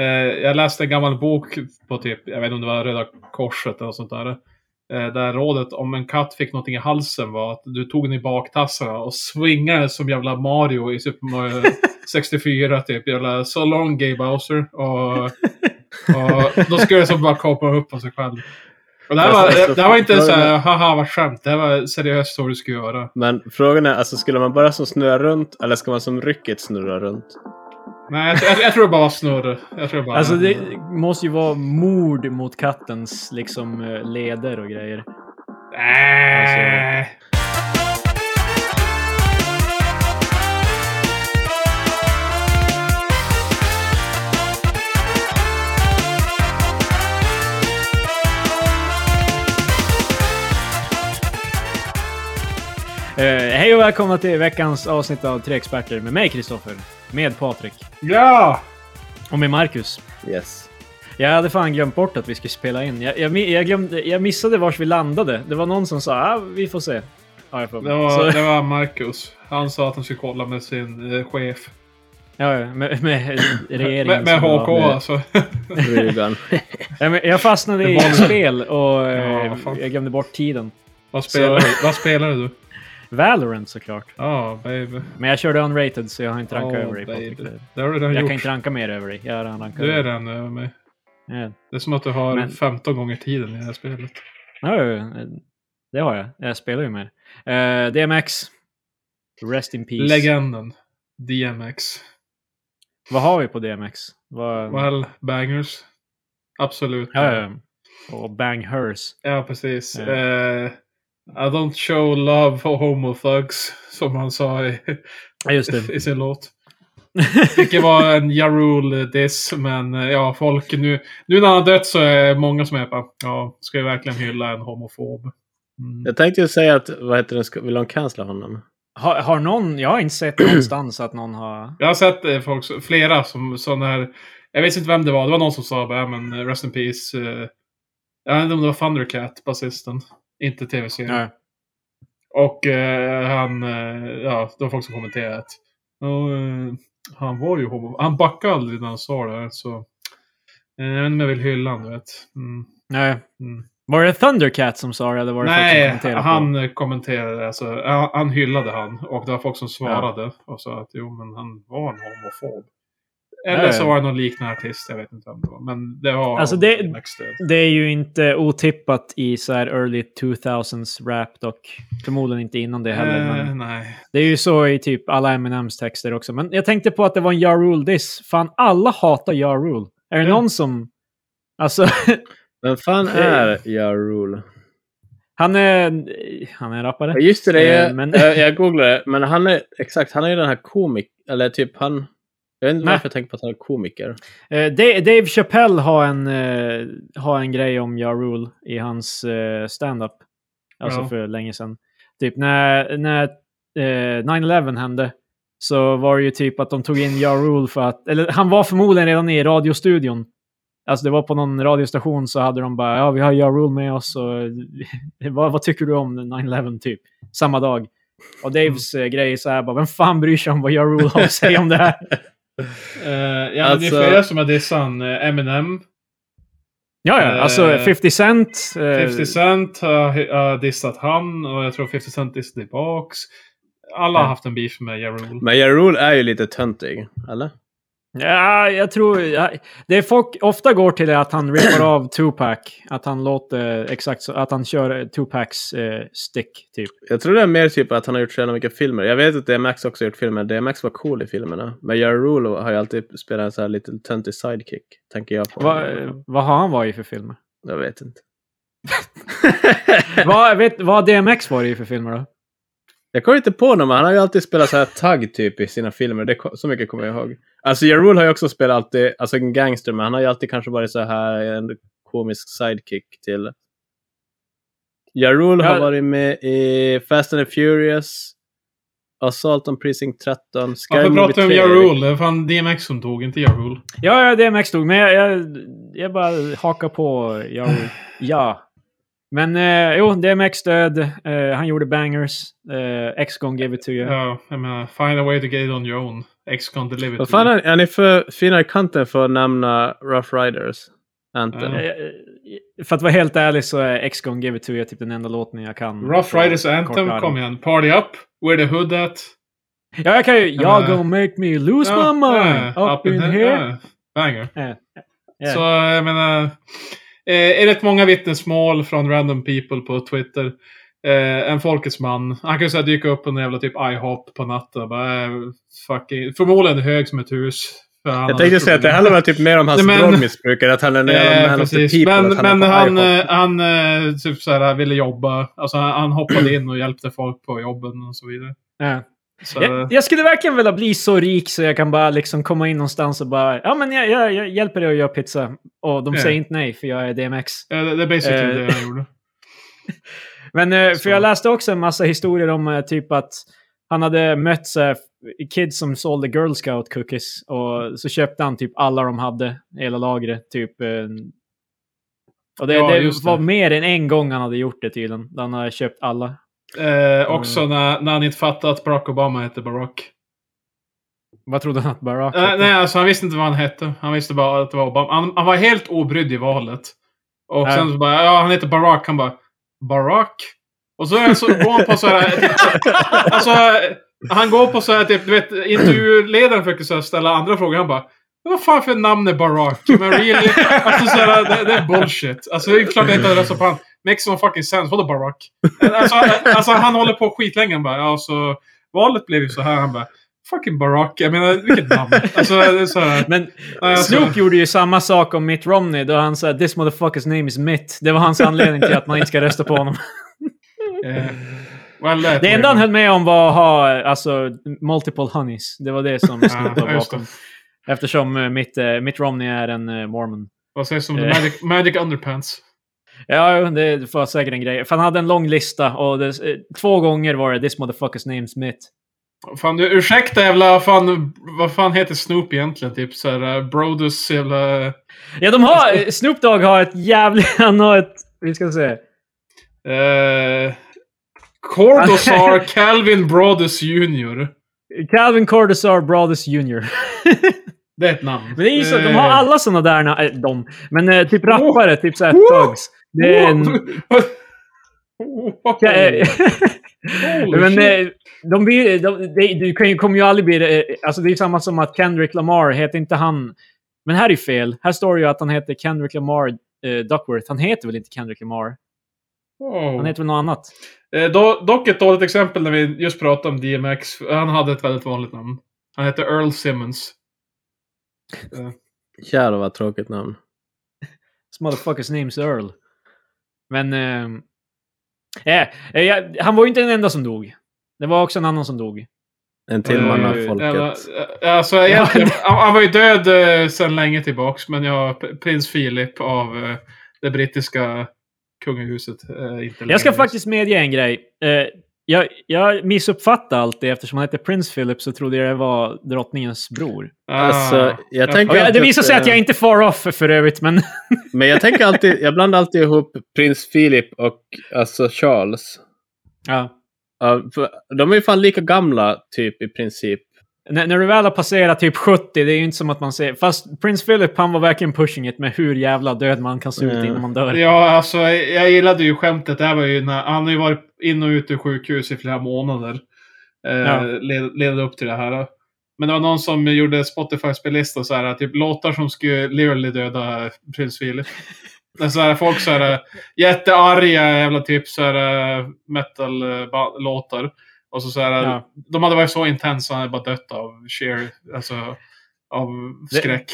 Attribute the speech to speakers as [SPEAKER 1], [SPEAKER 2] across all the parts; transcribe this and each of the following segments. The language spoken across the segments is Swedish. [SPEAKER 1] Eh, jag läste en gammal bok på typ, jag vet inte om det var Röda Korset eller något sånt där. Eh, där rådet om en katt fick någonting i halsen var att du tog den i baktassarna och svingade som jävla Mario i Super Mario 64 typ. Jävla so long gay Bowser. Och, och då skulle det som bara komma upp av sig själv. Och det, här var, det här var inte så här, haha vad skämt. Det här var seriöst så du skulle göra.
[SPEAKER 2] Men frågan är, alltså skulle man bara som snurra runt eller ska man som rycket snurra runt?
[SPEAKER 1] Nej, jag, jag, jag tror det bara var snurr. Jag tror bara...
[SPEAKER 3] Alltså det måste ju vara mord mot kattens liksom eh, leder och grejer.
[SPEAKER 1] Äh.
[SPEAKER 3] Alltså- Eh, hej och välkomna till veckans avsnitt av Tre Experter med mig Kristoffer, med Patrik
[SPEAKER 1] Ja!
[SPEAKER 3] och med Marcus.
[SPEAKER 2] Yes.
[SPEAKER 3] Jag hade fan glömt bort att vi skulle spela in. Jag, jag, mi- jag, glömde, jag missade vars vi landade. Det var någon som sa ah, vi får se. Ja, jag får.
[SPEAKER 1] Det var,
[SPEAKER 3] Så,
[SPEAKER 1] det var Marcus. Han sa att han skulle kolla med sin eh, chef.
[SPEAKER 3] ja, ja, med, med regeringen.
[SPEAKER 1] Med, med
[SPEAKER 3] som var
[SPEAKER 1] HK
[SPEAKER 3] med.
[SPEAKER 1] alltså.
[SPEAKER 2] Rugan.
[SPEAKER 3] Ja, men jag fastnade i
[SPEAKER 1] Det var-
[SPEAKER 3] spel och eh,
[SPEAKER 1] Ja, fan.
[SPEAKER 3] jag glömde bort tiden.
[SPEAKER 1] vad, spelar du? vad spelar du?
[SPEAKER 3] Valorant såklart.
[SPEAKER 1] Ja, baby.
[SPEAKER 3] Men jag körde unrated så jag har inte rankat
[SPEAKER 1] Ja,
[SPEAKER 3] över dig
[SPEAKER 1] baby.
[SPEAKER 3] Patrik.
[SPEAKER 1] Det har du redan
[SPEAKER 3] Jag
[SPEAKER 1] gjort.
[SPEAKER 3] kan inte ranka mer över dig. Jag rankar
[SPEAKER 1] Du är
[SPEAKER 3] över
[SPEAKER 1] den över mig.
[SPEAKER 3] dig.
[SPEAKER 1] Det är som att du har
[SPEAKER 3] Men-
[SPEAKER 1] 15 gånger tiden i det här spelet.
[SPEAKER 3] Ja, ja, ja. det har jag. Jag spelar ju mer. Eh, DMX. Rest in peace.
[SPEAKER 1] Legenden. DMX.
[SPEAKER 3] Vad har vi på DMX? Vad...
[SPEAKER 1] Well, bangers. Absolut.
[SPEAKER 3] Ja, ja. Och Bang Hers.
[SPEAKER 1] Ja, precis.
[SPEAKER 3] Ja.
[SPEAKER 1] Eh, I don't show love for homo thugs, som han sa i,
[SPEAKER 3] Ja, just det.
[SPEAKER 1] i sin låt. Vilket var en Jarul-diss, men eh, ja, folk nu, nu när han har dött så är det många som är bara, ja, ska vi verkligen hylla en homofob? Mm.
[SPEAKER 2] Jag tänkte ju säga att, vad heter den, ska- vill de cancella honom?
[SPEAKER 3] har, har någon... Jag har inte sett någonstans att någon har...
[SPEAKER 1] Jag har sett eh, folk, som- flera som sådana här, jag vet inte vem det var, det var någon som sa bara, ja, men eh, Rest in Peace, eh, jag vet inte om det var Thundercat, basisten, inte tv-serien.
[SPEAKER 3] Nej.
[SPEAKER 1] Och eh, han, eh, ja, det var folk som kommenterade att "Ja, eh, han var ju homo. Han backade aldrig när han sa det här, så eh, jag vet inte om jag vill hylla honom, du vet. Mm,
[SPEAKER 3] Nej.
[SPEAKER 1] mm.
[SPEAKER 3] Var det Thundercat som sa det eller var det folk som
[SPEAKER 1] Nej,
[SPEAKER 3] kommenterade på?
[SPEAKER 1] han eh, kommenterade, alltså, han, han hyllade han. Och det var folk som svarade och sa att jo, men han var en homofob. Eller
[SPEAKER 3] Nej.
[SPEAKER 1] så var det någon liknande artist, jag vet inte vem det var. Men det var
[SPEAKER 3] Alltså, det-
[SPEAKER 1] DMX stöd.
[SPEAKER 3] Det är ju inte otippat i så här early 2000s rap dock. Förmodligen inte innan det heller. men...
[SPEAKER 1] Eh, nej.
[SPEAKER 3] Det är ju så i typ alla Eminems texter också. Men jag tänkte på att det var en Ja Rule-diss. Fan, alla hatar Ja Rule. Är det
[SPEAKER 1] Ja.
[SPEAKER 3] någon som... Alltså,
[SPEAKER 2] Vem fan är Ja Rule?
[SPEAKER 3] han är... Han är en rappare.
[SPEAKER 2] Ja, Just det, det är,
[SPEAKER 3] Eh, men-
[SPEAKER 2] jag, jag googlade men han är, exakt, han är ju den här komik, eller typ han, jag vet inte
[SPEAKER 3] Nej.
[SPEAKER 2] varför jag tänker på att han är komiker.
[SPEAKER 3] Eh, Da- Dave Chappelle har en, eh, har en grej om Ja Rule i hans eh, stand-up. Alltså
[SPEAKER 1] Ja.
[SPEAKER 3] för länge sedan. Typ när, när eh, 9-11 hände så var det ju typ att de tog in Ja Rule för att... Eller han var förmodligen redan i radiostudion. Alltså det var på någon radiostation så hade de bara ja vi har Ja Rule med oss och vad, vad tycker du om 9-11 typ? Samma dag. Och Daves eh, grej är så här bara vem fan bryr sig om vad Ja Rule har att säga om det här?
[SPEAKER 1] Eh, ja, men Det
[SPEAKER 2] Alltså-
[SPEAKER 1] är flera som har dissat han. Eh, Eminem.
[SPEAKER 3] Ja, ja. Alltså
[SPEAKER 1] Eh,
[SPEAKER 3] 50 Cent. eh,
[SPEAKER 1] 50 Cent har har dissat han och jag tror 50 Cent dissat tillbaks. Alla har
[SPEAKER 3] Ja.
[SPEAKER 1] haft en beef med Ja Rule.
[SPEAKER 2] Men Ja Rule är ju lite töntig, eller?
[SPEAKER 3] Ja, jag tror... Ja, det är folk ofta går till det att han rippar av Tupac. Att han låter exakt så, Att han kör eh, Tupacs eh, stick, typ.
[SPEAKER 2] Jag tror det är mer typ att han har gjort så jävla mycket filmer. Jag vet att DMX också har gjort filmer. DMX var cool i filmerna. Men Ja Rule har ju alltid spelat en så här lite töntig sidekick. Tänker jag på.
[SPEAKER 3] Va, eh, vad har han varit i för filmer?
[SPEAKER 2] Jag vet inte.
[SPEAKER 3] Vad vet, vad har DMX varit i för filmer då?
[SPEAKER 2] jag kommer inte på någon, men han har ju alltid spelat så här tagg typ i sina filmer. Det, ko- så mycket kommer jag ihåg. Alltså Ja Rule har ju också spelat alltid, alltså en gangster, men han har ju alltid kanske varit så här en komisk sidekick till. Ja Rule har
[SPEAKER 3] Ja.
[SPEAKER 2] varit med i Fast and the Furious. Assault on Precinct 13. Sky
[SPEAKER 1] Varför
[SPEAKER 2] Movie
[SPEAKER 1] pratar vi om
[SPEAKER 2] 3,
[SPEAKER 1] Ja Rule? Det var fan DMX som tog, inte Ja Rule.
[SPEAKER 3] Ja, ja DMX dog, men jag, jag, jag bara hakar på. Jag, ja. Men eh, jo, DMX död. Eh, han gjorde bangers. Eh, X-Gon gave it to you.
[SPEAKER 1] Ja, jag menar, find a way to get it on your own. X-Con Delivery.
[SPEAKER 2] Vad fan är, är ni för fina i kanten för att nämna Rough Riders? Anthem.
[SPEAKER 1] Ja.
[SPEAKER 3] Eh, För att vara helt ärlig så är X-Gone Give It To You typ den enda låten jag kan.
[SPEAKER 1] Rough Riders Anthem, kom igen. Party Up, Where the Hood At.
[SPEAKER 3] Ja, jag kan ju...
[SPEAKER 1] Eh,
[SPEAKER 3] You're gonna make me lose
[SPEAKER 1] Ja,
[SPEAKER 3] my mind
[SPEAKER 1] ja,
[SPEAKER 3] up in
[SPEAKER 1] the-
[SPEAKER 3] here.
[SPEAKER 1] ja, Banger.
[SPEAKER 3] Eh, eh.
[SPEAKER 1] Så jag menar, eh, är rätt många vittnesmål från random people på Twitter. Eh, en folkets man. Han kan ju så här dyka upp på en jävla typ IHOP på natten. och Bara, eh, fucking, förmodligen hög som ett hus. För han
[SPEAKER 2] Jag
[SPEAKER 1] hade
[SPEAKER 2] tänkte säga att det handlar väl typ mer om hans
[SPEAKER 1] Nej, men-
[SPEAKER 2] drogmissbruk, än att han är en jävla
[SPEAKER 1] Eh,
[SPEAKER 2] man of the
[SPEAKER 1] precis.
[SPEAKER 2] people.
[SPEAKER 1] men
[SPEAKER 2] att
[SPEAKER 1] han, men
[SPEAKER 2] är på
[SPEAKER 1] han,
[SPEAKER 2] IHOP.
[SPEAKER 1] eh, han eh, typ så här, ville jobba. Alltså, han, han hoppade in och hjälpte folk på jobben och så vidare.
[SPEAKER 3] Ja.
[SPEAKER 1] Så, eh,
[SPEAKER 3] Jag, jag skulle verkligen vilja bli så rik så jag kan bara liksom komma in någonstans och bara ja men jag, jag, jag hjälper dig att göra pizza. Och de
[SPEAKER 1] Ja.
[SPEAKER 3] säger inte nej för jag är DMX.
[SPEAKER 1] eh, det det är basically
[SPEAKER 3] eh,
[SPEAKER 1] det jag gjorde.
[SPEAKER 3] Men eh,
[SPEAKER 1] Så.
[SPEAKER 3] för jag läste också en massa historier om eh, typ att han hade mött så här, kids som sålde Girl Scout cookies och så köpte han typ alla de hade, hela lagret. Typ, eh, och det,
[SPEAKER 1] Ja,
[SPEAKER 3] det
[SPEAKER 1] just
[SPEAKER 3] var
[SPEAKER 1] det.
[SPEAKER 3] mer än en gång han hade gjort det tydligen. Han hade köpt alla.
[SPEAKER 1] Eh, också
[SPEAKER 2] Mm.
[SPEAKER 1] när, när han inte fattade att Barack Obama hette Barack.
[SPEAKER 3] Vad trodde han att Barack
[SPEAKER 1] Eh,
[SPEAKER 3] hette?
[SPEAKER 1] nej, alltså han visste inte vad han hette. Han visste bara att det var Obama. Han, han var helt obrydd i valet. Och
[SPEAKER 3] Ja.
[SPEAKER 1] sen så bara, ja han heter Barack. Han bara, Barack? Och så, så går han på så här, typ, alltså han går på så här, typ, du vet, intervjuledaren försöker så här, ställa andra frågor. Han bara, vad fan för namn är Barack? Men really? Alltså så här, det, det är bullshit. Alltså det är klart jag inte hade röstat på han. Makes no fucking sense. Vadå Barack? Alltså, alltså han håller på skitlänge. Han bara, ja så valet blev ju så här. Han bara, fucking Barack. Jag menar, vilket namn? Alltså det är så här.
[SPEAKER 3] Men
[SPEAKER 1] Nej, alltså-
[SPEAKER 3] Snoop gjorde ju samma sak om Mitt Romney då han sa “This motherfucker's name is Mitt”. Det var hans anledning till att man inte ska rösta på honom.
[SPEAKER 1] eh, well, that-
[SPEAKER 3] Det enda han höll med om var att ha alltså, multiple honeys. Det var det som Snoop var
[SPEAKER 1] Ja, just
[SPEAKER 3] bakom.
[SPEAKER 1] det.
[SPEAKER 3] Eftersom eh, Mitt, eh, Mitt Romney är en eh, mormon.
[SPEAKER 1] Vad sägs om the
[SPEAKER 3] Eh.
[SPEAKER 1] magic, magic underpants?
[SPEAKER 3] Ja, jo, det var säkert en grej. För han hade en lång lista och det, eh, två gånger var det “This motherfucker's name is Mitt”.
[SPEAKER 1] Fan, du, ursäkta jävla, fan, vad fan heter Snoop egentligen? Typ såhär, Brodus jävla... eh,
[SPEAKER 3] Ja, de har... eh, Snoop Dogg har ett jävligt... Han har ett... Vi ska se.
[SPEAKER 1] Eh, Cordosar Calvin Brodus Jr.
[SPEAKER 3] Calvin Cortazar Brothers Jr.
[SPEAKER 1] Det är ett namn.
[SPEAKER 3] Men det är ju så, de har alla såna där, na- äh, de. Men eh, typ rappare, typ såhär
[SPEAKER 1] Wow.
[SPEAKER 3] thugs. Det är
[SPEAKER 1] Oh,
[SPEAKER 3] en...
[SPEAKER 1] Wow.
[SPEAKER 3] Ja, eh,
[SPEAKER 1] Holy
[SPEAKER 3] men
[SPEAKER 1] shit.
[SPEAKER 3] eh, de blir, de, de, du kan ju, kommer ju aldrig bli... eh, Alltså det är ju samma som att Kendrick Lamar, heter inte han... Men här är ju fel. Här står det ju att han heter Kendrick Lamar eh, Duckworth. Han heter väl inte Kendrick Lamar?
[SPEAKER 1] Wow.
[SPEAKER 3] Han heter väl något annat?
[SPEAKER 1] Eh, do, dock ett dåligt exempel när vi just pratade om DMX. Han hade ett väldigt vanligt namn. Han hette Earl Simmons.
[SPEAKER 2] Jävlar vad tråkigt namn.
[SPEAKER 3] This motherfucker's name's Earl. Men... ehm, eh, eh, jag- han var ju inte den enda som dog. Det var också en annan som dog.
[SPEAKER 2] En till
[SPEAKER 1] Eh,
[SPEAKER 2] man av
[SPEAKER 3] eh,
[SPEAKER 2] folket.
[SPEAKER 1] eh, Alltså, egentligen, han, han var ju död eh, sedan länge tillbaks, men jag, P- prins Philip av eh, det brittiska kungahuset. Eh, inte längre.
[SPEAKER 3] Jag ska faktiskt medge en grej. Eh, jag, jag missuppfattade allt det eftersom han hette Prince Philip så trodde jag det var drottningens bror.
[SPEAKER 1] Ah,
[SPEAKER 2] Alltså, jag tänker
[SPEAKER 3] Och jag, det
[SPEAKER 2] alltid
[SPEAKER 3] visar sig att
[SPEAKER 2] eh,
[SPEAKER 3] jag är inte far off för övrigt, men...
[SPEAKER 2] Men jag tänker alltid, jag blandar alltid ihop prins Philip och alltså Charles.
[SPEAKER 3] ja.
[SPEAKER 2] Ja, för de är ju fan lika gamla typ i princip.
[SPEAKER 3] N- när du väl har passerat typ 70, det är ju inte som att man ser... Fast Prince Philip, han var verkligen pushing it med hur jävla död man kan se ut
[SPEAKER 2] Mm.
[SPEAKER 3] innan man dör.
[SPEAKER 1] Ja, alltså jag jag gillade ju skämtet. Det här var ju när, han har ju varit in och ut ur sjukhus i flera månader. Eh,
[SPEAKER 3] Ja.
[SPEAKER 1] led, ledde upp till det här. Men det var någon som gjorde Spotify-spellista så här, typ låtar som skulle literally döda prins Philip. När så här, folk så här, jättearga jävla typ så här eh, metal-låtar. Och så så här,
[SPEAKER 3] Ja.
[SPEAKER 1] de hade varit så intensa, han hade bara dött av sheer, alltså av
[SPEAKER 3] Det-
[SPEAKER 1] skräck.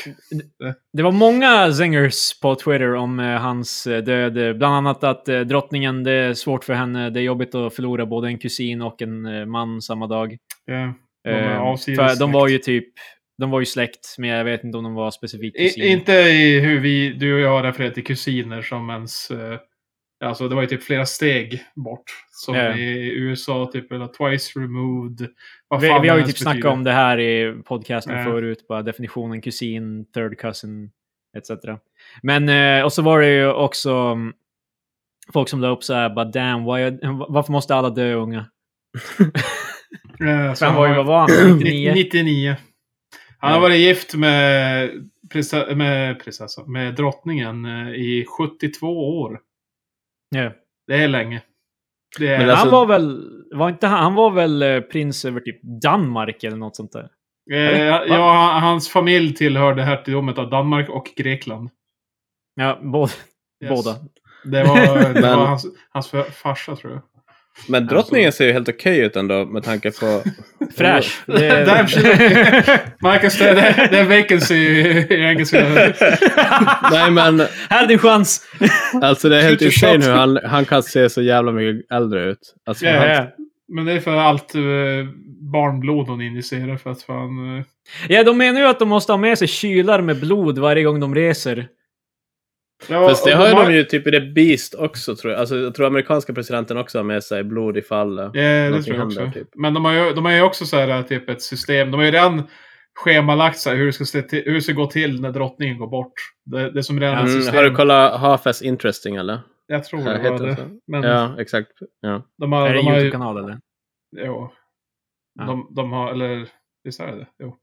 [SPEAKER 3] Det var många zingers på Twitter om eh, hans eh, död. Eh, Bland annat att eh, drottningen, det är svårt för henne. Det är jobbigt att förlora både en kusin och en eh, man samma dag.
[SPEAKER 1] Ja. De är
[SPEAKER 3] Eh,
[SPEAKER 1] avsides
[SPEAKER 3] för de
[SPEAKER 1] släkt.
[SPEAKER 3] var ju typ... De var ju släkt, men jag vet inte om de var specifikt kusin.
[SPEAKER 1] I, inte i hur vi, du och jag refererar till kusiner som ens... Eh, alltså det var ju typ flera steg bort. Som
[SPEAKER 3] Ja.
[SPEAKER 1] i USA, typ eller twice removed. Vad
[SPEAKER 3] vi,
[SPEAKER 1] fan
[SPEAKER 3] vi har ju
[SPEAKER 1] det
[SPEAKER 3] typ
[SPEAKER 1] ens
[SPEAKER 3] snackat
[SPEAKER 1] betyder.
[SPEAKER 3] om det här i podcasten
[SPEAKER 1] Ja.
[SPEAKER 3] förut. Bara definitionen kusin, third cousin, etc. Men, eh, och så var det ju också mm, folk som la upp så här, bara damn, why, varför måste alla dö unga?
[SPEAKER 1] Eh, så
[SPEAKER 3] För han var ju, vad var han? 99?
[SPEAKER 1] 99. Han har varit gift med, prisa, med, prinsessa, med drottningen eh, i 72 år.
[SPEAKER 3] Ja.
[SPEAKER 1] Det är länge. Det är,
[SPEAKER 2] Men alltså-
[SPEAKER 3] han var väl, var inte han, han var väl eh, prins över typ Danmark eller något sånt där?
[SPEAKER 1] eh, ja, hans familj tillhörde hertigdomet av Danmark och Grekland.
[SPEAKER 3] Ja, både,
[SPEAKER 1] Yes.
[SPEAKER 3] båda.
[SPEAKER 1] Det var, det
[SPEAKER 2] Men-
[SPEAKER 1] var hans, hans för- farsa tror jag.
[SPEAKER 2] Men
[SPEAKER 1] Alltså-
[SPEAKER 2] drottningen ser ju helt okej ut ändå med tanke på...
[SPEAKER 3] Fräsch.
[SPEAKER 1] Damn, she Marcus, det, det, det är vacancy i engelska.
[SPEAKER 2] Nej men
[SPEAKER 3] Här är din chans!
[SPEAKER 2] alltså det är helt
[SPEAKER 1] Shoot your
[SPEAKER 2] insane
[SPEAKER 1] shot.
[SPEAKER 2] hur han, han kan se så jävla mycket äldre ut. Alltså,
[SPEAKER 1] Ja,
[SPEAKER 2] han-
[SPEAKER 1] ja. Men det är för allt eh, barnblod hon injicerar för att fan... eh,
[SPEAKER 3] Ja, de menar ju att de måste ha med sig kylar med blod varje gång de reser.
[SPEAKER 1] Ja,
[SPEAKER 2] Fast det
[SPEAKER 1] och
[SPEAKER 2] har ju
[SPEAKER 1] har-
[SPEAKER 2] de ju typ i det Beast också tror jag. Alltså, jag tror amerikanska presidenten också har med sig blod ifall... eh,
[SPEAKER 1] Ja, det
[SPEAKER 2] någonting
[SPEAKER 1] tror jag
[SPEAKER 2] händer,
[SPEAKER 1] också.
[SPEAKER 2] typ.
[SPEAKER 1] Men de har, ju, de har ju också så här, eh, typ ett system. De har ju redan schemalagt så här, hur, det ska se till, hur det ska gå till när drottningen går bort. Det, det är som redan ett
[SPEAKER 2] Mm,
[SPEAKER 1] system.
[SPEAKER 2] har du kollat Half As Interesting eller?
[SPEAKER 1] Jag alltså, tror
[SPEAKER 2] Ja,
[SPEAKER 1] det var
[SPEAKER 2] heter det
[SPEAKER 1] det.
[SPEAKER 2] så?
[SPEAKER 1] Men
[SPEAKER 2] Ja, exakt. Ja.
[SPEAKER 1] de har...
[SPEAKER 3] är det
[SPEAKER 1] De
[SPEAKER 3] en
[SPEAKER 1] har ju,
[SPEAKER 3] YouTube-kanal eller?
[SPEAKER 1] jo.
[SPEAKER 3] Ja.
[SPEAKER 1] De, de har, eller visst är det det? Jo.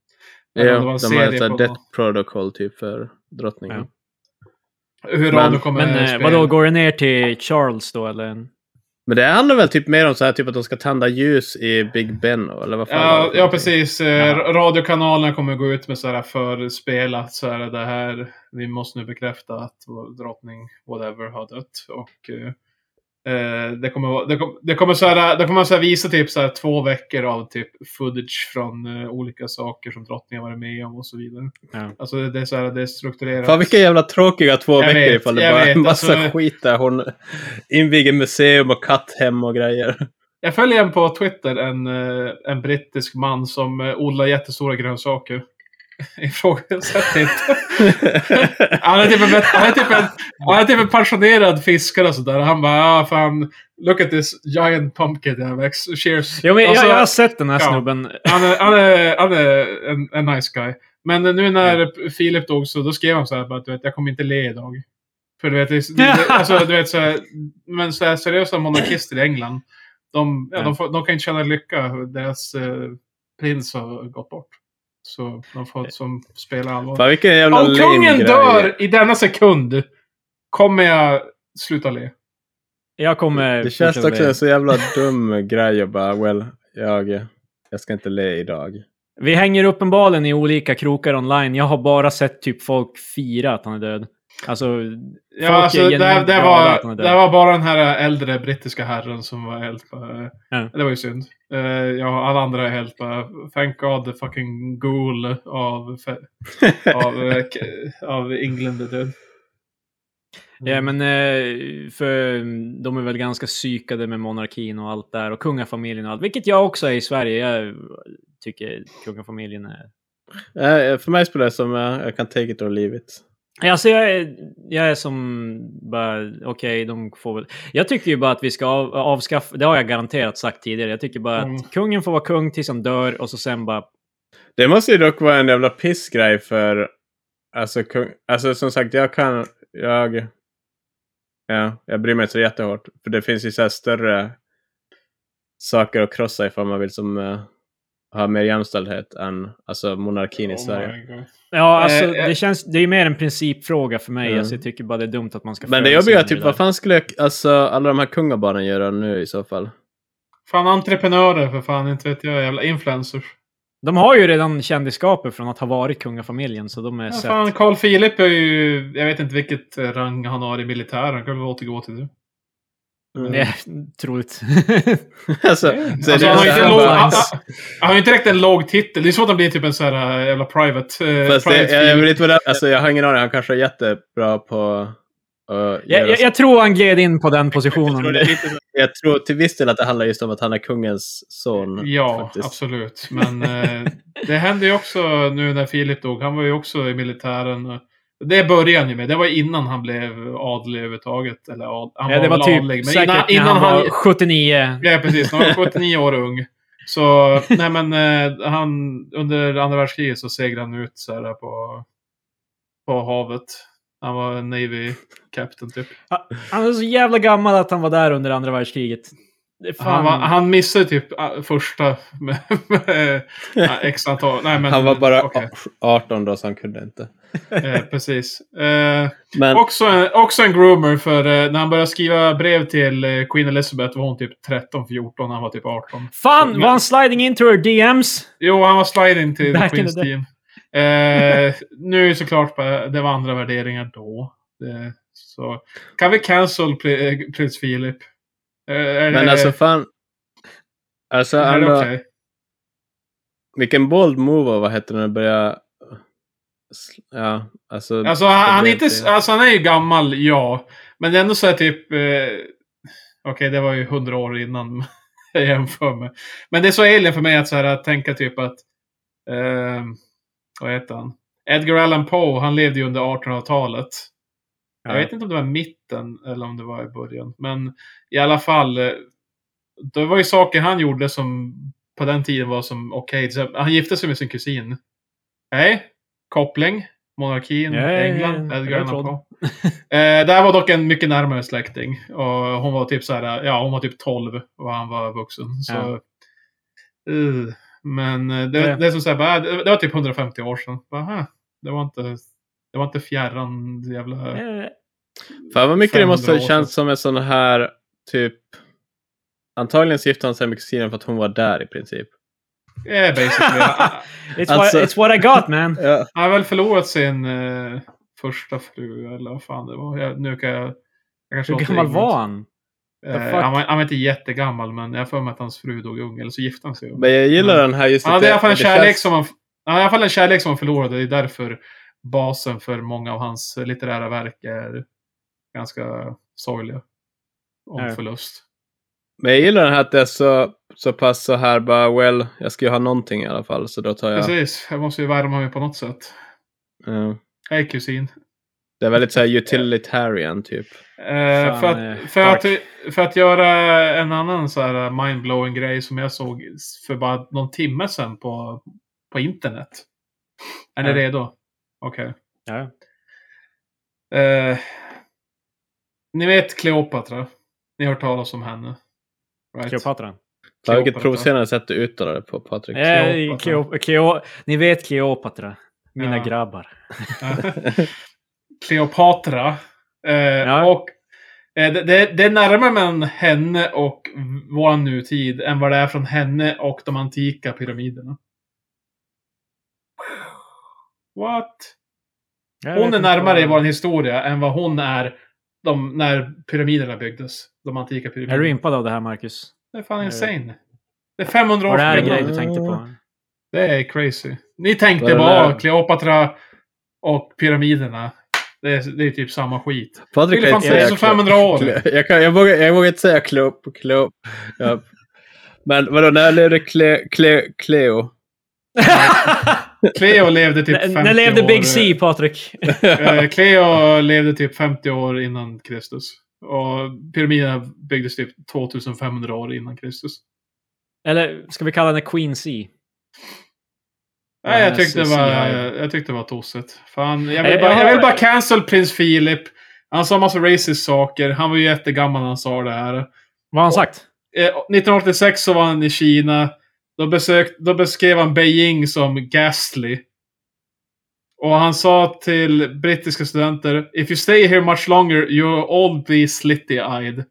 [SPEAKER 2] Ja,
[SPEAKER 1] Men om det var en
[SPEAKER 2] de har ett
[SPEAKER 1] serie
[SPEAKER 2] så här
[SPEAKER 1] på
[SPEAKER 2] Death Protocol typ för drottningen.
[SPEAKER 3] Ja.
[SPEAKER 1] Hur
[SPEAKER 2] Men-
[SPEAKER 1] men, kommer
[SPEAKER 3] Men eh,
[SPEAKER 1] spela.
[SPEAKER 3] vadå, går det ner till Charles då eller?
[SPEAKER 2] Men det handlar väl typ mer om så här typ att de ska tända ljus i Big Ben eller vad fan var det
[SPEAKER 1] Ja,
[SPEAKER 2] för
[SPEAKER 1] ja
[SPEAKER 2] någonting?
[SPEAKER 1] precis. Eh,
[SPEAKER 3] Ja.
[SPEAKER 1] Radiokanalerna kommer gå ut med så här förspel att så här, det här, vi måste nu bekräfta att vår drottning whatever har dött. Och, eh, eh, det kommer, vara- det kommer, det kommer, så här, det kommer så här visa typ så här två veckor av typ footage från eh, olika saker som drottningen har varit med om och så vidare.
[SPEAKER 3] Ja.
[SPEAKER 1] Alltså det det är så här, det är strukturerat.
[SPEAKER 2] Fan vilka jävla tråkiga två
[SPEAKER 1] Jag
[SPEAKER 2] veckor
[SPEAKER 1] vet,
[SPEAKER 2] ifall det
[SPEAKER 1] jag
[SPEAKER 2] bara är
[SPEAKER 1] vet,
[SPEAKER 2] en massa
[SPEAKER 1] alltså-
[SPEAKER 2] skit där. Hon inviger museum och katthem och grejer.
[SPEAKER 1] Jag följer en på Twitter, en, eh, en brittisk man som eh, odlar jättestora grönsaker. Ifrågasätt inte. Han är typ en, han är typ en, han är typ en passionerad fiskare och sådär. Han bara, ah, fan, look at this giant pumpkin I växt. Cheers.
[SPEAKER 3] Jo, men
[SPEAKER 1] Alltså,
[SPEAKER 3] jag, jag har sett den här
[SPEAKER 1] ja.
[SPEAKER 3] snubben.
[SPEAKER 1] han är, han är, han är en, en nice guy. Men nu när Filip dog så då skrev han så här, bara, du vet, jag kommer inte le idag. För du vet, det, det, alltså, du vet så här, men så här, seriösa monarkister i England, de, ja,
[SPEAKER 3] Ja.
[SPEAKER 1] de, får, de kan inte känna lycka. Deras eh, prins har gått bort. Så de får som spela allvar.
[SPEAKER 2] Fan vilken jävla
[SPEAKER 1] Om
[SPEAKER 2] lame
[SPEAKER 1] kungen
[SPEAKER 2] grej.
[SPEAKER 1] dör i denna sekund kommer jag sluta le.
[SPEAKER 3] Jag kommer...
[SPEAKER 2] Det känns
[SPEAKER 3] fortsätta
[SPEAKER 2] också
[SPEAKER 3] med-
[SPEAKER 2] en så jävla dum grej att bara, well, jag, jag ska inte le idag.
[SPEAKER 3] Vi hänger uppenbarligen i olika krokar online. Jag har bara sett typ folk fira att han är död. Alltså,
[SPEAKER 1] Ja,
[SPEAKER 3] Folk är
[SPEAKER 1] alltså, det,
[SPEAKER 3] genuint
[SPEAKER 1] det,
[SPEAKER 3] glada
[SPEAKER 1] var,
[SPEAKER 3] att han är död.
[SPEAKER 1] det var bara den här äldre brittiska herren som var helt bara,
[SPEAKER 3] Ja.
[SPEAKER 1] Det var ju synd. Eh, ja, alla andra är helt bara, Thank God the fucking ghoul av, fe- av, eh, k- av England är död.
[SPEAKER 3] ja, men eh, för de är väl ganska psykade med monarkin och allt där och kungafamiljen och allt, vilket jag också är i Sverige. Jag tycker kungafamiljen är...
[SPEAKER 2] Eh, För mig spelar det som, eh, jag kan take it or leave it.
[SPEAKER 3] Alltså jag är, jag är som bara, okej, de får väl... Jag tycker ju bara att vi ska av, avskaffa, det har jag garanterat sagt tidigare, jag tycker bara
[SPEAKER 1] Mm.
[SPEAKER 3] att kungen får vara kung tills han dör och så sen bara
[SPEAKER 2] Det måste ju dock vara en jävla pissgrej för... Alltså, kung, alltså som sagt, jag kan... Jag... Ja, jag bryr mig inte så jättehårt. För det finns ju så här större saker att krossa ifall man vill som eh, ha mer jämställdhet än alltså monarkin i Sverige.
[SPEAKER 1] Oh my God.
[SPEAKER 3] Ja, alltså
[SPEAKER 1] Eh, eh.
[SPEAKER 3] det känns... Det är ju mer en principfråga för mig.
[SPEAKER 2] Mm.
[SPEAKER 3] Alltså, jag tycker bara det är dumt att man ska...
[SPEAKER 2] Men det
[SPEAKER 3] föra
[SPEAKER 2] jobbiga
[SPEAKER 3] sig
[SPEAKER 2] är
[SPEAKER 3] in i
[SPEAKER 2] typ,
[SPEAKER 3] det
[SPEAKER 2] vad
[SPEAKER 3] där.
[SPEAKER 2] fan skulle jag, alltså, alla de här kungabarnen göra nu i så fall?
[SPEAKER 1] Fan entreprenörer för fan, inte vet jag. Jävla influencers.
[SPEAKER 3] De har ju redan kändiskapet från att ha varit kungafamiljen, så de är
[SPEAKER 1] Ja,
[SPEAKER 3] sett.
[SPEAKER 1] fan, Carl Philip är ju, jag vet inte vilket eh, rang han har i militären. Han kan väl återgå till det.
[SPEAKER 3] Det är troligt.
[SPEAKER 2] alltså,
[SPEAKER 1] Alltså,
[SPEAKER 2] så är det
[SPEAKER 1] han, har
[SPEAKER 2] så
[SPEAKER 1] ju inte
[SPEAKER 2] här
[SPEAKER 1] en låg,
[SPEAKER 2] bara-
[SPEAKER 1] han, han- han har ju inte direkt en låg titel. Det är så att han blir typ en sån här äh, jävla private. eh,
[SPEAKER 2] Fast det,
[SPEAKER 1] private
[SPEAKER 2] jag, jag
[SPEAKER 1] field.
[SPEAKER 2] vill inte vara där. Alltså jag har ingen aning. Han kanske är jättebra på att
[SPEAKER 3] jag,
[SPEAKER 2] göra
[SPEAKER 3] jag, jag tror han gled in på den positionen.
[SPEAKER 2] jag tror, det är lite, så- jag tror till viss del att det handlar just om att han är kungens son.
[SPEAKER 1] Ja,
[SPEAKER 2] faktiskt.
[SPEAKER 1] absolut. Men eh, det hände ju också nu när Filip dog. Han var ju också i militären. Det började han ju med. Det var innan han blev adlig överhuvudtaget. Eller ad, han
[SPEAKER 3] ja, det var
[SPEAKER 1] väl
[SPEAKER 3] typ
[SPEAKER 1] adlig, men
[SPEAKER 3] säkert
[SPEAKER 1] innan,
[SPEAKER 3] när
[SPEAKER 1] innan han...
[SPEAKER 3] han, var 79.
[SPEAKER 1] Ja, precis. Han var 79 år och ung. Så, nej men, eh, han, under andra världskriget så seglade han ut så här på, på havet. Han var en Navy Captain typ.
[SPEAKER 3] Han är så jävla gammal att han var där under andra världskriget. Det är fan...
[SPEAKER 1] Han, var, han missade typ äh, första med, med äh, x antal. Nej, men,
[SPEAKER 2] Han var bara
[SPEAKER 1] okej.
[SPEAKER 2] 18 då, så han kunde inte.
[SPEAKER 1] Eh, precis. Eh,
[SPEAKER 2] Men
[SPEAKER 1] också, en, också en groomer, för eh, när han började skriva brev till eh, Queen Elizabeth var hon typ 13-14, han var typ 18.
[SPEAKER 3] Fan, var han sliding into her DMs?
[SPEAKER 1] Jo, han var sliding till
[SPEAKER 3] Back in
[SPEAKER 1] Queens
[SPEAKER 3] the day.
[SPEAKER 1] team. Eh, nu är det såklart bara- det var andra värderingar då. Det, så. Kan vi cancel pri- eh, prins Philip? Eh, är
[SPEAKER 2] Men
[SPEAKER 1] det-
[SPEAKER 2] alltså fan. Alltså
[SPEAKER 1] är det
[SPEAKER 2] ändå,
[SPEAKER 1] okej?
[SPEAKER 2] vilken bold move av vad heter det, att börja... Ja, alltså.
[SPEAKER 1] Alltså han, han, är
[SPEAKER 2] blev
[SPEAKER 1] inte,
[SPEAKER 2] det.
[SPEAKER 1] alltså han är ju gammal, ja. Men det är ändå så här typ... Eh, Okej, det var ju hundra år innan jag jämför med. Men det är så alien för mig att, så här, att tänka typ att... Eh, vad heter han? Edgar Allan Poe, han levde ju under 1800-talet. Jag vet inte om det var mitten eller om det var i början. Men i alla fall. eh, Det var ju saker han gjorde som på den tiden var som okej. Till exempel, Han gifte sig med sin kusin. Nej, koppling. Monarkin,
[SPEAKER 3] Ja, ja, ja,
[SPEAKER 1] England,
[SPEAKER 3] ja,
[SPEAKER 1] Edgar
[SPEAKER 3] jag
[SPEAKER 1] Allan
[SPEAKER 3] trodde.
[SPEAKER 1] Poe. Eh, det här var dock en mycket närmare släkting. Och hon var typ så här, ja hon var typ 12 och han var vuxen. Så, Eh, men eh, det,
[SPEAKER 3] Ja.
[SPEAKER 1] det är som så här, bara, det det var typ 150 år sedan. Bara, "Huh, det var inte, det var inte fjärran jävla...
[SPEAKER 3] Eh,
[SPEAKER 2] Fan vad mycket det
[SPEAKER 1] 500
[SPEAKER 2] måste
[SPEAKER 1] år
[SPEAKER 2] ha
[SPEAKER 1] sedan.
[SPEAKER 2] känts som en sån här typ. Antagligen så gifte han sig med kusinen för att hon var där i princip.
[SPEAKER 1] Yeah, Eh, basically. Han-
[SPEAKER 3] It's,
[SPEAKER 2] Alltså-
[SPEAKER 3] what, it's what I got man.
[SPEAKER 2] Ja.
[SPEAKER 1] Han har väl förlorat sin eh, första fru, eller vad fan det var. Jag, nu kan jag... jag kanske
[SPEAKER 3] Hur
[SPEAKER 1] låter
[SPEAKER 3] gammal
[SPEAKER 1] ignorant.
[SPEAKER 3] var han? The
[SPEAKER 1] Eh,
[SPEAKER 3] fuck?
[SPEAKER 1] han, var, han var inte jättegammal, men jag har för mig att hans fru dog ung, eller så gifte han sig.
[SPEAKER 2] Men jag gillar den här just
[SPEAKER 1] Han hade i alla fall en
[SPEAKER 2] det känns-
[SPEAKER 1] kärlek som han... Han hade i alla fall en kärlek som han förlorade. Det är därför basen för många av hans litterära verk är ganska sorgliga. Om
[SPEAKER 3] Ja.
[SPEAKER 1] förlust.
[SPEAKER 2] Men jag gillar den här att det är så, så pass så här bara well, jag ska ju ha någonting i alla fall så då tar jag.
[SPEAKER 1] Precis, jag måste ju värma mig på något sätt.
[SPEAKER 2] Ja.
[SPEAKER 1] Hej kusin.
[SPEAKER 2] det är väldigt så här utilitarian typ.
[SPEAKER 1] Eh,
[SPEAKER 3] Fan,
[SPEAKER 1] för,
[SPEAKER 3] eh,
[SPEAKER 1] att, för, att, för att göra en annan så här mindblowing grej som jag såg för bara någon timme sedan på, på internet. Är ni
[SPEAKER 3] Ja.
[SPEAKER 1] redo? Okej.
[SPEAKER 3] Ja.
[SPEAKER 1] Eh, ni vet Kleopatra? Ni har hört talas om henne? Right?
[SPEAKER 3] Kleopatra.
[SPEAKER 2] Fan, vilket
[SPEAKER 1] Kleopatra.
[SPEAKER 2] provocerande sätt du uttalar det på Patrik.
[SPEAKER 3] Eh, Kleo- Kleo- Ni vet Kleopatra. Mina
[SPEAKER 1] Ja.
[SPEAKER 3] grabbar.
[SPEAKER 1] Kleopatra. Eh,
[SPEAKER 3] Ja.
[SPEAKER 1] Och eh, det, det, det är närmare mellan henne och vår nutid än vad det är från henne och de antika pyramiderna. What?
[SPEAKER 3] Jag vet
[SPEAKER 1] Hon är
[SPEAKER 3] inte
[SPEAKER 1] närmare
[SPEAKER 3] vad-
[SPEAKER 1] i vår historia än vad hon är de, när pyramiderna byggdes. De antika
[SPEAKER 3] Är du
[SPEAKER 1] pyramiderna.
[SPEAKER 3] impad av det här Marcus?
[SPEAKER 1] Det är
[SPEAKER 2] Eh.
[SPEAKER 1] fan
[SPEAKER 3] Är-
[SPEAKER 1] insane. Det är 500 år
[SPEAKER 3] Var det här en
[SPEAKER 1] sedan.
[SPEAKER 3] grej du tänkte på?
[SPEAKER 1] Det är crazy. Ni tänkte
[SPEAKER 2] Vad är det
[SPEAKER 1] bara
[SPEAKER 2] där?
[SPEAKER 1] Kleopatra och pyramiderna. Det är, det är typ samma skit.
[SPEAKER 2] Patrik
[SPEAKER 1] Ville fan säga så 500 år.
[SPEAKER 2] Kle- Jag, kan, jag, vågar, jag vågar inte säga Kleo. på Kleo. Ja. Men vadå, när levde Kle, Kle, Cleo?
[SPEAKER 1] Cleo levde typ 50
[SPEAKER 3] När levde
[SPEAKER 1] år.
[SPEAKER 3] Big C, Patrik?
[SPEAKER 1] Eh, Cleo levde typ 50 år innan Kristus. Och pyramiderna byggdes typ 2500 år innan Kristus.
[SPEAKER 3] Eller ska vi kalla henne Queen C?
[SPEAKER 1] Nej,
[SPEAKER 3] Ja,
[SPEAKER 1] jag tyckte, det
[SPEAKER 3] så- Eh,
[SPEAKER 1] var,
[SPEAKER 3] så jag-
[SPEAKER 1] jag tyckte det var tossigt. Fan, jag
[SPEAKER 3] Nej,
[SPEAKER 1] vill, bara,
[SPEAKER 3] jag-
[SPEAKER 1] jag vill bara cancel prins Philip. Han sa massa racist saker. Han var ju jättegammal när han sa det här.
[SPEAKER 3] Vad har han sagt?
[SPEAKER 1] Eh, 1986 så var han i Kina. Då, besök, då beskrev han Beijing som ghastly. Och han sa till brittiska studenter If you stay here much longer you'll all be slitty-eyed.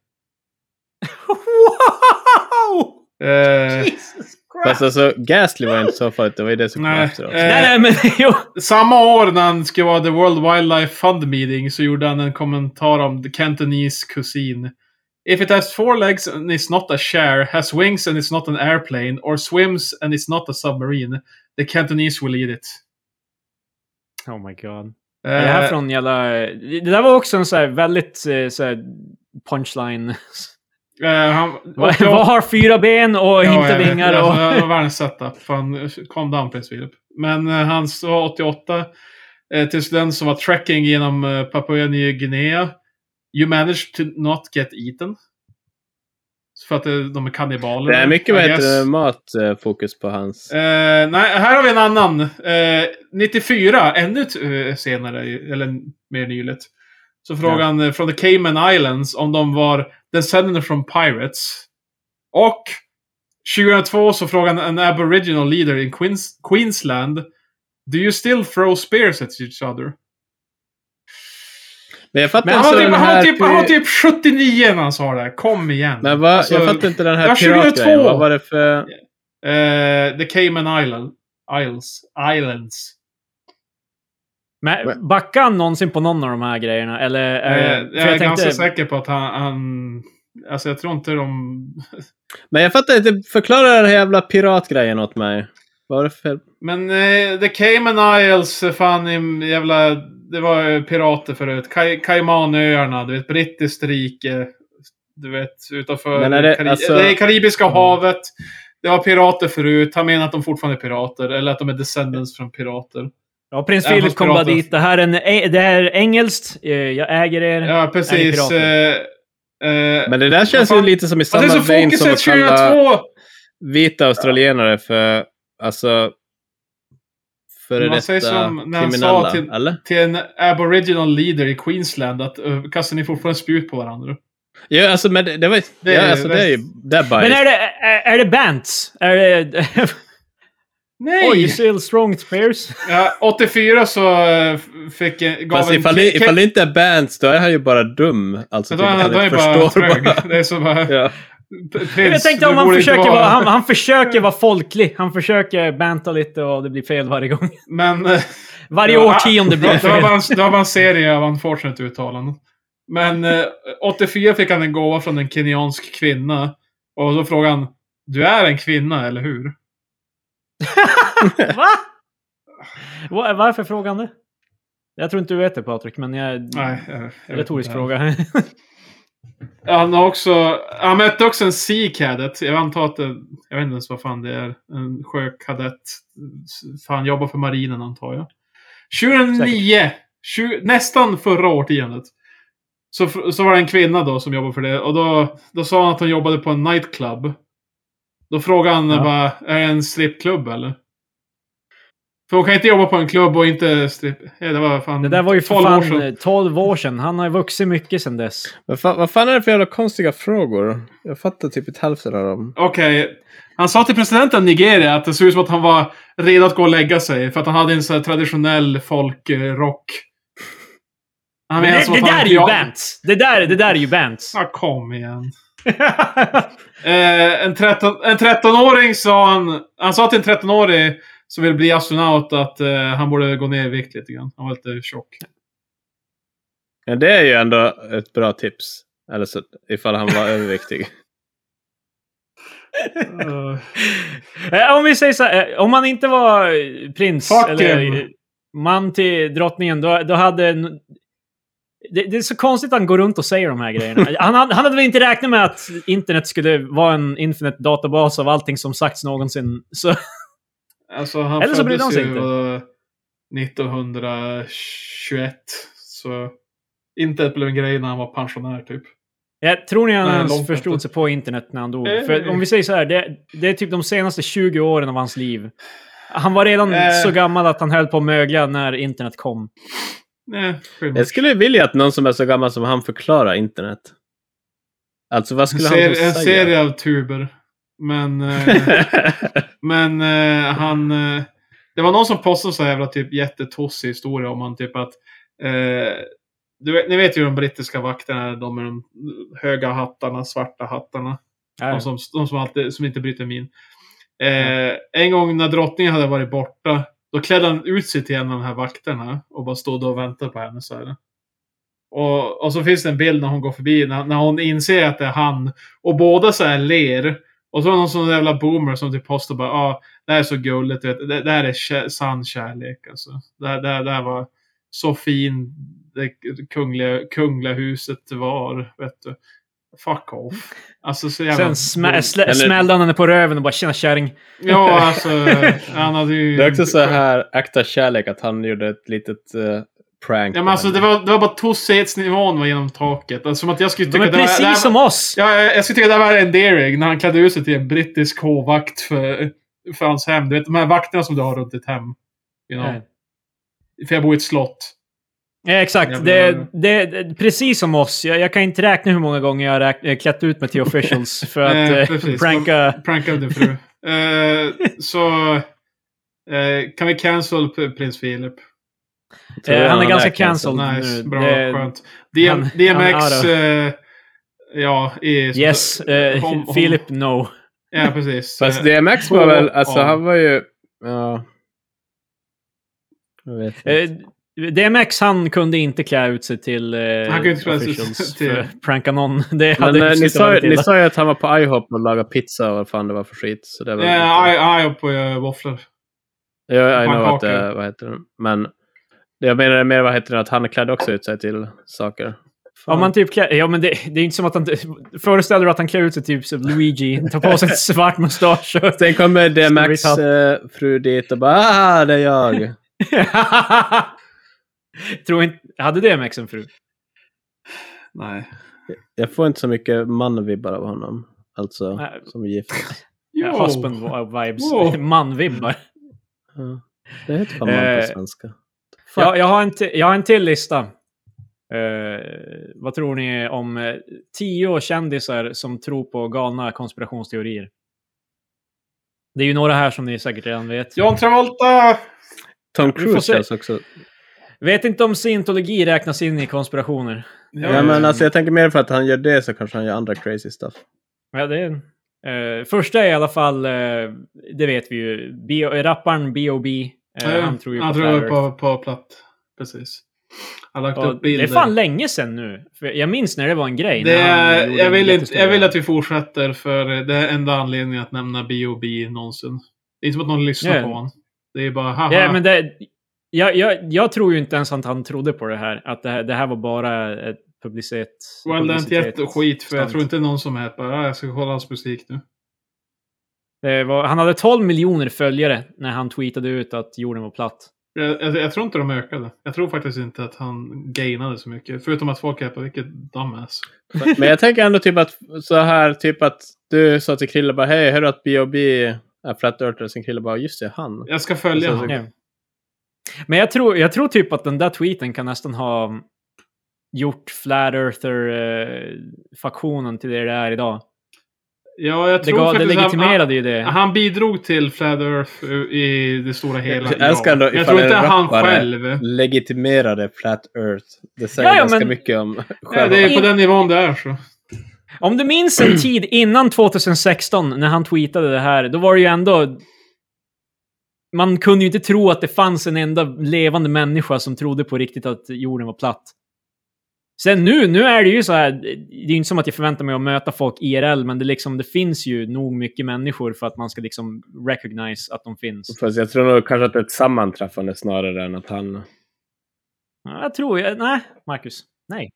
[SPEAKER 3] Wow!
[SPEAKER 1] Eh,
[SPEAKER 3] Jesus
[SPEAKER 2] Fast alltså, Gasly var inte så farligt. Det var ju det som kom
[SPEAKER 1] Nej.
[SPEAKER 2] efteråt.
[SPEAKER 1] Eh,
[SPEAKER 3] Nej, nej, men jo.
[SPEAKER 1] samma år när han skulle vara The World Wildlife Fund Meeting så gjorde han en kommentar om the Cantonese kusin. If it has four legs and it's not a chair, has wings and it's not an airplane, or swims and it's not a submarine, the Cantonese will eat it.
[SPEAKER 3] Oh my god. Är det här
[SPEAKER 1] Eh,
[SPEAKER 3] från jävla... Det där var också en så här väldigt eh, så här punchline.
[SPEAKER 1] Eh, han,
[SPEAKER 3] Vad
[SPEAKER 1] och-
[SPEAKER 3] vad har fyra ben och
[SPEAKER 1] Ja, jag
[SPEAKER 3] inte
[SPEAKER 1] vet.
[SPEAKER 3] vingar?
[SPEAKER 1] Alltså,
[SPEAKER 3] Och...
[SPEAKER 1] det var världens setup. Fan, kom down prins Philip. Men eh, han sa 88 eh, till den som var trekking genom eh, Papua Nya Guinea. You managed to not get eaten. För att eh, de är kannibaler.
[SPEAKER 2] Det är mycket vad
[SPEAKER 1] I
[SPEAKER 2] heter
[SPEAKER 1] guess.
[SPEAKER 2] det, matfokus på hans.
[SPEAKER 1] Eh, nej, här har vi en annan. Eh, 94, ännu t- eh, senare, eller mer nyligt. Så frågan eh, från The Cayman Islands om de var descendants from pirates. Och 2002 så frågade en aboriginal leader in Queens Queensland Do you still throw spears at each other?
[SPEAKER 2] Men jag fattar
[SPEAKER 1] Men han,
[SPEAKER 2] alltså
[SPEAKER 1] var typ,
[SPEAKER 2] den
[SPEAKER 1] han,
[SPEAKER 2] här...
[SPEAKER 1] var typ, han var
[SPEAKER 2] pi-
[SPEAKER 1] typ 79 när han sa det. här. Kom igen.
[SPEAKER 2] Men vad,
[SPEAKER 1] Alltså,
[SPEAKER 2] jag fattar inte den
[SPEAKER 1] det
[SPEAKER 2] här
[SPEAKER 1] var 22.
[SPEAKER 2] piratgrejen. Vad var det för...
[SPEAKER 1] eh, the Cayman Island. Isles. Islands.
[SPEAKER 3] Men backade han någonsin på någon av de här grejerna? Eller, eh,
[SPEAKER 1] Eh, jag är
[SPEAKER 3] för jag tänkte,
[SPEAKER 1] ganska säker på att han, han... Alltså jag tror inte de...
[SPEAKER 2] Men jag fattar inte. Förklara den här jävla piratgrejen åt mig. Vad var det för...
[SPEAKER 1] Men eh, The Cayman Isles, eh, fan i jävla... Det var ju pirater förut. Kaj, Caymanöarna, du vet brittiskt rike. Du vet utanför
[SPEAKER 2] Men är det,
[SPEAKER 1] Kari-
[SPEAKER 2] alltså-
[SPEAKER 1] det är Karibiska
[SPEAKER 2] Mm.
[SPEAKER 1] havet. Det var pirater förut. Han menar att de fortfarande är pirater. Eller att de är descendants från pirater.
[SPEAKER 3] ja, prins
[SPEAKER 1] Ja, han
[SPEAKER 3] Philip kom bara
[SPEAKER 1] pratar.
[SPEAKER 3] dit. Det här är, en, eh, det här är engelskt. eh, Jag äger er.
[SPEAKER 1] Ja, precis.
[SPEAKER 3] Är
[SPEAKER 1] Eh, eh,
[SPEAKER 2] Men det där känns ju
[SPEAKER 1] fan.
[SPEAKER 2] lite som i
[SPEAKER 1] alltså, det är
[SPEAKER 2] samma
[SPEAKER 1] så
[SPEAKER 2] vein som
[SPEAKER 1] fokuset
[SPEAKER 2] att kalla
[SPEAKER 1] 2002!
[SPEAKER 2] vita australienare för... Alltså... Före
[SPEAKER 1] Man säger
[SPEAKER 2] detta
[SPEAKER 1] som när han sa
[SPEAKER 2] kriminella,
[SPEAKER 1] till-
[SPEAKER 2] eller?
[SPEAKER 1] Till en aboriginal leader i Queensland att eh, kastar ni fortfarande spjut på varandra?
[SPEAKER 2] Ja, alltså, men det, det var ju...
[SPEAKER 1] Det
[SPEAKER 2] ja,
[SPEAKER 1] är-
[SPEAKER 2] alltså, det är ju... Det är
[SPEAKER 3] Men
[SPEAKER 2] bias.
[SPEAKER 3] är det, är, är det Bants? Är det...
[SPEAKER 1] Nej!
[SPEAKER 3] Oj, still strong spears.
[SPEAKER 1] Ja, 84 så eh, fick, eh, gav
[SPEAKER 2] Fast
[SPEAKER 1] en...
[SPEAKER 2] ifall, det- ifall det inte är bands, då är han ju bara dum. Alltså,
[SPEAKER 1] då, är-
[SPEAKER 2] han
[SPEAKER 1] då är
[SPEAKER 2] inte
[SPEAKER 1] det bara
[SPEAKER 2] förstår
[SPEAKER 1] trög.
[SPEAKER 2] bara.
[SPEAKER 1] Det är så bara...
[SPEAKER 2] Ja.
[SPEAKER 1] Prins,
[SPEAKER 3] Jag tänkte
[SPEAKER 1] du
[SPEAKER 3] om han
[SPEAKER 1] borde inte
[SPEAKER 3] försöker vara, han,
[SPEAKER 1] här.
[SPEAKER 3] han försöker vara folklig. Han försöker banta lite och det blir fel varje gång.
[SPEAKER 1] Men... eh,
[SPEAKER 3] Varje
[SPEAKER 1] det var-
[SPEAKER 3] årtionde blir det
[SPEAKER 1] Det var
[SPEAKER 3] fel.
[SPEAKER 1] bara en, det var bara en serie av unfortunate uttalanden. Men eh, 84 fick han en gåva från en kenyansk kvinna. Och då frågade han Du är en kvinna, eller hur?
[SPEAKER 3] Va? Va? Varför frågar han det? Jag tror inte du vet det Patrik, men jag...
[SPEAKER 1] Nej. eh, jag vet inte.
[SPEAKER 3] Retorisk fråga.
[SPEAKER 1] Han har också... Han mötte också en Sea Cadet. Jag antar att det, Jag vet inte ens vad fan det är. En sjökadett. För Han jobbar för marinen antar jag. 2009! 20, nästan förra årtiondet. Så, f- så var det en kvinna då som jobbade för det. Och då, då sa han att hon jobbade på en nightclub. Då frågade han
[SPEAKER 3] Ja.
[SPEAKER 1] bara, är det en strippklubb eller? För hon kan inte jobba på en klubb och inte stripp... Ja, det var fan
[SPEAKER 3] Det där var ju för
[SPEAKER 1] 12 år
[SPEAKER 3] fan
[SPEAKER 1] sedan.
[SPEAKER 3] eh, 12 år sedan. Han har ju vuxit mycket sedan dess.
[SPEAKER 2] Vad, fan, vad fan är det för jävla konstiga frågor? Jag fattar typ ett hälften av dem.
[SPEAKER 1] Okej. Han sa till presidenten i Nigeria att det såg ut som att han var redo att gå och lägga sig. För att han hade en sån här traditionell folkrock. Han alltså
[SPEAKER 3] Men
[SPEAKER 1] menar
[SPEAKER 3] det,
[SPEAKER 1] som
[SPEAKER 3] det
[SPEAKER 1] att han-
[SPEAKER 3] där är ju
[SPEAKER 1] ja,
[SPEAKER 3] Bants! Det där, det där är ju Bants!
[SPEAKER 1] Ja, kom igen. Eh, en 13 en 13-åring sa han... Han sa till en 13-årig som vill bli astronaut att eh, han borde gå ner i vikt lite grann. Han var lite tjock.
[SPEAKER 2] Men det är ju ändå ett bra tips. Eller så, ifall han var överviktig.
[SPEAKER 1] Eh,
[SPEAKER 3] Eh, om vi säger så här, eh, om man inte var eh, prins
[SPEAKER 1] Fuck him.
[SPEAKER 3] eller eh, man till drottningen, då, då hade... n- Det, det är så konstigt att han går runt och säger de här grejerna. Han, hade- han hade väl inte räknat med att internet skulle vara en infinite databas av allting som sagts någonsin. Så,
[SPEAKER 1] alltså, han
[SPEAKER 3] Eller så brydde han
[SPEAKER 1] föddes
[SPEAKER 3] sig
[SPEAKER 1] ju
[SPEAKER 3] inte.
[SPEAKER 1] eh, 1921. Så inte det blev en grej när han var pensionär typ.
[SPEAKER 3] jag tror ni han
[SPEAKER 1] Nej,
[SPEAKER 3] ens
[SPEAKER 1] långt
[SPEAKER 3] förstod
[SPEAKER 1] efter.
[SPEAKER 3] sig på internet när han dog.
[SPEAKER 1] Eh.
[SPEAKER 3] För om vi säger så här, det, det är typ de senaste 20 åren av hans liv. Han var redan
[SPEAKER 1] Eh.
[SPEAKER 3] så gammal att han höll på att mögla när internet kom.
[SPEAKER 1] Nej,
[SPEAKER 2] Jag skulle vilja att någon som är så gammal som han förklarar internet. Alltså vad
[SPEAKER 1] En,
[SPEAKER 2] skulle
[SPEAKER 1] ser,
[SPEAKER 2] han säga?
[SPEAKER 1] en serie av tuber. Men, eh, men eh, han... Eh, det var någon som postade så här jävla typ jättetossig historia om han typ att... Eh, du vet, ni vet ju de brittiska vakterna, de med de höga hattarna, svarta hattarna. De som, de som, alltid, som inte bryter min. Eh, en gång när drottningen hade varit borta, då klädde han ut sig till en av de här vakterna och bara stod och väntade på henne. Så här. Och, och så finns det en bild när hon går förbi, när, när hon inser att det är han. Och båda så här ler. Och så är det någon sån jävla boomer som typ postar bara ah, det här är så gulligt, du vet. Det, det här är kä- sann kärlek alltså. Det, här- det, här- det här var så fin det kungliga, kungliga huset var, vet du. Fuck off. Alltså så jävla...
[SPEAKER 3] Sen smä
[SPEAKER 1] dum.
[SPEAKER 3] slä-
[SPEAKER 2] Eller-
[SPEAKER 3] smällde han henne på röven och bara “tjena kärring”.
[SPEAKER 1] Ja, alltså. Han hade ju...
[SPEAKER 2] det är också så här, akta kärlek, att han gjorde ett litet eh, prank.
[SPEAKER 1] Ja,
[SPEAKER 2] på
[SPEAKER 1] men alltså, det,
[SPEAKER 2] henne.
[SPEAKER 1] var, det var bara tossighetsnivån var genom taket. Alltså, som att jag skulle
[SPEAKER 3] De
[SPEAKER 1] tycka
[SPEAKER 3] är
[SPEAKER 1] att det var-
[SPEAKER 3] precis
[SPEAKER 1] det här,
[SPEAKER 3] som oss!
[SPEAKER 1] Ja, jag, jag skulle tycka att det här var endearing när han klädde ut sig till en brittisk hovvakt för, för hans hem. Du vet, de här vakterna som du har runt ditt hem. You know.
[SPEAKER 3] Nej.
[SPEAKER 1] För jag bor i ett slott.
[SPEAKER 3] Ja, exakt. Det, det, det, precis som oss. Jag, jag kan inte räkna hur många gånger jag har räk- eh, klätt ut mig till officials för
[SPEAKER 1] Eh,
[SPEAKER 3] att eh,
[SPEAKER 1] precis.
[SPEAKER 3] pranka.
[SPEAKER 1] Pranka din fru. Eh, så eh, kan vi cancel p- prins Philip?
[SPEAKER 2] Tror
[SPEAKER 3] Eh,
[SPEAKER 2] jag
[SPEAKER 3] han är ganska
[SPEAKER 2] räknar så.
[SPEAKER 3] cancelled
[SPEAKER 1] Nice,
[SPEAKER 3] nu.
[SPEAKER 1] bra,
[SPEAKER 3] Det-
[SPEAKER 1] skönt. D-
[SPEAKER 3] han-
[SPEAKER 1] DMX,
[SPEAKER 3] han
[SPEAKER 1] eh, ja, är...
[SPEAKER 3] Yes, eh,
[SPEAKER 1] Hom- hom-
[SPEAKER 3] Philip no.
[SPEAKER 1] Ja, precis.
[SPEAKER 2] Fast
[SPEAKER 1] Eh,
[SPEAKER 2] DMX var väl, alltså
[SPEAKER 1] Ja.
[SPEAKER 2] han var ju... Ja. Jag vet inte.
[SPEAKER 3] Eh, DMX han kunde inte klä ut sig till eh,
[SPEAKER 1] Han kunde inte klä ut sig
[SPEAKER 3] officials
[SPEAKER 1] till-
[SPEAKER 3] för att pranka någon. Det hade
[SPEAKER 2] Men eh, ni,
[SPEAKER 3] slutat
[SPEAKER 2] sa,
[SPEAKER 3] väldigt
[SPEAKER 2] ju- ni
[SPEAKER 3] illa.
[SPEAKER 2] sa ju att han var på IHOP och lagade pizza och vad fan det var för skit. Så det var
[SPEAKER 1] Eh, Ja, aj, aj på eh, våfflor.
[SPEAKER 2] jag know att
[SPEAKER 1] pannkakor.
[SPEAKER 2] det, vad heter det? Men det jag menar mer vad heter det, att han klädde också ut sig till saker.
[SPEAKER 3] Om man typ klä, ja, men det, det är ju inte som att han... Föreställer du att han klär ut sig typ som Luigi, tar på sig ett svart mustasch och...
[SPEAKER 2] Sen kommer DMX
[SPEAKER 3] Storytime.
[SPEAKER 2] eh, fru dit och bara ah, det är jag.
[SPEAKER 3] Tror inte... Hade DMX en fru?
[SPEAKER 1] Nej.
[SPEAKER 2] Jag får inte så mycket man-vibbar av honom. Alltså,
[SPEAKER 3] Nej.
[SPEAKER 2] som gift.
[SPEAKER 3] Ja, Eh, husband vibes.
[SPEAKER 1] Wow.
[SPEAKER 3] Man-vibbar.
[SPEAKER 2] Ja. Det heter fan man
[SPEAKER 3] Eh,
[SPEAKER 2] på svenska. Fuck.
[SPEAKER 3] Jag, jag, har en ti- jag har en till lista. Eh, vad tror ni om eh, tio kändisar som tror på galna konspirationsteorier? Det är ju några här som ni säkert redan vet.
[SPEAKER 1] John Travolta!
[SPEAKER 2] Tom
[SPEAKER 3] vi får se.
[SPEAKER 2] Cruise känns också.
[SPEAKER 3] Vet inte om scientologi räknas in i konspirationer.
[SPEAKER 2] Ja, men
[SPEAKER 3] eh,
[SPEAKER 2] alltså, jag tänker mer för att han gör det så kanske han gör andra crazy stuff.
[SPEAKER 3] Ja, det är eh, första är i alla fall, eh, det vet vi ju, Bio, eh, rapparen B.O.B. eh,
[SPEAKER 1] Ja,
[SPEAKER 3] han tror ju
[SPEAKER 1] han
[SPEAKER 3] på
[SPEAKER 1] tror
[SPEAKER 3] Flat
[SPEAKER 1] ju
[SPEAKER 3] Earth.
[SPEAKER 1] på, på platt. Precis. Han har lagt
[SPEAKER 3] Och
[SPEAKER 1] upp
[SPEAKER 3] det
[SPEAKER 1] bilder.
[SPEAKER 3] är fan länge sedan nu. För jag minns när det var en grej.
[SPEAKER 1] Det
[SPEAKER 3] när han
[SPEAKER 1] är,
[SPEAKER 3] gjorde
[SPEAKER 1] jag, vill
[SPEAKER 3] en
[SPEAKER 1] inte, jag
[SPEAKER 3] jättestor-
[SPEAKER 1] vill att vi fortsätter för det är enda anledningen att nämna B.O.B. någonsin. Det är inte som att någon lyssnar
[SPEAKER 3] Ja.
[SPEAKER 1] på honom. Det är bara haha.
[SPEAKER 3] Ja, men det, jag, jag, jag tror ju inte ens att han trodde på det här. Att det här, det här var bara ett publicitet.
[SPEAKER 1] well, det är inte
[SPEAKER 3] publicitet-
[SPEAKER 1] gett skit för jag
[SPEAKER 3] stunt.
[SPEAKER 1] tror inte någon som är bara "Ah, jag ska kolla hans musik nu.
[SPEAKER 3] Det var, han hade 12 miljoner följare när han tweetade ut att jorden var platt.
[SPEAKER 1] Jag, jag, jag tror inte de ökade. Jag tror faktiskt inte att han gainade så mycket. Förutom att folk är på vilket dumbass.
[SPEAKER 2] Men jag tänker ändå typ att så här, typ att du sa till Krille bara hej, hör du att B.O.B. är Flat Earth? Och sen Krille bara just det, han.
[SPEAKER 1] Jag ska följa
[SPEAKER 2] Alltså,
[SPEAKER 1] honom.
[SPEAKER 3] Ja. Men jag tror, jag tror typ att den där tweeten kan nästan ha gjort Flat Earther-faktionen till det det är idag.
[SPEAKER 1] Ja, jag
[SPEAKER 3] Det,
[SPEAKER 1] tror
[SPEAKER 3] gav, det
[SPEAKER 1] faktiskt han,
[SPEAKER 3] legitimerade ju det.
[SPEAKER 1] han, han bidrog till Flat Earth i det stora hela.
[SPEAKER 2] Jag älskar ändå
[SPEAKER 1] Ja. Jag
[SPEAKER 2] ifall
[SPEAKER 1] tror inte
[SPEAKER 2] en
[SPEAKER 1] han
[SPEAKER 2] rappare-
[SPEAKER 1] själv.
[SPEAKER 2] Legitimerade Flat Earth. Det säger
[SPEAKER 3] Ja, ja,
[SPEAKER 2] ganska
[SPEAKER 3] men-
[SPEAKER 2] mycket om
[SPEAKER 1] Ja,
[SPEAKER 2] själva.
[SPEAKER 1] det är på den nivån det är så.
[SPEAKER 3] Om du minns en tid innan 2016 när han tweetade det här, då var det ju ändå... Man kunde ju inte tro att det fanns en enda levande människa som trodde på riktigt att jorden var platt. Sen nu, nu är det ju så här, det är ju inte som att jag förväntar mig att möta folk IRL, men det, liksom, det finns ju nog mycket människor för att man ska liksom recognize att de finns.
[SPEAKER 2] Fast jag tror nog kanske att det är ett sammanträffande snarare än att han...
[SPEAKER 3] Ja, Jag tror, jag, nej, Marcus, nej.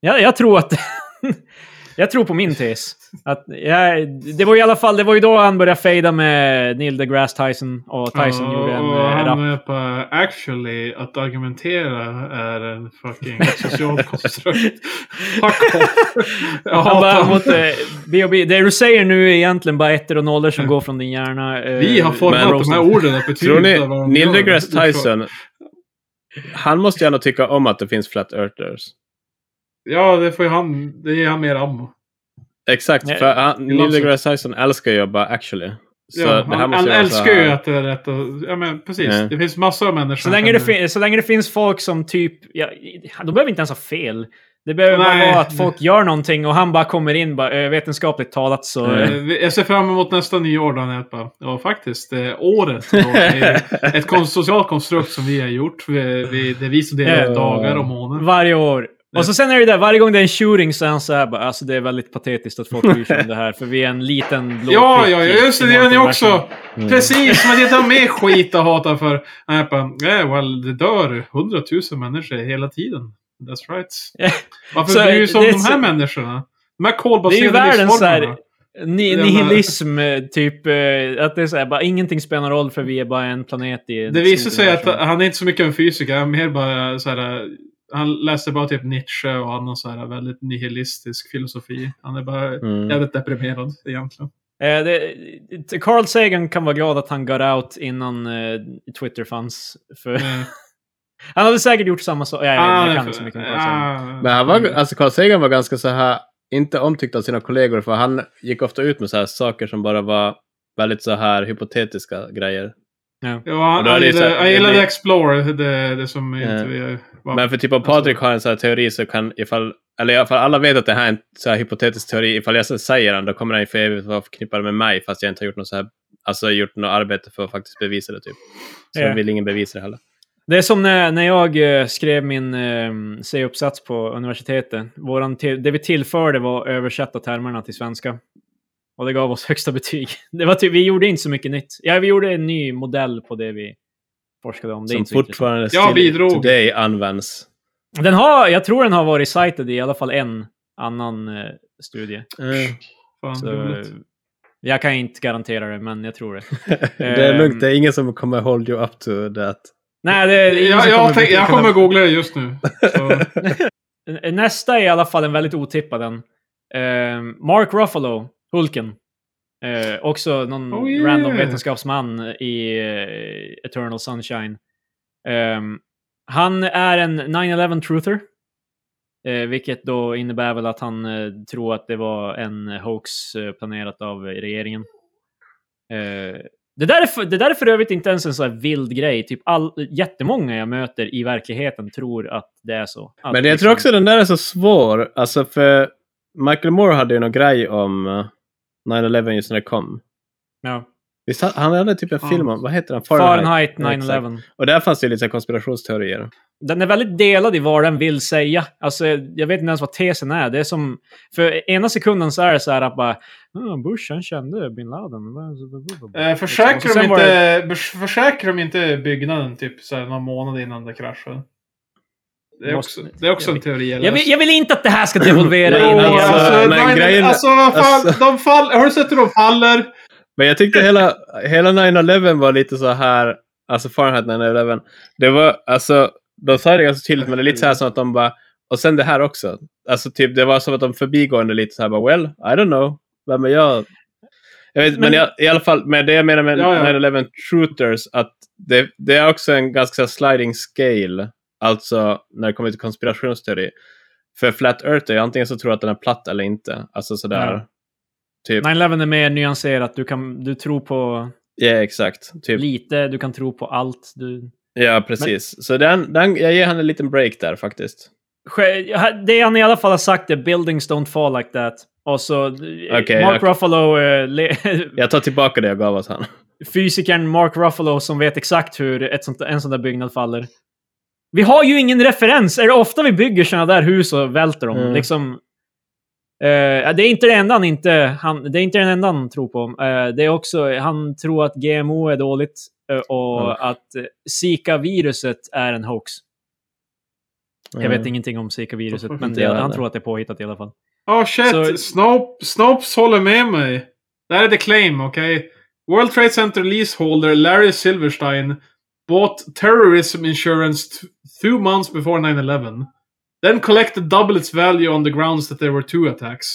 [SPEAKER 3] Jag, jag tror att, jag tror på min tes. Att jag, det var i alla fall, det var ju då han började fejda med Neil deGrasse Tyson och Tyson
[SPEAKER 1] Ja,
[SPEAKER 3] gjorde en
[SPEAKER 1] och
[SPEAKER 3] eh,
[SPEAKER 1] han
[SPEAKER 3] rap.
[SPEAKER 1] är på actually att argumentera är en fucking social konstrukt. Fuck off. Jag
[SPEAKER 3] Han
[SPEAKER 1] hatar
[SPEAKER 3] bara
[SPEAKER 1] honom.
[SPEAKER 3] mot eh, B.O.B. Det du säger nu är egentligen bara ettor och nollor som går från din hjärna. eh,
[SPEAKER 1] Vi har
[SPEAKER 3] men-
[SPEAKER 1] format de här orden att betyda
[SPEAKER 2] Tror
[SPEAKER 1] Typ vad
[SPEAKER 2] ni
[SPEAKER 1] de
[SPEAKER 2] Neil
[SPEAKER 1] gör.
[SPEAKER 2] deGrasse Tyson, han måste ju ändå tycka om att det finns Flat Earthers.
[SPEAKER 1] Ja, det får ju han. Det ger han mer ammo.
[SPEAKER 2] Exakt,
[SPEAKER 3] Nej,
[SPEAKER 2] för han, Neil
[SPEAKER 1] låtsas.
[SPEAKER 2] deGrasse Tyson älskar ju att bara actually. Så
[SPEAKER 1] Ja,
[SPEAKER 2] det här
[SPEAKER 1] han
[SPEAKER 2] måste
[SPEAKER 1] han
[SPEAKER 2] ju vara så
[SPEAKER 1] älskar
[SPEAKER 2] här-
[SPEAKER 1] ju att det är rätt och, Ja, men precis.
[SPEAKER 2] Nej.
[SPEAKER 1] Det finns massor av människor.
[SPEAKER 3] Så länge, det
[SPEAKER 1] som kan-
[SPEAKER 3] fin- så länge det finns folk som typ... Ja, de behöver inte ens ha fel. Det behöver bara
[SPEAKER 1] Nej.
[SPEAKER 3] vara att folk gör någonting och han bara kommer in bara eh, vetenskapligt talat så... eh,
[SPEAKER 2] Mm.
[SPEAKER 1] Eh, Jag ser fram emot nästa nyår då när jag bara, ja faktiskt, eh, året då är ett kon- socialt konstrukt som vi har gjort. Vi, vi, det är vi som delar
[SPEAKER 3] Ja.
[SPEAKER 1] dagar och månader.
[SPEAKER 3] Varje år. Och så sen är det där, varje gång det är en shooting så är han så här bara, alltså det är väldigt patetiskt att folk bryr sig om det här, för vi är en liten blå
[SPEAKER 1] Ja,
[SPEAKER 3] prick
[SPEAKER 1] ja,
[SPEAKER 3] i-
[SPEAKER 1] ja, just det,
[SPEAKER 3] i
[SPEAKER 1] det gör ni
[SPEAKER 3] världen."
[SPEAKER 1] också. Precis, men det tar med skit att hata för. Nej, bara, yeah, well, det dör hundratusen människor hela tiden. That's right.
[SPEAKER 3] Ja.
[SPEAKER 1] Varför
[SPEAKER 3] Så,
[SPEAKER 1] bryr du sig om
[SPEAKER 3] det är
[SPEAKER 1] de här
[SPEAKER 3] så-
[SPEAKER 1] människorna? De här
[SPEAKER 3] Det är ju
[SPEAKER 1] kolbaserade
[SPEAKER 3] världens så här,
[SPEAKER 1] livsformerna.
[SPEAKER 3] ni,
[SPEAKER 1] Det är
[SPEAKER 3] nihilism, eh, typ, eh, att det är så här, bara ingenting spelar roll för vi är bara en planet i... ett
[SPEAKER 1] Det visar
[SPEAKER 3] stort
[SPEAKER 1] sig att
[SPEAKER 3] universum.
[SPEAKER 1] han är inte så mycket en fysiker. Han är mer bara så här, Han läste bara typ Nietzsche och annan så här väldigt nihilistisk filosofi. Han är bara
[SPEAKER 2] Mm.
[SPEAKER 1] jävligt deprimerad egentligen.
[SPEAKER 3] Eh, det, det- Carl Sagan kan vara glad att han got out innan eh, Twitter fanns. För
[SPEAKER 1] Eh,
[SPEAKER 3] Han hade säkert gjort samma sak. Ja, jag, vet, inte, jag kan inte så mycket om Carl Sagan.
[SPEAKER 1] ah,
[SPEAKER 2] Men han var, alltså Carl Sagan var ganska så här, inte omtyckt av sina kollegor för han gick ofta ut med så här saker som bara var väldigt så här hypotetiska grejer.
[SPEAKER 1] Ja,
[SPEAKER 2] Och
[SPEAKER 1] han,
[SPEAKER 2] då är
[SPEAKER 1] han
[SPEAKER 2] det så
[SPEAKER 1] gillade,
[SPEAKER 2] här-
[SPEAKER 1] han gillade Explorer, det, det som inte
[SPEAKER 2] Ja.
[SPEAKER 1] vi... Var,
[SPEAKER 2] Men för typ om Patrik har en så här teori så kan ifall, eller i alla fall alla vet att det här är en så här hypotetisk teori, ifall jag så säger den då kommer den ju för evigt vara förknippad med mig fast jag inte har gjort något så här, alltså gjort något arbete för att faktiskt bevisa det typ. Så
[SPEAKER 3] Ja.
[SPEAKER 2] vill ingen bevisa det heller.
[SPEAKER 3] Det är som när, när jag eh, skrev min eh, C-uppsats på universitetet. Våran te- det vi tillförde var att översätta termerna till svenska. Och det gav oss högsta betyg. Det var typ, vi gjorde inte så mycket nytt. Ja, vi gjorde en ny modell på det vi forskade om. Det är
[SPEAKER 2] Som
[SPEAKER 3] inte så intressant.
[SPEAKER 2] fortfarande
[SPEAKER 1] Jag
[SPEAKER 2] still
[SPEAKER 1] bidrog.
[SPEAKER 2] today används.
[SPEAKER 3] Den har, jag tror den har varit cited i alla fall en annan eh, studie.
[SPEAKER 2] Mm.
[SPEAKER 1] fan,
[SPEAKER 3] Så,
[SPEAKER 1] roligt.
[SPEAKER 3] jag kan inte garantera det, men jag tror det.
[SPEAKER 2] det är lugnt,
[SPEAKER 3] Ehm.
[SPEAKER 2] det är ingen som kommer hold you up to that.
[SPEAKER 3] Nej, det är ingen
[SPEAKER 1] jag,
[SPEAKER 3] som
[SPEAKER 1] jag, tänk, jag
[SPEAKER 3] kunna-
[SPEAKER 1] kommer googla det just nu.
[SPEAKER 2] Liksom,
[SPEAKER 1] Så,
[SPEAKER 3] Eh, Nästa är i alla fall en väldigt otippad en. Eh, Mark Ruffalo, Hulken. Eh, också någon
[SPEAKER 1] Oh, yeah.
[SPEAKER 3] random vetenskapsman i eh, Eternal Sunshine. Eh, han är en 9-11 truther. Eh, vilket då innebär väl att han eh, tror att det var en hoax eh, planerat av regeringen. Eh, det, där är för, det där är för övrigt inte ens en sån här vild grej. Typ all, jättemånga jag möter i verkligheten tror att det är så. Att
[SPEAKER 2] Men jag
[SPEAKER 3] liksom-
[SPEAKER 2] tror också den där är så svår. Alltså för Michael Moore hade ju någon grej om eh, 9-11 just när det kom.
[SPEAKER 3] Ja.
[SPEAKER 2] Visst, han- han hade typ en
[SPEAKER 1] Ja.
[SPEAKER 2] film om, vad heter den?
[SPEAKER 3] Fahrenheit
[SPEAKER 2] Ja,
[SPEAKER 3] 9-11.
[SPEAKER 2] Och där fanns det ju lite så här konspirationsteorier.
[SPEAKER 3] Den är väldigt delad i vad den vill säga. Alltså, jag vet inte ens vad tesen är. Det är som, för ena sekunden så är det så här att bara, "Ah, Bush han kände bin Laden.
[SPEAKER 1] eh,
[SPEAKER 3] Och så
[SPEAKER 1] försäkrar, de
[SPEAKER 3] sen var det-
[SPEAKER 1] inte, bers- försäkrar de inte byggnaden typ så här, någon månad innan det kraschade? Det är
[SPEAKER 3] Måste-
[SPEAKER 1] också, det är också
[SPEAKER 3] jag
[SPEAKER 1] en teori.
[SPEAKER 3] Jag vill, jag vill inte att det här ska devolvera
[SPEAKER 2] Jo,
[SPEAKER 3] in. i-
[SPEAKER 2] alltså, men
[SPEAKER 1] men
[SPEAKER 2] grejen-
[SPEAKER 1] alltså, vad fan,
[SPEAKER 2] alltså-
[SPEAKER 1] de faller. Har du sett hur de faller?
[SPEAKER 2] Men jag tyckte hela, hela 9-11 var lite så här, alltså Fahrenheit 9-11. Det var, alltså, de sa det ganska tydligt, men det är lite så här som att de bara, och sen det här också. Alltså typ, det var som att de förbigående lite så här bara, well, I don't know, vem är jag? Jag vet, men
[SPEAKER 3] Men-
[SPEAKER 2] jag, i alla fall, med det jag menar med
[SPEAKER 1] Ja, ja.
[SPEAKER 2] 9-11 truthers, att det, det är också en ganska så här sliding scale, alltså när det kommer till konspirationsteori. För flat earth är ju antingen så tror jag att den är platt eller inte. Alltså sådär.
[SPEAKER 3] Ja.
[SPEAKER 2] Typ,
[SPEAKER 3] 9-11 är mer nyanserat. Du, kan, du tror på
[SPEAKER 2] ja exakt. Typ,
[SPEAKER 3] lite, du kan tro på allt. Du...
[SPEAKER 2] Ja, precis. Så den, den, jag ger han en liten break där faktiskt.
[SPEAKER 3] Sj- Det han i alla fall har sagt är “Buildings don't fall like that”. Och så eh,
[SPEAKER 2] Okej,
[SPEAKER 3] Mark
[SPEAKER 2] okej.
[SPEAKER 3] Ruffalo eh, le-
[SPEAKER 2] Jag tar tillbaka det jag gav åt han.
[SPEAKER 3] fysikern Mark Ruffalo som vet exakt hur ett sånt, en sån där byggnad faller. Vi har ju ingen referens. Är det ofta vi bygger såna där hus och välter dem?
[SPEAKER 2] Mm.
[SPEAKER 3] Liksom, eh, det är inte det enda han inte, han, det är inte den enda han tror på. Eh, det är också, han tror att GMO är dåligt eh, och
[SPEAKER 2] Mm.
[SPEAKER 3] att eh, Zika-viruset är en hoax. Jag
[SPEAKER 2] Mm.
[SPEAKER 3] vet ingenting om Zika-viruset,
[SPEAKER 1] Varför
[SPEAKER 3] men
[SPEAKER 2] inte
[SPEAKER 3] det,
[SPEAKER 2] jag
[SPEAKER 3] han
[SPEAKER 2] heller?
[SPEAKER 3] tror att det är påhittat i alla fall.
[SPEAKER 1] Ja, Oh, shit.
[SPEAKER 3] Så-
[SPEAKER 1] Snop, Snopes håller med mig. Det här är the claim, okej? World Trade Center leaseholder Larry Silverstein bought terrorism insurance t- two months before 9-11. Then collected double its value on the grounds that there were two attacks.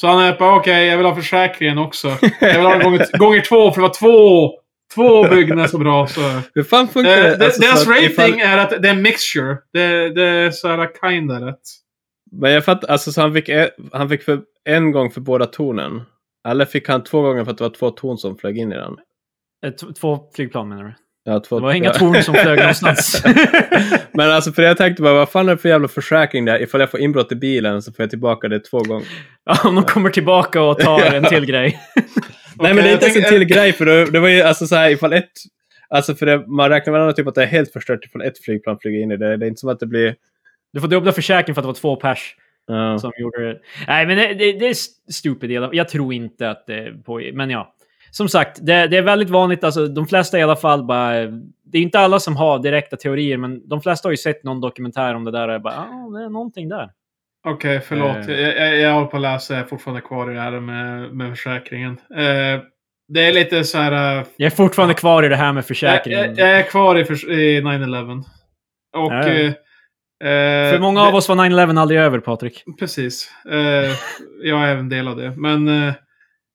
[SPEAKER 1] Så han är på okej, jag vill ha försäkringen också. Jag vill ha den gånger, gånger två, för det var två, två byggnader så bra. Så.
[SPEAKER 2] Hur fan funkar
[SPEAKER 1] Eh,
[SPEAKER 2] det?
[SPEAKER 1] de-
[SPEAKER 2] Alltså,
[SPEAKER 1] deras
[SPEAKER 2] så att ifall-
[SPEAKER 1] rating är att det är en mixture. Det, det är såhär kinda rätt.
[SPEAKER 2] Men jag fattar, alltså så han fick, e- han fick för en gång för båda tornen. Eller fick han två gånger för att det var två torn som flög in i den?
[SPEAKER 3] Eh, t- Två flygplan menar du?
[SPEAKER 2] Ja, två,
[SPEAKER 3] Det var inga
[SPEAKER 2] ja.
[SPEAKER 3] torn som flög någonstans.
[SPEAKER 2] Men alltså för jag tänkte bara, vad fan är det för jävla försäkring där? Ifall jag får inbrott i bilen så får jag tillbaka det två gånger.
[SPEAKER 3] Ja, om de kommer tillbaka och tar en till grej.
[SPEAKER 2] Nej men det
[SPEAKER 1] Okej,
[SPEAKER 2] är inte
[SPEAKER 1] jag
[SPEAKER 2] ens en
[SPEAKER 1] tänker-
[SPEAKER 2] till grej för det, det var ju alltså så här ifall ett Alltså för det, man räknar med annat typ att det är helt förstört ifall ett flygplan flyger in i det. Det är inte som att det blir...
[SPEAKER 3] Du får dubbla försäkringen för att det var två pers
[SPEAKER 2] ja.
[SPEAKER 3] som gjorde det. Nej, men det, det, det är stupid. i alla- Jag tror inte att det är på... Men ja. Som sagt, det, det är väldigt vanligt. Alltså, de flesta i alla fall bara... Det är inte alla som har direkta teorier, men de flesta har ju sett någon dokumentär om det där och bara ah, det är någonting där.
[SPEAKER 1] Okej, förlåt.
[SPEAKER 3] Eh.
[SPEAKER 1] Jag, jag, jag håller på att läsa. Jag är fortfarande kvar i det här med, med försäkringen. Eh, det är lite så här... eh,
[SPEAKER 3] Jag är fortfarande kvar i det här med försäkringen.
[SPEAKER 1] Jag, jag, jag är kvar i, förs- i 9-11. Och...
[SPEAKER 3] Ja, ja.
[SPEAKER 1] eh, eh,
[SPEAKER 3] För många av
[SPEAKER 1] det-
[SPEAKER 3] oss var 9-11 aldrig över, Patrik.
[SPEAKER 1] Precis. Eh, jag är även del av det. Men eh,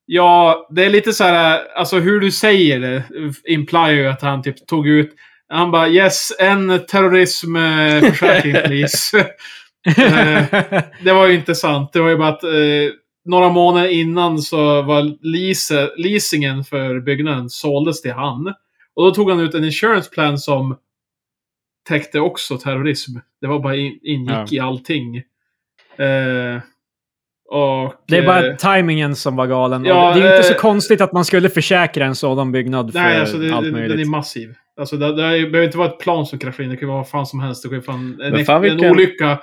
[SPEAKER 1] ja, det är lite så här, alltså hur du säger det implier ju att han typ tog ut Han bara yes, en terrorismförsäkring please. Eh, det var ju inte sant. Det var ju bara att eh, några månader innan så var lease, leasingen för byggnaden såldes till han. Och då tog han ut en insurance plan som täckte också terrorism. Det var bara in, ingick i allting. Eh, och,
[SPEAKER 3] Det är bara
[SPEAKER 1] eh,
[SPEAKER 3] timingen som var galen. Och
[SPEAKER 1] Ja,
[SPEAKER 3] det är ju inte
[SPEAKER 1] eh,
[SPEAKER 3] så konstigt att man skulle försäkra en sådan byggnad för
[SPEAKER 1] Nej, alltså det,
[SPEAKER 3] allt
[SPEAKER 1] den, den är
[SPEAKER 3] möjligt.
[SPEAKER 1] massiv. Alltså det, det är- behöver inte vara ett plan som kraschar in, det kan vara vad fan som helst. Det kan ju fan, en,
[SPEAKER 2] Men fan,
[SPEAKER 1] en
[SPEAKER 2] vilken-
[SPEAKER 1] olycka,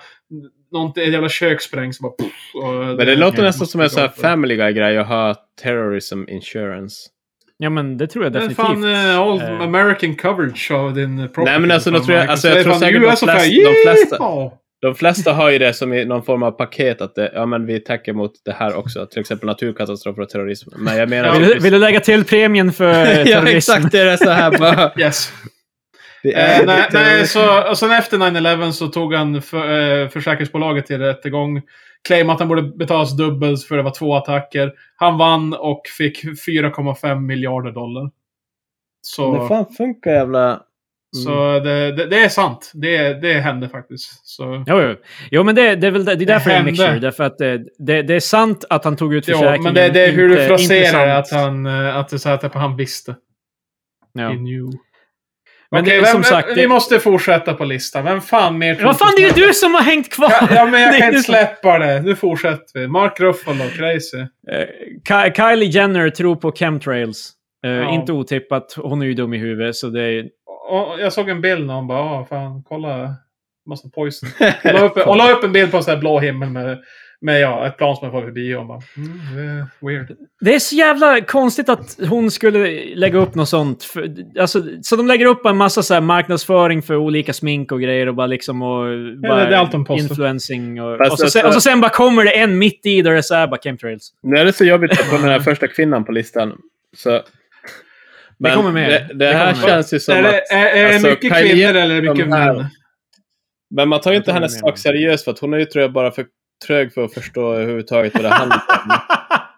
[SPEAKER 1] någonting, ett jävla kök sprängs och bara... Pff, och
[SPEAKER 2] Men det låter
[SPEAKER 1] Ja,
[SPEAKER 2] nästan som en
[SPEAKER 1] måste
[SPEAKER 2] sån här
[SPEAKER 1] gå för det.
[SPEAKER 2] family guy-grej att ha terrorism insurance.
[SPEAKER 3] Ja, men det tror jag
[SPEAKER 1] Det är
[SPEAKER 3] definitivt.
[SPEAKER 1] fan eh, all
[SPEAKER 3] Eh,
[SPEAKER 1] American coverage av din property.
[SPEAKER 2] Nej, men alltså, då
[SPEAKER 1] Fan,
[SPEAKER 2] tror jag-
[SPEAKER 1] Marcus.
[SPEAKER 2] alltså, jag
[SPEAKER 1] Det är
[SPEAKER 2] tror
[SPEAKER 1] fan
[SPEAKER 2] säkert de
[SPEAKER 1] USA
[SPEAKER 2] flest-
[SPEAKER 1] fan,
[SPEAKER 2] de flesta-
[SPEAKER 1] "Yeah!"
[SPEAKER 2] De flesta har ju det som i någon form av paket att det, ja, men vi täcker mot det här också. Till exempel naturkatastrofer och terrorism. Men jag menar...
[SPEAKER 1] Ja.
[SPEAKER 3] vill, du, vill du lägga till premien för eh,
[SPEAKER 2] ja,
[SPEAKER 3] terrorism?
[SPEAKER 2] exakt. Det är så här bara...
[SPEAKER 1] Yes.
[SPEAKER 2] Det
[SPEAKER 1] Eh, nej, nej,
[SPEAKER 2] terrorism.
[SPEAKER 1] så, och sen efter 9-11 så tog han för, eh, försäkringsbolaget till rättegång. Claim att han borde betalas dubbelt för det var två attacker. Han vann och fick 4,5 miljarder dollar. Så,
[SPEAKER 2] Men fan funkar jävla...
[SPEAKER 1] så det, det, det är sant. Det, det hände faktiskt. Så,
[SPEAKER 3] Jo, jo. jo men det, det är väl det, det är därför det är en
[SPEAKER 1] hände.
[SPEAKER 3] mixture. Därför att det, det, det är sant att han tog ut
[SPEAKER 1] ja,
[SPEAKER 3] försäkringen.
[SPEAKER 1] men det, det är hur
[SPEAKER 3] inte-
[SPEAKER 1] du
[SPEAKER 3] inte
[SPEAKER 1] fraserar
[SPEAKER 3] sant.
[SPEAKER 1] det, att han, eh, att det, är så här, att han visste.
[SPEAKER 3] Ja.
[SPEAKER 1] He knew.
[SPEAKER 3] Men
[SPEAKER 1] Okej,
[SPEAKER 3] det
[SPEAKER 1] vem,
[SPEAKER 3] är som sagt...
[SPEAKER 1] vi
[SPEAKER 3] det-
[SPEAKER 1] måste fortsätta på listan. Vem fan mer tror
[SPEAKER 3] Vad fan, det är ju du som har hängt kvar!
[SPEAKER 1] Ja, ja, men
[SPEAKER 3] Det
[SPEAKER 1] jag kan
[SPEAKER 3] är du
[SPEAKER 1] inte
[SPEAKER 3] som-
[SPEAKER 1] släppa det. Nu fortsätter vi. Mark Ruffalo, crazy.
[SPEAKER 3] Eh, Ki- Kylie Jenner tror på chemtrails. Eh,
[SPEAKER 1] Ja.
[SPEAKER 3] Inte otippat. Hon är ju dum i huvudet, så det är...
[SPEAKER 1] Och, och jag såg en bild när hon bara, ah, fan, kolla. Massa poison. Hon la upp, hon la upp en bild på en sån här blå himmel med, med ja, ett plan som jag får förbi. Och hon bara, mm, det är weird.
[SPEAKER 3] Det är så jävla konstigt att hon skulle lägga upp något sånt. För, alltså, så de lägger upp en massa så här marknadsföring för olika smink och grejer och bara liksom och... Bara
[SPEAKER 1] det är allt de postar.
[SPEAKER 3] Influencing och,
[SPEAKER 2] Fast
[SPEAKER 3] och, så,
[SPEAKER 2] alltså-
[SPEAKER 3] sen- och så sen bara kommer det en mitt i där det är så här bara chemtrails.
[SPEAKER 2] Nu är det så jobbigt att vara den här första kvinnan på listan. Så... Men
[SPEAKER 3] kommer med.
[SPEAKER 2] Det, det
[SPEAKER 3] Det
[SPEAKER 2] här
[SPEAKER 3] kommer med.
[SPEAKER 2] känns ju som
[SPEAKER 1] Är
[SPEAKER 2] att...
[SPEAKER 1] det, är, är det
[SPEAKER 2] alltså,
[SPEAKER 1] mycket
[SPEAKER 2] Kylie
[SPEAKER 1] kvinnor eller är det
[SPEAKER 2] Jenner,
[SPEAKER 1] mycket
[SPEAKER 2] de här-
[SPEAKER 1] män?
[SPEAKER 2] Men man tar ju
[SPEAKER 3] Jag
[SPEAKER 2] inte
[SPEAKER 3] tror
[SPEAKER 2] hennes
[SPEAKER 3] jag menar.
[SPEAKER 2] sak seriöst för att hon är ju tror jag bara för trög för att förstå överhuvudtaget vad det handlar om.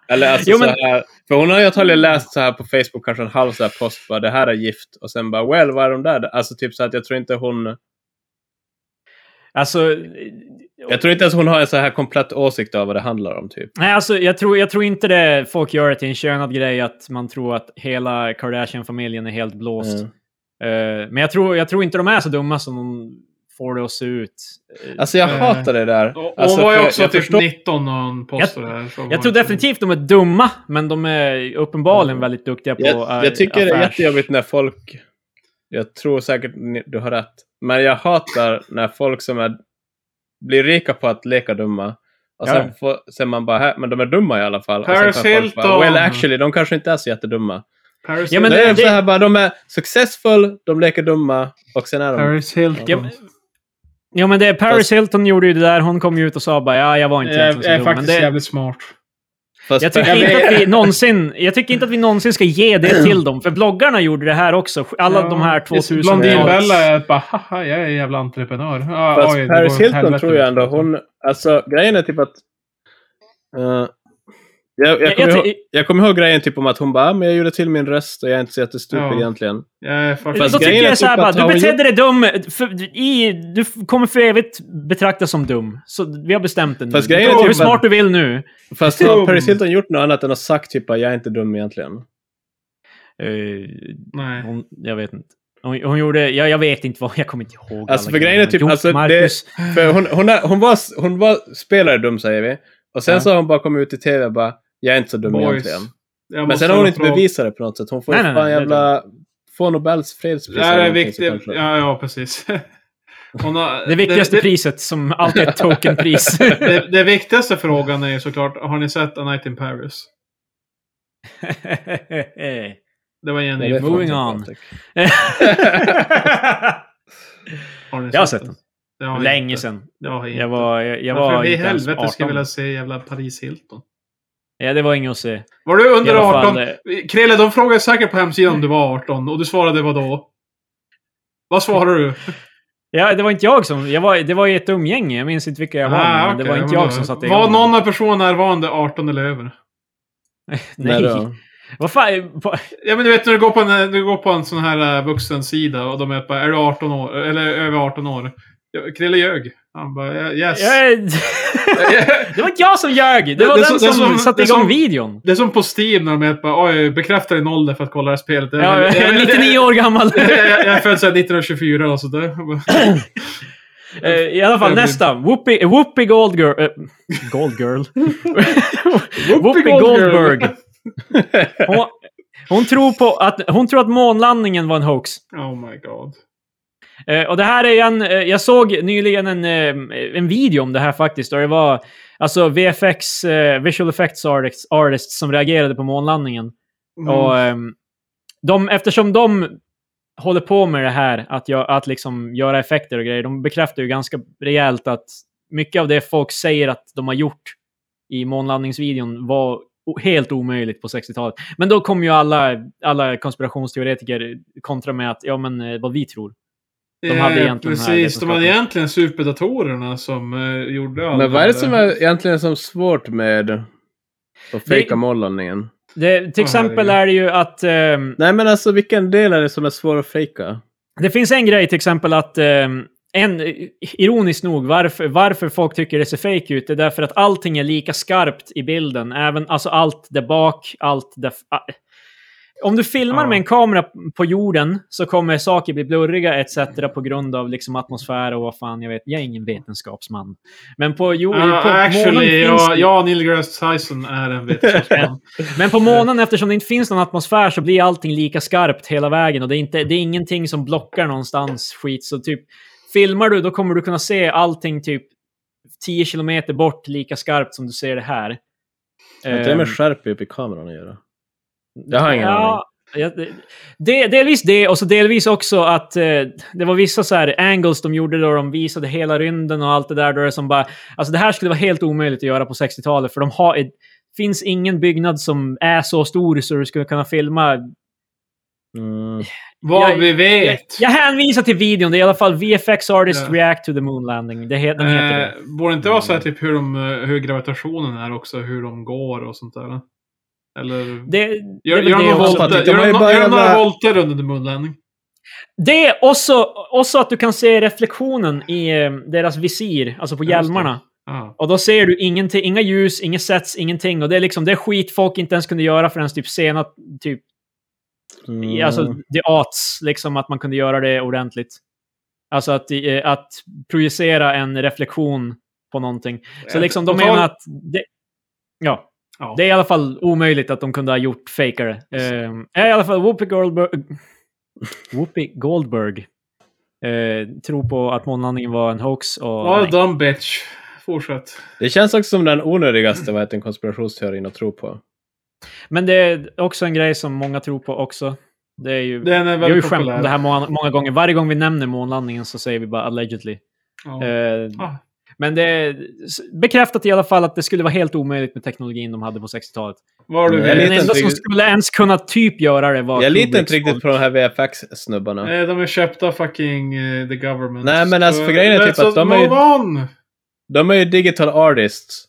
[SPEAKER 2] Eller alltså
[SPEAKER 3] Jo, men-
[SPEAKER 2] så här, för hon har ju antagligen läst så här på Facebook kanske en halv så här post bara det här är gift och sen bara well vad är de där? Alltså typ så att jag tror inte hon
[SPEAKER 3] Alltså...
[SPEAKER 2] Jag tror inte ens hon har en så här komplett åsikt av vad det handlar om typ.
[SPEAKER 3] Nej, alltså jag tror, jag tror inte det folk gör det till en könad grej att man tror att hela Kardashian-familjen är helt blåst.
[SPEAKER 2] Mm.
[SPEAKER 3] Eh, men jag tror, jag tror inte de är så dumma som de får det att se ut. Eh,
[SPEAKER 2] Alltså jag
[SPEAKER 1] Eh,
[SPEAKER 2] hatar det där.
[SPEAKER 1] Och- och
[SPEAKER 2] Alltså,
[SPEAKER 1] hon var ju
[SPEAKER 2] för
[SPEAKER 1] också
[SPEAKER 2] jag
[SPEAKER 1] typ
[SPEAKER 2] förstår-
[SPEAKER 1] 19 när hon postade det här. så var
[SPEAKER 3] jag tror
[SPEAKER 1] inte-
[SPEAKER 3] definitivt de är dumma, men de är uppenbarligen väldigt duktiga på
[SPEAKER 2] Jag,
[SPEAKER 3] eh,
[SPEAKER 2] jag tycker det är
[SPEAKER 3] affärs-
[SPEAKER 2] jättejobbigt när folk... Jag tror säkert ni, du har rätt. Men jag hatar när folk som är, blir rika på att leka dumma. Och sen,
[SPEAKER 3] Ja.
[SPEAKER 2] får, sen man bara, "Hä, men de är dumma i alla fall. och
[SPEAKER 1] Paris
[SPEAKER 2] sen kan folk Bara,
[SPEAKER 1] Hilton.
[SPEAKER 2] well actually, de kanske inte är så jättedumma.
[SPEAKER 1] Paris,
[SPEAKER 3] Ja, men
[SPEAKER 2] Nej,
[SPEAKER 3] det-
[SPEAKER 2] det, så här, bara, de är successful, de leker dumma och sen är de...
[SPEAKER 1] Paris Hilton.
[SPEAKER 3] Ja, men- Ja, men det, Paris
[SPEAKER 2] Fast-
[SPEAKER 3] Hilton gjorde ju det där. Hon kom ju ut och sa bara ja, jag var inte
[SPEAKER 1] Eh, Jag
[SPEAKER 3] egentligen
[SPEAKER 1] jag är
[SPEAKER 3] så dum. Men
[SPEAKER 1] faktiskt
[SPEAKER 3] det,
[SPEAKER 1] jävligt smart.
[SPEAKER 2] Fast
[SPEAKER 3] jag, tycker
[SPEAKER 2] Paris-
[SPEAKER 1] Jag
[SPEAKER 3] inte
[SPEAKER 1] vet.
[SPEAKER 3] att vi någonsin, jag tycker inte att vi någonsin ska ge det till dem, för bloggarna gjorde det här också. Alla de här 2000
[SPEAKER 1] Blondinbella är bara, haha, jag är en jävla entreprenör. Ah,
[SPEAKER 2] Fast
[SPEAKER 1] oj, det går åt
[SPEAKER 2] Paris Hilton
[SPEAKER 1] helvete. liksom.
[SPEAKER 2] tror jag ändå hon... Alltså grejen är typ att... eh, jag,
[SPEAKER 3] Jag-
[SPEAKER 2] jag, kommer
[SPEAKER 3] jag
[SPEAKER 2] ihåg,
[SPEAKER 3] ty-
[SPEAKER 2] jag kommer ihåg grejen typ om att hon bara, "Ah, men jag gjorde till min röst och jag är inte så jättestupid
[SPEAKER 1] Ja.
[SPEAKER 2] egentligen.
[SPEAKER 1] Jag är faktiskt-
[SPEAKER 2] Fast
[SPEAKER 3] då tycker
[SPEAKER 2] grejen är
[SPEAKER 3] jag såhär
[SPEAKER 2] typ
[SPEAKER 3] bara,
[SPEAKER 2] att har
[SPEAKER 3] du
[SPEAKER 2] hon
[SPEAKER 3] betedde dig dum. För, i, du f- kommer för evigt betraktas som dum. Så vi har bestämt det nu.
[SPEAKER 2] Fast
[SPEAKER 3] Du
[SPEAKER 2] grejen är
[SPEAKER 3] kan vara
[SPEAKER 2] typ
[SPEAKER 3] hur
[SPEAKER 2] att-
[SPEAKER 3] smart du vill nu.
[SPEAKER 2] Fast har
[SPEAKER 1] Boom.
[SPEAKER 2] Paris Hilton gjort något annat än att sagt typ att jag är inte dum egentligen?
[SPEAKER 3] Eh,
[SPEAKER 1] Nej.
[SPEAKER 3] hon, jag vet inte. Hon, hon gjorde, jag, jag vet inte vad, jag kommer inte ihåg.
[SPEAKER 2] Alltså,
[SPEAKER 3] alla
[SPEAKER 2] för grejen är
[SPEAKER 3] grejerna.
[SPEAKER 2] typ-
[SPEAKER 3] Jo,
[SPEAKER 2] alltså, det-
[SPEAKER 3] Marcus,
[SPEAKER 2] För hon, hon, är, hon, var, hon var spelare dum säger vi. Och sen
[SPEAKER 3] Ja.
[SPEAKER 2] så har hon bara kommit ut i tv och bara, jag är inte så dum
[SPEAKER 1] Boys.
[SPEAKER 2] egentligen.
[SPEAKER 1] Jag
[SPEAKER 2] Men
[SPEAKER 1] måste
[SPEAKER 2] sen har hon inte
[SPEAKER 1] fråga-
[SPEAKER 2] bevisat det på något sätt. Hon får
[SPEAKER 3] Nej,
[SPEAKER 2] ju
[SPEAKER 3] nej,
[SPEAKER 2] fan
[SPEAKER 3] nej, det är
[SPEAKER 2] jävla... Få Nobels fredspris.
[SPEAKER 1] Det här
[SPEAKER 2] eller
[SPEAKER 1] är
[SPEAKER 2] någonting
[SPEAKER 1] viktigt.
[SPEAKER 2] så kanske.
[SPEAKER 1] Ja, ja, precis. Hon har-
[SPEAKER 3] det viktigaste
[SPEAKER 1] det,
[SPEAKER 3] priset som alltid är ett tokenpris.
[SPEAKER 1] det, det viktigaste frågan är ju såklart, har ni sett A Night in Paris? Det var
[SPEAKER 2] Nej, det
[SPEAKER 1] Jenny.
[SPEAKER 2] är fan
[SPEAKER 3] Moving
[SPEAKER 2] inte
[SPEAKER 3] on.
[SPEAKER 2] Patrik.
[SPEAKER 1] Har ni
[SPEAKER 3] jag har sett den.
[SPEAKER 1] Det har jag
[SPEAKER 3] Länge
[SPEAKER 1] inte.
[SPEAKER 3] sedan.
[SPEAKER 1] Det har
[SPEAKER 3] Jag
[SPEAKER 1] jag inte.
[SPEAKER 3] var, jag, jag
[SPEAKER 1] Varför
[SPEAKER 3] var
[SPEAKER 1] i
[SPEAKER 3] inte ens
[SPEAKER 1] helvete
[SPEAKER 3] 18.
[SPEAKER 1] skulle jag vilja se jävla Paris Hilton?
[SPEAKER 3] Ja, det var inget att se.
[SPEAKER 1] Var du
[SPEAKER 3] I
[SPEAKER 1] under
[SPEAKER 3] alla
[SPEAKER 1] 18?
[SPEAKER 3] fall, eh,
[SPEAKER 1] Krille, de frågade säkert på hemsidan om du var 18 och du svarade vad då? Vad svarade du?
[SPEAKER 3] Ja, det var inte jag som... Jag var, det var ju ett umgänge. Jag minns inte vilka jag var.
[SPEAKER 1] Ah,
[SPEAKER 3] men
[SPEAKER 1] okej,
[SPEAKER 3] det var inte
[SPEAKER 1] men
[SPEAKER 3] jag
[SPEAKER 1] då-
[SPEAKER 3] som satte
[SPEAKER 1] Var någon av personerna närvarande 18 eller över?
[SPEAKER 3] Nej.
[SPEAKER 2] då?
[SPEAKER 3] Vad fan, på,
[SPEAKER 1] Ja men du vet när du går på en, du går på en sån här eh, vuxensida och de är bara, är du 18 år? Eller över 18 år? Ja, Krille ljög. Han bara, yes.
[SPEAKER 3] jag, det var inte jag som ljög! Det var
[SPEAKER 1] Det- det
[SPEAKER 3] den
[SPEAKER 1] är så- det är
[SPEAKER 3] som,
[SPEAKER 1] som-
[SPEAKER 3] satte
[SPEAKER 1] det är
[SPEAKER 3] igång
[SPEAKER 1] som-
[SPEAKER 3] videon.
[SPEAKER 1] Det är som på Steam när de är bara, oj, bekräfta din ålder för att kolla det här spelet. Jag-
[SPEAKER 3] Ja,
[SPEAKER 1] jag-
[SPEAKER 3] jag
[SPEAKER 1] jag-
[SPEAKER 3] är 99 år gammal.
[SPEAKER 1] jag- Jag jag är född såhär 1924 och sådär.
[SPEAKER 3] Eh, I alla fall
[SPEAKER 1] Jag blir-
[SPEAKER 3] nästa. Whoopi, Whoopi Gold Girl. eh, Gold Girl? Whoopi Goldberg. Hon, hon, tror på att, hon tror att månlandningen var en hoax.
[SPEAKER 1] oh my god.
[SPEAKER 3] Eh, och det här är ju en, eh, jag såg nyligen en, eh, en video om det här faktiskt. Och det var alltså VFX, eh, visual effects artists, artists som reagerade på månlandningen.
[SPEAKER 1] Mm.
[SPEAKER 3] Och, ehm, de, eftersom de håller på med det här, att, gö- att liksom göra effekter och grejer, de bekräftar ju ganska rejält att mycket av det folk säger att de har gjort i månlandningsvideon var o- helt omöjligt på 60-talet. Men då kom ju alla, alla konspirationsteoretiker kontra med att ja, men eh, vad vi tror. de hade
[SPEAKER 1] Eh,
[SPEAKER 3] egentligen den här
[SPEAKER 1] Precis, de hade
[SPEAKER 3] vetenskapen.
[SPEAKER 1] egentligen superdatorerna som eh, gjorde allt.
[SPEAKER 2] Men vad är det som är egentligen som svårt med att fejka
[SPEAKER 3] Det-
[SPEAKER 2] månlandningen?
[SPEAKER 3] Det, till
[SPEAKER 1] Åh,
[SPEAKER 3] exempel
[SPEAKER 1] herregud.
[SPEAKER 3] är det ju att ehm,
[SPEAKER 2] Nej men alltså vilken del är det som är svår att fejka?
[SPEAKER 3] Det finns en grej till exempel att ehm, en, ironiskt nog, varför, varför folk tycker det ser fake ut, det är därför att allting är lika skarpt i bilden. Även, alltså allt där bak, allt där... f- ah. Om du filmar
[SPEAKER 1] Ja.
[SPEAKER 3] med en kamera på jorden så kommer saker bli blurriga etc. på grund av liksom atmosfär och vad fan jag vet. Jag är ingen vetenskapsman. Men på, jo, på
[SPEAKER 1] Uh,
[SPEAKER 3] månen
[SPEAKER 1] actually,
[SPEAKER 3] finns det-
[SPEAKER 1] jag, jag Neil Grass Tyson är en vetenskapsman.
[SPEAKER 3] Men på månen, eftersom det inte finns någon atmosfär, så blir allting lika skarpt hela vägen. Och det är, inte, det är ingenting som blockar någonstans skit. Så typ, filmar du, då kommer du kunna se allting typ 10 kilometer bort lika skarpt som du ser det här.
[SPEAKER 2] Har inte det med
[SPEAKER 3] Ehm,
[SPEAKER 2] skärp upp i kameran att göra? Jag har ingen aning.
[SPEAKER 3] ja, ja, det- det, delvis det, och så delvis också att eh, det var vissa så här angles de gjorde då de visade hela rymden och allt det där. Då det som bara, alltså det här skulle vara helt omöjligt att göra på 60-talet, för de har, ett- finns ingen byggnad som är så stor så du skulle kunna filma
[SPEAKER 2] Mm.
[SPEAKER 1] Vad
[SPEAKER 3] Jag-
[SPEAKER 1] vi
[SPEAKER 3] Jag,
[SPEAKER 1] vet.
[SPEAKER 3] jag hänvisar till videon. Det är i alla fall VFX Artist
[SPEAKER 1] Ja.
[SPEAKER 3] React to the Moon Landing. Det he, den heter det.
[SPEAKER 1] Eh, borde det inte vara så
[SPEAKER 2] Mm.
[SPEAKER 1] här typ hur, de, eh, hur gravitationen är också, hur de går och sånt där? Eller...
[SPEAKER 3] Det,
[SPEAKER 1] Gör,
[SPEAKER 3] det, är väl
[SPEAKER 1] gör
[SPEAKER 3] det,
[SPEAKER 1] de
[SPEAKER 2] jag
[SPEAKER 1] några
[SPEAKER 2] hoppas
[SPEAKER 3] också.
[SPEAKER 1] volter-
[SPEAKER 2] inte. De
[SPEAKER 1] gör
[SPEAKER 2] har
[SPEAKER 1] de
[SPEAKER 2] ju
[SPEAKER 1] nå-
[SPEAKER 2] bara
[SPEAKER 1] gör de några
[SPEAKER 2] jävla-
[SPEAKER 1] volter under månlandning?
[SPEAKER 3] det också, också att du kan se reflektionen i eh, deras visir, alltså på
[SPEAKER 1] Ja, just det.
[SPEAKER 3] hjälmarna.
[SPEAKER 1] Ah.
[SPEAKER 3] Och då ser du ingenting, inga ljus, inga sets, ingenting. Och det är liksom det är skit folk inte ens kunde göra förrän typ sena, typ, i-
[SPEAKER 2] Mm.
[SPEAKER 3] alltså the arts, liksom att man kunde göra det ordentligt. Alltså att, eh, att projicera en reflektion på någonting. Så liksom de
[SPEAKER 1] På tal-
[SPEAKER 3] menar att... Det, ja.
[SPEAKER 1] Ja.
[SPEAKER 3] Det är i alla fall omöjligt att de kunde ha gjort fejkare. Um, I alla fall Whoopi Goldberg... Whoopi Goldberg. eh, tror på att månlandningen var en hoax och...
[SPEAKER 1] Well
[SPEAKER 3] nej.
[SPEAKER 1] done bitch. Fortsätt.
[SPEAKER 2] Det känns också som den onödigaste vad heter, det, konspirationsteorin att tro på.
[SPEAKER 3] Men det är också en grej som många tror på också. Det är ju...
[SPEAKER 1] Den är
[SPEAKER 3] Vi har ju
[SPEAKER 1] väldigt
[SPEAKER 3] skämt om
[SPEAKER 1] populär.
[SPEAKER 3] det här många, många gånger. Varje gång vi nämner månlandningen så säger vi bara allegedly.
[SPEAKER 1] Ja.
[SPEAKER 3] Eh,
[SPEAKER 1] Ah.
[SPEAKER 3] Men det är s- bekräftat i alla fall att det skulle vara helt omöjligt med teknologin de hade på 60-talet.
[SPEAKER 1] Vad har du
[SPEAKER 2] Jag är
[SPEAKER 3] Den
[SPEAKER 2] litar
[SPEAKER 1] vet?
[SPEAKER 2] inte
[SPEAKER 3] enda som
[SPEAKER 2] riktigt-
[SPEAKER 3] skulle ens kunna typ göra det var
[SPEAKER 2] Jag litar inte
[SPEAKER 3] Kubricks Ehm.
[SPEAKER 2] riktigt
[SPEAKER 3] folk.
[SPEAKER 2] på de här VFX-snubbarna.
[SPEAKER 1] Nej, de är köpta fucking eh, the government.
[SPEAKER 2] Nej, men alltså,
[SPEAKER 1] Så-
[SPEAKER 2] för grejen är
[SPEAKER 1] men
[SPEAKER 2] typ
[SPEAKER 1] så
[SPEAKER 2] att de är ju-
[SPEAKER 1] move on!
[SPEAKER 2] De är ju digital artists.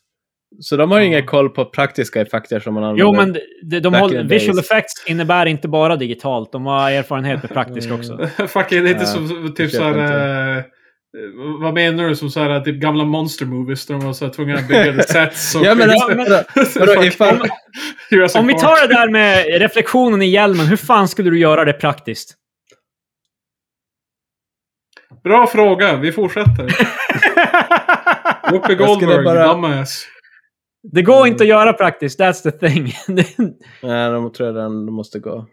[SPEAKER 2] Så de har ju
[SPEAKER 1] Ja.
[SPEAKER 2] ingen koll på praktiska effekter som man använder.
[SPEAKER 3] Jo, men de, de
[SPEAKER 2] Back
[SPEAKER 3] håll,
[SPEAKER 2] in the days.
[SPEAKER 3] visual effects innebär inte bara digitalt. De har erfarenhet med praktiskt
[SPEAKER 2] Mm.
[SPEAKER 3] också.
[SPEAKER 1] Fucking lite
[SPEAKER 2] Ja,
[SPEAKER 1] som
[SPEAKER 2] jag
[SPEAKER 1] typ så här,
[SPEAKER 2] köper
[SPEAKER 1] eh, Vad menar du? Som så här, typ gamla monster movies där de var så här, tvungna att bygga det sets. och-
[SPEAKER 2] Ja, men alltså,
[SPEAKER 3] men-
[SPEAKER 2] vadå- vadå,
[SPEAKER 1] Fucking
[SPEAKER 2] ifall-
[SPEAKER 1] Jurassic
[SPEAKER 3] Om vi
[SPEAKER 1] Park.
[SPEAKER 3] tar det där med reflektionen i hjälmen, hur fan skulle du göra det praktiskt?
[SPEAKER 1] Bra fråga, vi fortsätter. Whoopi
[SPEAKER 2] Jag skulle
[SPEAKER 1] Goldberg,
[SPEAKER 2] bara-
[SPEAKER 1] dumbass.
[SPEAKER 3] Det går inte att göra praktiskt, that's the thing.
[SPEAKER 2] Nej, de tror jag den de måste gå.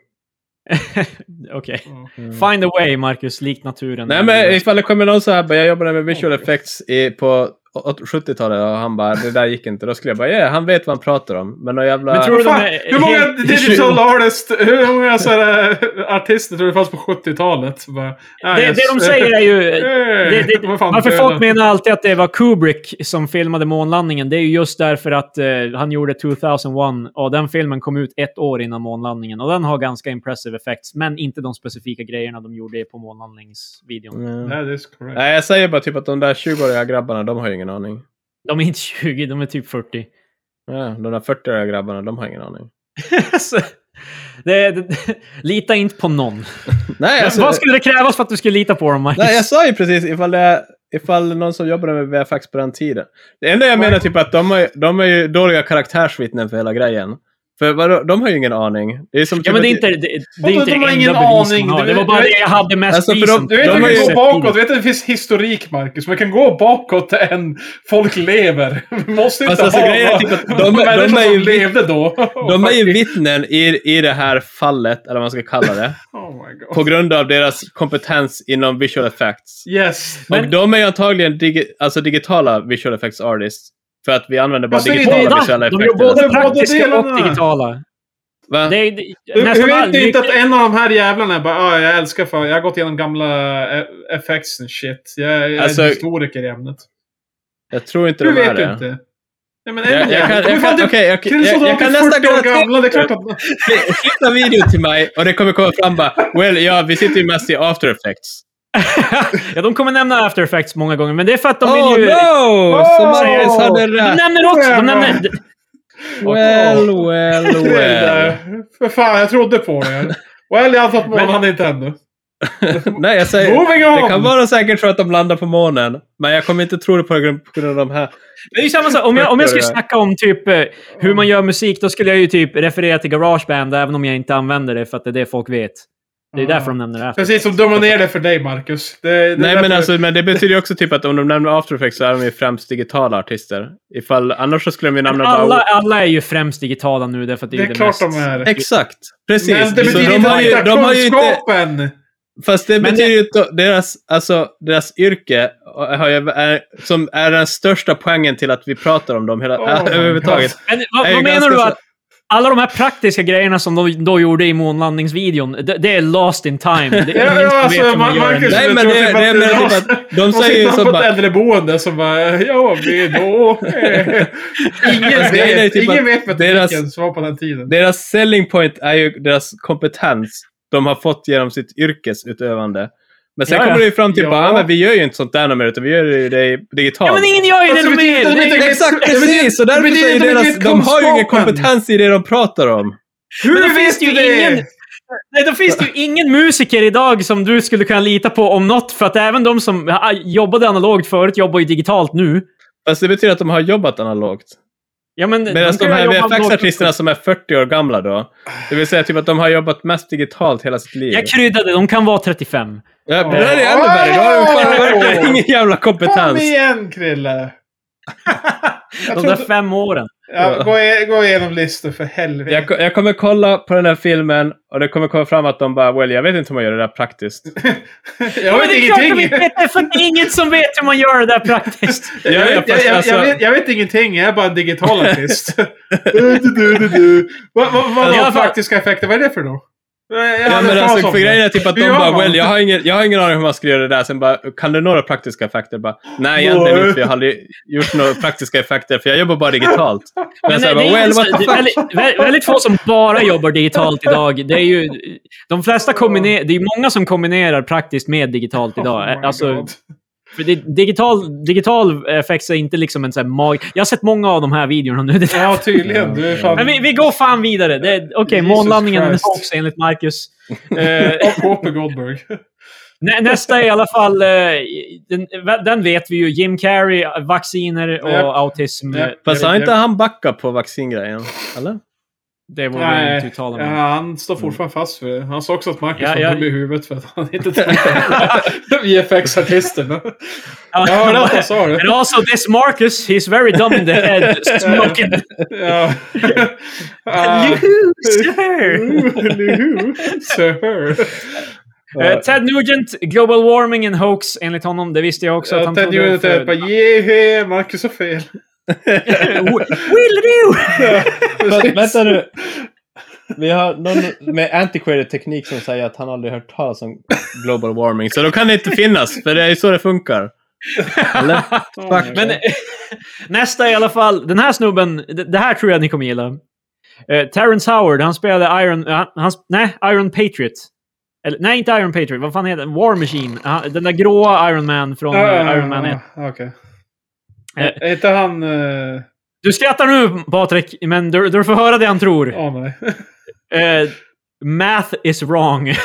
[SPEAKER 3] Okej.
[SPEAKER 1] Ja.
[SPEAKER 2] Mm.
[SPEAKER 3] Find a way, Marcus, lik naturen.
[SPEAKER 2] Nej, men ifall det kommer någon så här, bara, jag jobbade med visual effects i, på åt- 70-talet och han bara, det där gick inte. Då skulle jag bara, ja, han vet vad han pratar om. Men någon jävla...
[SPEAKER 3] Men tror du-
[SPEAKER 1] Fan,
[SPEAKER 3] de är
[SPEAKER 1] hur många
[SPEAKER 3] helt-
[SPEAKER 1] digital artists, hur många så här, eh, artister tror du fanns på 70-talet? Bara, ah,
[SPEAKER 3] det,
[SPEAKER 1] yes.
[SPEAKER 3] det de säger är ju... Det,
[SPEAKER 1] Eh,
[SPEAKER 3] det,
[SPEAKER 1] vad fan,
[SPEAKER 3] varför
[SPEAKER 1] döda.
[SPEAKER 3] folk menar alltid att det var Kubrick som filmade månlandningen, det är ju just därför att eh, han gjorde 2001 och den filmen kom ut ett år innan månlandningen. Och den har ganska impressive effects, men inte de specifika grejerna de gjorde på
[SPEAKER 2] Nej.
[SPEAKER 3] månlandningsvideon.
[SPEAKER 1] That is correct.
[SPEAKER 2] Mm. Nej, jag säger bara typ att de där 20-åriga grabbarna, de har ju ingen aning.
[SPEAKER 3] De är inte 20, de är typ 40.
[SPEAKER 2] Ja, de där 40-åriga grabbarna, de har ingen aning.
[SPEAKER 3] Så- Det, det, lita inte på någon.
[SPEAKER 2] Nej, alltså,
[SPEAKER 3] Vad skulle det krävas för att du skulle lita på dem, Marcus?
[SPEAKER 2] nej, jag sa ju precis ifall det är ifall någon som jobbar med VFX på den tiden. Det enda jag menar typ att de, har, ju- de är ju dåliga karaktärsvittnen för hela grejen. För vadå, de har ju ingen aning. Det är som
[SPEAKER 3] Ja,
[SPEAKER 2] typ
[SPEAKER 3] men det är
[SPEAKER 2] att-
[SPEAKER 3] inte det, det, det, är
[SPEAKER 1] Vadå,
[SPEAKER 3] inte
[SPEAKER 1] de har
[SPEAKER 3] det enda
[SPEAKER 1] ingen
[SPEAKER 3] bevis
[SPEAKER 1] aning?
[SPEAKER 3] man har.
[SPEAKER 1] Du
[SPEAKER 3] Det var
[SPEAKER 1] vet-
[SPEAKER 3] bara
[SPEAKER 1] du
[SPEAKER 3] det
[SPEAKER 1] vet-
[SPEAKER 3] jag hade mest
[SPEAKER 2] Alltså, för de-
[SPEAKER 3] visen
[SPEAKER 1] Du vet,
[SPEAKER 2] De
[SPEAKER 1] vi
[SPEAKER 2] har
[SPEAKER 1] kan
[SPEAKER 2] ju
[SPEAKER 1] gå
[SPEAKER 2] sett
[SPEAKER 1] bakåt. Du vet, det finns historik, Marcus. Man kan gå bakåt än folk lever. Vi måste inte
[SPEAKER 2] Alltså, alltså,
[SPEAKER 1] ha
[SPEAKER 2] grejen är typ att de- de är
[SPEAKER 1] människor
[SPEAKER 2] ju-
[SPEAKER 1] som levde då.
[SPEAKER 2] De är ju vittnen i, i det här fallet, eller vad man ska kalla det,
[SPEAKER 1] Oh my
[SPEAKER 2] på
[SPEAKER 1] god.
[SPEAKER 2] grund av deras kompetens inom visual effects.
[SPEAKER 1] Yes.
[SPEAKER 2] och de är ju antagligen digi- alltså digitala visual effects artists. För att vi använder bara
[SPEAKER 1] Jag säger
[SPEAKER 2] digitala
[SPEAKER 1] båda.
[SPEAKER 2] visuella
[SPEAKER 3] De gör
[SPEAKER 2] effekter.
[SPEAKER 1] Båda
[SPEAKER 3] både praktiska och
[SPEAKER 1] delarna.
[SPEAKER 3] digitala.
[SPEAKER 2] Va?
[SPEAKER 3] Det är, det,
[SPEAKER 1] Hur
[SPEAKER 3] nästan
[SPEAKER 1] hur vet
[SPEAKER 3] all-
[SPEAKER 1] du inte att en av de här jävlarna bara ah, jag älskar för jag har gått igenom gamla eh, effects and shit. Jag är
[SPEAKER 2] Alltså-
[SPEAKER 1] en historiker i ämnet.
[SPEAKER 2] Jag tror inte
[SPEAKER 1] Du
[SPEAKER 2] de är
[SPEAKER 1] vet
[SPEAKER 2] det.
[SPEAKER 1] inte. Nej, men en
[SPEAKER 2] Jag, jag kan,
[SPEAKER 1] jävel.
[SPEAKER 2] jag kan,
[SPEAKER 1] Fan,
[SPEAKER 2] okej, jag,
[SPEAKER 1] du-
[SPEAKER 2] jag, jag,
[SPEAKER 1] Kristoffer
[SPEAKER 2] kan
[SPEAKER 1] är
[SPEAKER 2] nästan
[SPEAKER 1] 40 år
[SPEAKER 2] garantera
[SPEAKER 1] gamla, det är klart att...
[SPEAKER 2] Klippa video till mig och det kommer komma fram bara Well, ja, vi sitter ju mest i after effects.
[SPEAKER 3] ja, de kommer nämna After Effects många gånger, men det är för att de
[SPEAKER 2] oh
[SPEAKER 3] vill ju...
[SPEAKER 2] no!
[SPEAKER 1] Oh!
[SPEAKER 2] Så Marius hade
[SPEAKER 3] De
[SPEAKER 2] rätt.
[SPEAKER 3] nämner också... De
[SPEAKER 1] Jävlar.
[SPEAKER 3] nämner,
[SPEAKER 2] Well, well,
[SPEAKER 1] Det är det
[SPEAKER 2] well.
[SPEAKER 1] där. För fan, jag trodde på er. Well, jag antar att månen hade inte ännu.
[SPEAKER 2] Nej, jag säger...
[SPEAKER 1] Moving on!
[SPEAKER 2] Det kan vara säkert så att de landar på månen. Men jag kommer inte tro det på grund på grund av de här.
[SPEAKER 3] det är ju samma sak. Om jag, om jag skulle snacka om typ eh, hur man gör musik, då skulle jag ju typ referera till Garageband, även om jag inte använder det, för att det är det folk vet. Det är
[SPEAKER 1] Ja.
[SPEAKER 3] därför de nämner det. After.
[SPEAKER 1] Precis som dummar ner det för dig, Marcus. Det, det är
[SPEAKER 2] Nej,
[SPEAKER 1] därför-
[SPEAKER 2] men, alltså, men det betyder ju också typ att om de nämner After Effects så är de ju främst digitala artister. Ifall, annars så skulle de ju nämna
[SPEAKER 3] Alla,
[SPEAKER 2] bara...
[SPEAKER 3] alla är ju främst digitala nu, därför att det är
[SPEAKER 1] det
[SPEAKER 3] ju
[SPEAKER 1] är
[SPEAKER 3] det
[SPEAKER 1] klart
[SPEAKER 3] mest...
[SPEAKER 1] de är.
[SPEAKER 2] Exakt! Precis!
[SPEAKER 1] Men det
[SPEAKER 2] Så
[SPEAKER 1] betyder
[SPEAKER 2] de, har ju,
[SPEAKER 1] inte att
[SPEAKER 2] de har ju inte...
[SPEAKER 1] kunskapen...
[SPEAKER 2] Fast det
[SPEAKER 3] Men
[SPEAKER 2] betyder ju att deras, alltså, deras yrke har ju, är, som är den största poängen till att vi pratar om dem hela,
[SPEAKER 1] Oh my
[SPEAKER 2] överhuvudtaget.
[SPEAKER 3] Men, vad,
[SPEAKER 2] är ju
[SPEAKER 3] vad menar
[SPEAKER 2] ganska
[SPEAKER 3] du
[SPEAKER 2] så-
[SPEAKER 3] att alla de här praktiska grejerna som de då gjorde i månlandningsvideon, det, det är lost in time. Det är
[SPEAKER 1] Ja,
[SPEAKER 3] ingen som
[SPEAKER 1] ja,
[SPEAKER 3] vet
[SPEAKER 1] alltså,
[SPEAKER 3] hur man
[SPEAKER 1] Ma-
[SPEAKER 3] gör
[SPEAKER 1] Marcus,
[SPEAKER 3] det.
[SPEAKER 2] Nej,
[SPEAKER 1] jag
[SPEAKER 2] men
[SPEAKER 1] tror
[SPEAKER 2] det-
[SPEAKER 1] typ
[SPEAKER 2] det är
[SPEAKER 1] att-
[SPEAKER 2] mer typ att de
[SPEAKER 1] Och
[SPEAKER 2] säger ju
[SPEAKER 1] sitter
[SPEAKER 2] så
[SPEAKER 1] han på
[SPEAKER 2] bara-
[SPEAKER 1] ett äldreboende som bara, ja, vi då... Alltså, eh." Ingen
[SPEAKER 2] Fast grejen är ju
[SPEAKER 1] vet,
[SPEAKER 2] typ
[SPEAKER 1] ingen
[SPEAKER 2] att
[SPEAKER 1] vet metodiken
[SPEAKER 2] deras-
[SPEAKER 1] som var på den tiden.
[SPEAKER 2] Deras selling point är ju deras kompetens de har fått genom sitt yrkesutövande. Men sen
[SPEAKER 3] Ja, ja.
[SPEAKER 2] kommer det ju fram till
[SPEAKER 1] Ja.
[SPEAKER 2] bara, ah, men vi gör ju inte sånt där nummer, utan vi gör ju det digitalt.
[SPEAKER 3] Ja, men ingen gör ju
[SPEAKER 1] Alltså,
[SPEAKER 3] det
[SPEAKER 1] det betyder-
[SPEAKER 3] mer!
[SPEAKER 1] det betyder-
[SPEAKER 2] Exakt,
[SPEAKER 1] Det betyder-
[SPEAKER 2] precis! Och därför
[SPEAKER 1] det
[SPEAKER 2] så är ju
[SPEAKER 1] betyder-
[SPEAKER 2] deras, de har ju ingen
[SPEAKER 1] kunskapen.
[SPEAKER 2] kompetens i det de pratar om.
[SPEAKER 1] Hur
[SPEAKER 3] Men då finns
[SPEAKER 1] vet
[SPEAKER 3] det ju
[SPEAKER 1] du det?
[SPEAKER 3] ingen- Nej, då finns det ju ingen musiker idag som du skulle kunna lita på om något, för att även de som ah, jobbade analogt förut jobbar ju digitalt nu.
[SPEAKER 2] Fast Alltså, det betyder att de har jobbat analogt.
[SPEAKER 3] Ja, men
[SPEAKER 2] Medan de
[SPEAKER 3] kan
[SPEAKER 2] här
[SPEAKER 3] jobba analogt.
[SPEAKER 2] VFX-artisterna som är 40 år gamla då, det vill säga typ att de har jobbat mest digitalt hela sitt liv.
[SPEAKER 3] Jag kryddade, de kan vara 35.
[SPEAKER 2] Ja, men det är det ännu värre. Då har de fan verkligen ingen jävla
[SPEAKER 1] Kom
[SPEAKER 2] kompetens.
[SPEAKER 1] igen, Krille! Jag
[SPEAKER 3] De
[SPEAKER 1] trodde-
[SPEAKER 3] där fem åren.
[SPEAKER 1] Ja, gå, i, gå igenom listor för helvete.
[SPEAKER 2] Jag, ko- jag kommer kolla på den här filmen och det kommer komma fram att de bara well, jag vet inte hur man gör det där praktiskt.
[SPEAKER 1] jag
[SPEAKER 3] men
[SPEAKER 1] vet
[SPEAKER 3] det är klart de
[SPEAKER 1] ingenting.
[SPEAKER 3] inte vet det, för det är ingen som vet hur man gör det där praktiskt.
[SPEAKER 2] Ja,
[SPEAKER 1] Jag
[SPEAKER 2] ja,
[SPEAKER 1] vet, jag,
[SPEAKER 2] fast
[SPEAKER 1] jag,
[SPEAKER 2] alltså-
[SPEAKER 1] jag, vet, jag vet ingenting, jag är bara en digital artist. du, du, du, du, du. Vad va, va,
[SPEAKER 2] Alltså,
[SPEAKER 3] I alla
[SPEAKER 1] va,
[SPEAKER 3] fall-
[SPEAKER 1] praktiska effekter, vad är det för då? Jag hade
[SPEAKER 2] Ja, men
[SPEAKER 1] hört talas
[SPEAKER 2] alltså,
[SPEAKER 1] om
[SPEAKER 2] för
[SPEAKER 1] det.
[SPEAKER 2] grejen är typ att de
[SPEAKER 1] Hur gör
[SPEAKER 2] bara
[SPEAKER 1] man?
[SPEAKER 2] well, jag har, ingen, jag har ingen aning hur man ska göra det där. Sen bara, kan du några praktiska effekter? Bara, Nej, egentligen
[SPEAKER 1] Nej.
[SPEAKER 2] inte. för Jag har aldrig gjort några praktiska effekter för jag jobbar bara digitalt. Men så
[SPEAKER 3] nej,
[SPEAKER 2] här,
[SPEAKER 3] det
[SPEAKER 2] bara,
[SPEAKER 3] är alltså-
[SPEAKER 2] well,
[SPEAKER 3] inte
[SPEAKER 2] what
[SPEAKER 3] så-
[SPEAKER 2] the
[SPEAKER 3] det-
[SPEAKER 2] fuck?
[SPEAKER 3] väldigt, vä- väldigt få som bara jobbar digitalt idag. Det är ju, de flesta kombiner, det är många som kombinerar praktiskt med digitalt
[SPEAKER 1] Oh
[SPEAKER 3] idag.
[SPEAKER 1] my
[SPEAKER 3] alltså,
[SPEAKER 1] God.
[SPEAKER 3] för det, digital, digital effects är inte liksom en sån här mag... Jag har sett många av de här videorna nu. Det-
[SPEAKER 1] Ja, tydligen. Du är fan...
[SPEAKER 3] Men vi, vi går fan vidare. Det- Okej,
[SPEAKER 1] Jesus
[SPEAKER 3] månlandningen är en
[SPEAKER 1] Christ.
[SPEAKER 3] hoax enligt Marcus. Eh,
[SPEAKER 1] Och Whoopi Goldberg.
[SPEAKER 3] nä, nästa är i alla fall... eh, den, den vet vi ju. Jim Carrey, vacciner och
[SPEAKER 1] Japp.
[SPEAKER 3] autism.
[SPEAKER 1] Japp.
[SPEAKER 2] Fast
[SPEAKER 1] Jag
[SPEAKER 2] har
[SPEAKER 1] vet-
[SPEAKER 2] inte han backat på vaccingrejen? Eller?
[SPEAKER 3] Det typ vågar jag inte
[SPEAKER 1] Nej,
[SPEAKER 3] uttala
[SPEAKER 1] ja,
[SPEAKER 3] mig om.
[SPEAKER 1] han
[SPEAKER 2] Mm.
[SPEAKER 1] står fortfarande fast vid det. Han sa också att Marcus
[SPEAKER 3] Ja,
[SPEAKER 1] var
[SPEAKER 3] ja.
[SPEAKER 1] dum i huvudet för att han inte trodde på VFX-artisterna.
[SPEAKER 3] Ja,
[SPEAKER 1] Jag hörde att han sa det.
[SPEAKER 3] And also this Marcus, he's very dumb in the head. Smoking.
[SPEAKER 1] Ja. Ah.
[SPEAKER 3] You, sir.
[SPEAKER 1] Luhu, sir.
[SPEAKER 3] Eh, Ted Nugent, global warming and hoax enligt honom. Det visste jag också att han
[SPEAKER 1] Ted
[SPEAKER 3] trodde
[SPEAKER 1] Nugent
[SPEAKER 3] för-
[SPEAKER 1] är bara yeah, Marcus har fel.
[SPEAKER 3] Will do!
[SPEAKER 2] Vä- Vänta nu. Vi har någon med antiquated teknik som säger att han aldrig hört talas om global warming. Så då kan det inte finnas, för det är ju så det funkar. Eller? Fuck.
[SPEAKER 3] Men eh, nästa i alla fall. Den här snubben, det det här tror jag ni kommer gilla. Eh, Terrence Howard, han spelade Iron... eh, han, han, nej, Iron Patriot. Eller, nej, inte Iron Patriot. Vad fan heter den? War Machine. Han- den där gråa Iron Man från eh, Iron Man 1.
[SPEAKER 1] Ah, Okej. Är inte han... eh,
[SPEAKER 3] Du skrattar nu, Patrik, men du, du får höra det han tror.
[SPEAKER 1] Åh nej.
[SPEAKER 3] eh, math is wrong.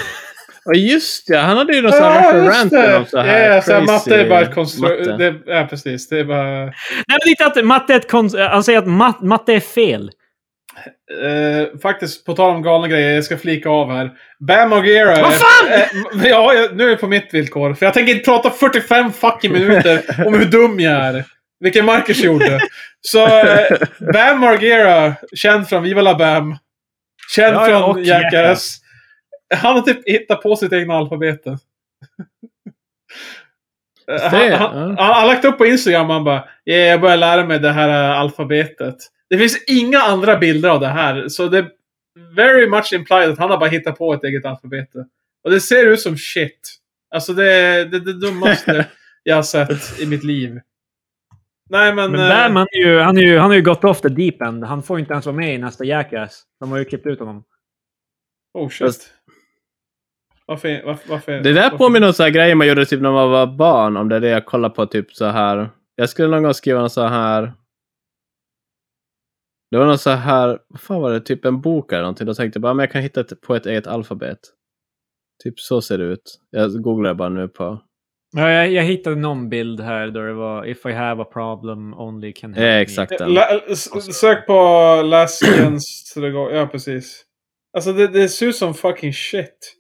[SPEAKER 2] Ja, just det. Han hade ju någon sån här ja,
[SPEAKER 1] just
[SPEAKER 2] rant om så här
[SPEAKER 1] Ja, så här, matte är bara ett
[SPEAKER 2] matte.
[SPEAKER 1] konstrukt. Ja, precis. Det är bara...
[SPEAKER 3] Nej, men inte att matte är ett konst... eh, Han säger att mat, matte är fel.
[SPEAKER 1] Eh, faktiskt, på tal om galna grejer, jag ska flika av här. Bam Margera...
[SPEAKER 3] Vad fan!
[SPEAKER 1] Eh, ja, jag, nu är det på mitt villkor. För jag tänker inte prata 45 fucking minuter om hur dum jag är. Vilket Marcus gjorde. Så eh, Bam Margera, känd från Viva La Bam. Känd
[SPEAKER 3] Ja, ja, och
[SPEAKER 1] från Jackass. Han har typ hittat på sitt egna alfabet. Eh, Han,
[SPEAKER 2] Det,
[SPEAKER 1] han,
[SPEAKER 2] ja.
[SPEAKER 1] han har lagt upp på Instagram han bara yeah, jag börjar lära mig det här eh, alfabetet. Det finns inga andra bilder av det här. Så det är very much implied att han har bara hittat på ett eget alfabet. Och det ser ut som shit. Alltså det är det, det dummaste jag har sett i mitt liv. Nej men...
[SPEAKER 3] Men
[SPEAKER 1] eh,
[SPEAKER 3] Bam, han, är ju, han, är ju, han har ju gått off the deep end. Han får ju inte ens vara med i nästa Jackass. De har ju klippt ut honom.
[SPEAKER 1] oh shit.
[SPEAKER 2] Fast-
[SPEAKER 1] Varför, varför, varför,
[SPEAKER 2] Det där
[SPEAKER 1] varför?
[SPEAKER 2] påminner om så här grejer man gjorde typ när man var barn. Om det är det jag kollar på typ så här. Jag skulle någon gång skriva någon så här. Det var någon så här. Vad fan var det? Typ en bok eller någonting. Då tänkte jag bara, men jag kan hitta ett, på ett eget alfabet. Typ så ser det ut. Jag googlar bara nu på.
[SPEAKER 3] Ja, jag, jag hittade någon bild här där det var “If I have a problem only can help
[SPEAKER 2] Ja,
[SPEAKER 3] me."
[SPEAKER 2] exakt den.
[SPEAKER 1] La,
[SPEAKER 2] Alltså-
[SPEAKER 1] s- sök på Last Chance to the Go- Ja, precis. Alltså det, det ser ut som fucking shit.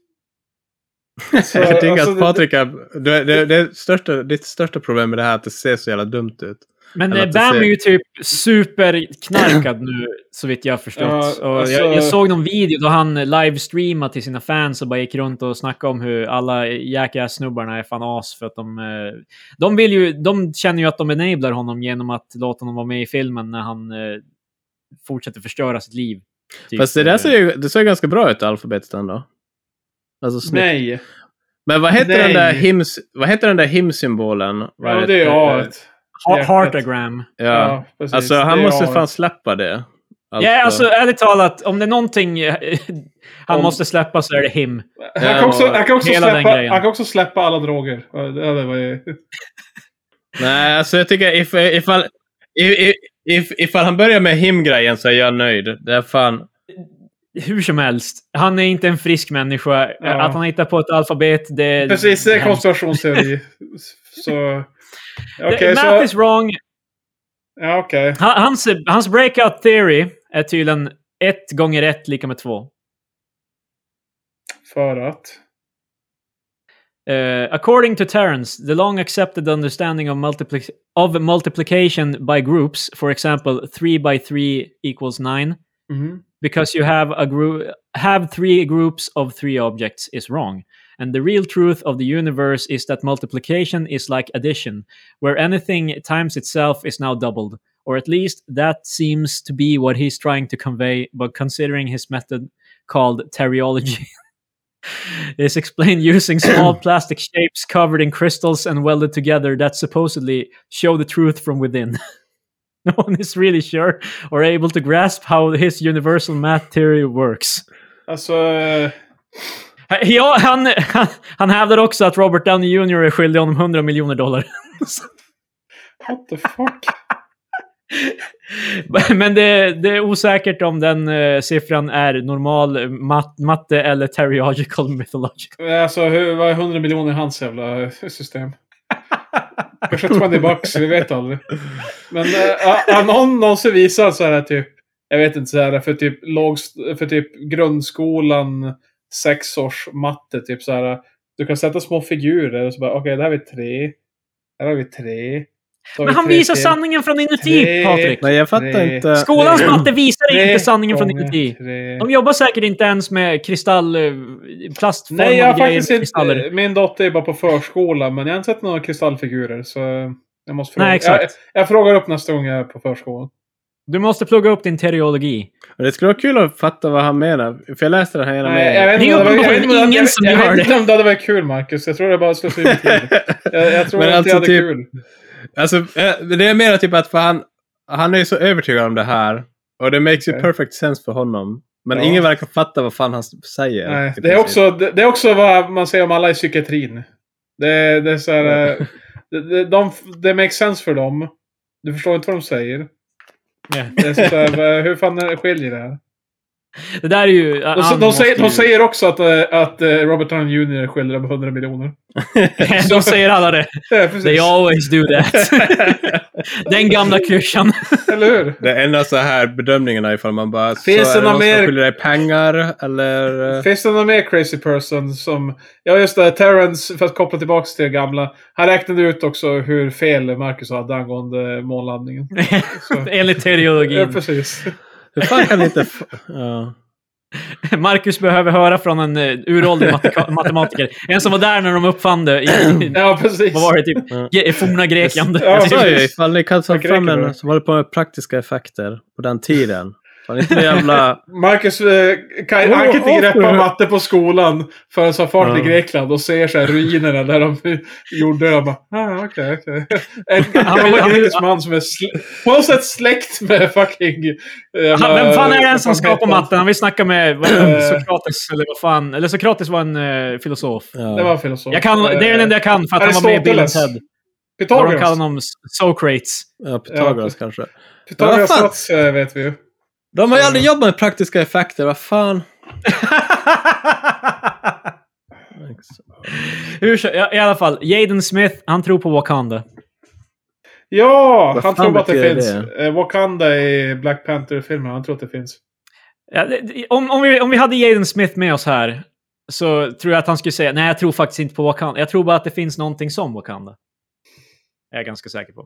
[SPEAKER 1] Så,
[SPEAKER 2] jag tänker
[SPEAKER 1] alltså,
[SPEAKER 2] att
[SPEAKER 1] det-
[SPEAKER 2] Patrik, är, det, det, det största, ditt största problem med det här är att det ser så jävla dumt ut.
[SPEAKER 3] Men
[SPEAKER 2] Eller
[SPEAKER 3] eh,
[SPEAKER 2] att det
[SPEAKER 3] Bam
[SPEAKER 2] ser-
[SPEAKER 3] är ju typ superknarkad nu, så vitt jag har förstått.
[SPEAKER 1] Ja,
[SPEAKER 3] och
[SPEAKER 1] alltså-
[SPEAKER 3] jag, jag såg någon video då han livestreamade till sina fans och bara gick runt och snackade om hur alla Jackass-snubbarna är fan as för att de... eh, De, vill ju, de känner ju att de enablar honom genom att låta honom vara med i filmen när han eh, fortsätter förstöra sitt liv. Typ.
[SPEAKER 2] Fast det där ser ju det ser ganska bra ut, alfabetet ändå. Alltså snyggt.
[SPEAKER 1] Nej.
[SPEAKER 2] Men vad heter, den där
[SPEAKER 1] Nej.
[SPEAKER 2] hims, vad heter den där himsymbolen? Vad
[SPEAKER 1] Ja, det är
[SPEAKER 2] eh,
[SPEAKER 1] A.
[SPEAKER 3] Ha- Heartagram.
[SPEAKER 2] Ja.
[SPEAKER 1] Ja, precis.
[SPEAKER 2] alltså
[SPEAKER 1] Det
[SPEAKER 2] han
[SPEAKER 1] är
[SPEAKER 2] måste
[SPEAKER 1] A.
[SPEAKER 2] fan släppa det.
[SPEAKER 3] Ja, alltså ärligt talat, om det är någonting eh, han
[SPEAKER 1] Om-
[SPEAKER 3] måste släppa så är det him.
[SPEAKER 1] Han kan också, han kan också,
[SPEAKER 3] Hela den
[SPEAKER 1] släppa,
[SPEAKER 3] grejen.
[SPEAKER 1] han kan också släppa alla droger. Ja, det- ja, det var ju-
[SPEAKER 2] Nej, alltså jag tycker if, ifall, if, if, ifall han börjar med him-grejen så är jag nöjd. Det är fan...
[SPEAKER 3] Hur som helst, han är inte en frisk människa.
[SPEAKER 1] Ja.
[SPEAKER 3] Att han hittar på ett alfabet, det...
[SPEAKER 1] Precis, det är
[SPEAKER 3] hemskt.
[SPEAKER 1] konspirationsteori. Så... Okej,
[SPEAKER 3] Det- Math
[SPEAKER 1] så...
[SPEAKER 3] is wrong.
[SPEAKER 1] Ja, okej.
[SPEAKER 3] Ha- Hans, hans breakout theory är tydligen ett gånger ett lika med två.
[SPEAKER 1] För att...
[SPEAKER 3] Eh, according to Terence, the long accepted understanding of, multipli- of multiplication by groups, for example, 3 by 3 equals 9,
[SPEAKER 1] Mhm.
[SPEAKER 3] because you have a group have three groups of three objects is wrong and the real truth of the universe is that multiplication is like addition where anything times itself is now doubled or at least that seems to be what he's trying to convey but considering his method called teriology is explained using small plastic shapes covered in crystals and welded together that supposedly show the truth from within no one is really sure or able to grasp how his universal math theory works.
[SPEAKER 1] Alltså... eh,
[SPEAKER 3] Ja, han, han, han hävdar också att Robert Downey Jr är skyldig honom 100 miljoner dollar.
[SPEAKER 1] What the fuck?
[SPEAKER 3] Men det, det är osäkert om den eh, siffran är normal mat, matte eller teriological mythological.
[SPEAKER 1] Alltså, hur, vad är 100 miljoner i hans jävla eh, system? Kanske 20 bucks, vi vet aldrig. Men äh, har någon någonsin visat så här typ, jag vet inte, så här, för, typ, lågst- för typ grundskolan, sexårs matte, typ så här. Du kan sätta små figurer och så bara, okej, där har vi tre. Där har vi tre. Så har
[SPEAKER 3] Men
[SPEAKER 1] vi
[SPEAKER 3] han
[SPEAKER 1] tre
[SPEAKER 3] visar
[SPEAKER 1] till.
[SPEAKER 3] sanningen från inuti,
[SPEAKER 1] Tre.
[SPEAKER 3] Patrik.
[SPEAKER 2] Nej, jag fattar
[SPEAKER 1] Nej.
[SPEAKER 2] inte.
[SPEAKER 3] Skolans matte visar
[SPEAKER 1] Tre
[SPEAKER 3] inte sanningen från
[SPEAKER 1] gånger
[SPEAKER 3] inuti.
[SPEAKER 1] tre.
[SPEAKER 3] De jobbar säkert inte ens med kristall... eh, plastformade
[SPEAKER 1] Nej, jag har
[SPEAKER 3] grejer
[SPEAKER 1] faktiskt
[SPEAKER 3] med kristaller.
[SPEAKER 1] inte... Min dotter är bara på förskola, men jag har inte sett några kristallfigurer, så jag måste fråga.
[SPEAKER 3] Nej, exakt.
[SPEAKER 1] Jag, jag frågar upp nästa gång jag är på förskolan.
[SPEAKER 3] Du måste plugga upp din teriologi.
[SPEAKER 2] Men det skulle vara kul att fatta vad han menar. För jag läste den här ena
[SPEAKER 1] Nej, jag vet
[SPEAKER 3] Det är
[SPEAKER 1] inte om det var- jag
[SPEAKER 3] uppenbarligen
[SPEAKER 1] vet inte om det-
[SPEAKER 3] ingen
[SPEAKER 1] jag vet-
[SPEAKER 3] som
[SPEAKER 1] jag
[SPEAKER 3] gör
[SPEAKER 1] vet inte om det hade varit kul, Marcus. Jag tror det bara slösade med tid. Jag, jag tror
[SPEAKER 2] Men
[SPEAKER 1] inte
[SPEAKER 2] alltså
[SPEAKER 1] jag hade
[SPEAKER 2] typ-
[SPEAKER 1] kul.
[SPEAKER 2] Alltså, eh, det är mer typ att för han, han är ju så övertygad om det här. Och det makes ju
[SPEAKER 1] Okej.
[SPEAKER 2] perfect sense för honom. Men
[SPEAKER 1] Ja.
[SPEAKER 2] ingen verkar fatta vad fan han s- säger.
[SPEAKER 1] Nej,
[SPEAKER 2] i
[SPEAKER 1] det, är
[SPEAKER 2] princip.
[SPEAKER 1] också, det, det är också vad man säger om alla i psykiatrin. Det, det är så här, eh, det, det, de, det makes sense för dem. Du förstår inte vad de säger. Det är så här, eh, hur fan skiljer det här?
[SPEAKER 3] Det där är ju...
[SPEAKER 1] De,
[SPEAKER 3] han
[SPEAKER 1] de,
[SPEAKER 3] måste
[SPEAKER 1] säger, de
[SPEAKER 3] ju-
[SPEAKER 1] säger också att, eh, att eh, Robert Downey Jr. är skyldig dem 100 miljoner.
[SPEAKER 3] de säger alla det.
[SPEAKER 1] Ja, precis.
[SPEAKER 3] They always do that. Den gamla klyschan.
[SPEAKER 1] Eller hur?
[SPEAKER 2] Det är ändå så här bedömningarna ifall man bara...
[SPEAKER 1] Finns
[SPEAKER 2] så
[SPEAKER 1] det
[SPEAKER 2] är
[SPEAKER 1] någon
[SPEAKER 2] någon
[SPEAKER 1] mer-
[SPEAKER 2] som skyller dig pengar eller... eh,
[SPEAKER 1] Finns det någon mer crazy person som... Ja, just det. Terrence, för att koppla tillbaka till det gamla. Han räknade ut också hur fel Marcus hade angående månlandningen.
[SPEAKER 3] Mm.
[SPEAKER 1] Så-
[SPEAKER 3] Enligt
[SPEAKER 1] Ja,
[SPEAKER 3] teologin.
[SPEAKER 1] precis.
[SPEAKER 2] Hur fan kan vi inte... f- Ja.
[SPEAKER 3] Marcus behöver höra från en eh, uråldrig matika- matematiker. En som var där när de uppfann det. I, i,
[SPEAKER 1] Ja, precis.
[SPEAKER 3] vad var det? Typ,
[SPEAKER 2] Ja.
[SPEAKER 3] ge- forna Grekland.
[SPEAKER 1] Ja,
[SPEAKER 2] Jag sa ju
[SPEAKER 1] precis.
[SPEAKER 2] ifall ni kan ta
[SPEAKER 1] Tack, räcker
[SPEAKER 2] fram
[SPEAKER 1] med det.
[SPEAKER 2] en som håller på med praktiska effekter på den tiden. Fan inte någon jävla...
[SPEAKER 1] Marcus eh, kan,
[SPEAKER 2] Oh,
[SPEAKER 1] han kan inte
[SPEAKER 2] oh,
[SPEAKER 1] greppa
[SPEAKER 2] oh.
[SPEAKER 1] matte på skolan förrän han far till
[SPEAKER 2] Ja.
[SPEAKER 1] Grekland och ser så här ruinerna där de gjorde det. Ah, okej, okej. En
[SPEAKER 3] Han vill- han
[SPEAKER 1] gammal
[SPEAKER 3] vill-
[SPEAKER 1] grekisk man som är sl- på något sätt släkt med fucking... eh,
[SPEAKER 3] Han, vem fan är den som skapar matten? Han vill snacka med vad är det, Sokrates, eller vad fan. Eller Sokrates var en eh, filosof.
[SPEAKER 2] Ja.
[SPEAKER 1] Det var en filosof.
[SPEAKER 3] Jag kan, det är den enda jag kan för att han var med i Bill
[SPEAKER 1] Aristoteles.
[SPEAKER 3] Ted. De kallar
[SPEAKER 1] Pythagoras.
[SPEAKER 3] honom S- Socrates.
[SPEAKER 2] Ja, Pythagoras kanske.
[SPEAKER 1] Pythagoras
[SPEAKER 2] Vad fan?
[SPEAKER 1] sats eh, vet vi ju.
[SPEAKER 2] De har ju aldrig jobbat med praktiska effekter, vad fan.
[SPEAKER 3] Hur, så- ja, I alla fall, Jaden Smith, han tror på Wakanda.
[SPEAKER 1] Ja,
[SPEAKER 2] Vad
[SPEAKER 1] han
[SPEAKER 2] fan
[SPEAKER 1] tror att det
[SPEAKER 2] betyder
[SPEAKER 1] finns.
[SPEAKER 2] det?
[SPEAKER 1] Eh, Wakanda i Black Panther-filmen, han tror att det finns.
[SPEAKER 3] Ja, det- det- om, om, vi, om vi hade Jaden Smith med oss här så tror jag att han skulle säga nej, jag tror faktiskt inte på Wakanda. Jag tror bara att det finns någonting som Wakanda. Jag är jag ganska säker på.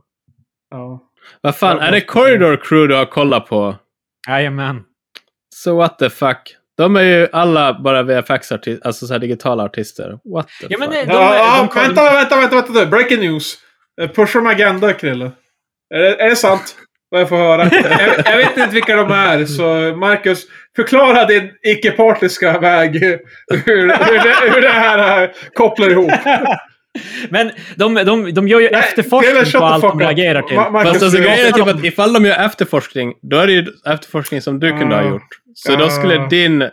[SPEAKER 1] Ja.
[SPEAKER 2] Vad fan, är det Corridor Crew du har kollat på?
[SPEAKER 3] Jajamän.
[SPEAKER 2] So what the fuck? De är ju alla bara VFX-artister, alltså så här digitala artister. What the
[SPEAKER 3] Ja, men
[SPEAKER 2] fuck?
[SPEAKER 3] det-
[SPEAKER 1] ja, ja,
[SPEAKER 3] de kom-
[SPEAKER 1] vänta, vänta, vänta, vänta nu. Breaking news. Eh, Push om agenda, Krille. Är det, är det sant? Vad jag får höra. jag, jag vet inte vilka de är, så Marcus, förklara din icke-partiska väg. Hur, hur, det, hur det här eh, kopplar ihop.
[SPEAKER 3] Men de, de, de gör ju
[SPEAKER 1] Krille,
[SPEAKER 3] efterforskning
[SPEAKER 1] shut
[SPEAKER 3] på
[SPEAKER 1] the
[SPEAKER 3] allt
[SPEAKER 1] fuck
[SPEAKER 3] de
[SPEAKER 1] up.
[SPEAKER 3] reagerar till.
[SPEAKER 1] Ma- Marcus,
[SPEAKER 2] Fast alltså,
[SPEAKER 1] du-
[SPEAKER 2] grejen är typ att ifall de gör efterforskning, då är det ju efterforskning som du kunde ha
[SPEAKER 1] Ah.
[SPEAKER 2] gjort. Så då
[SPEAKER 1] Ah.
[SPEAKER 2] skulle din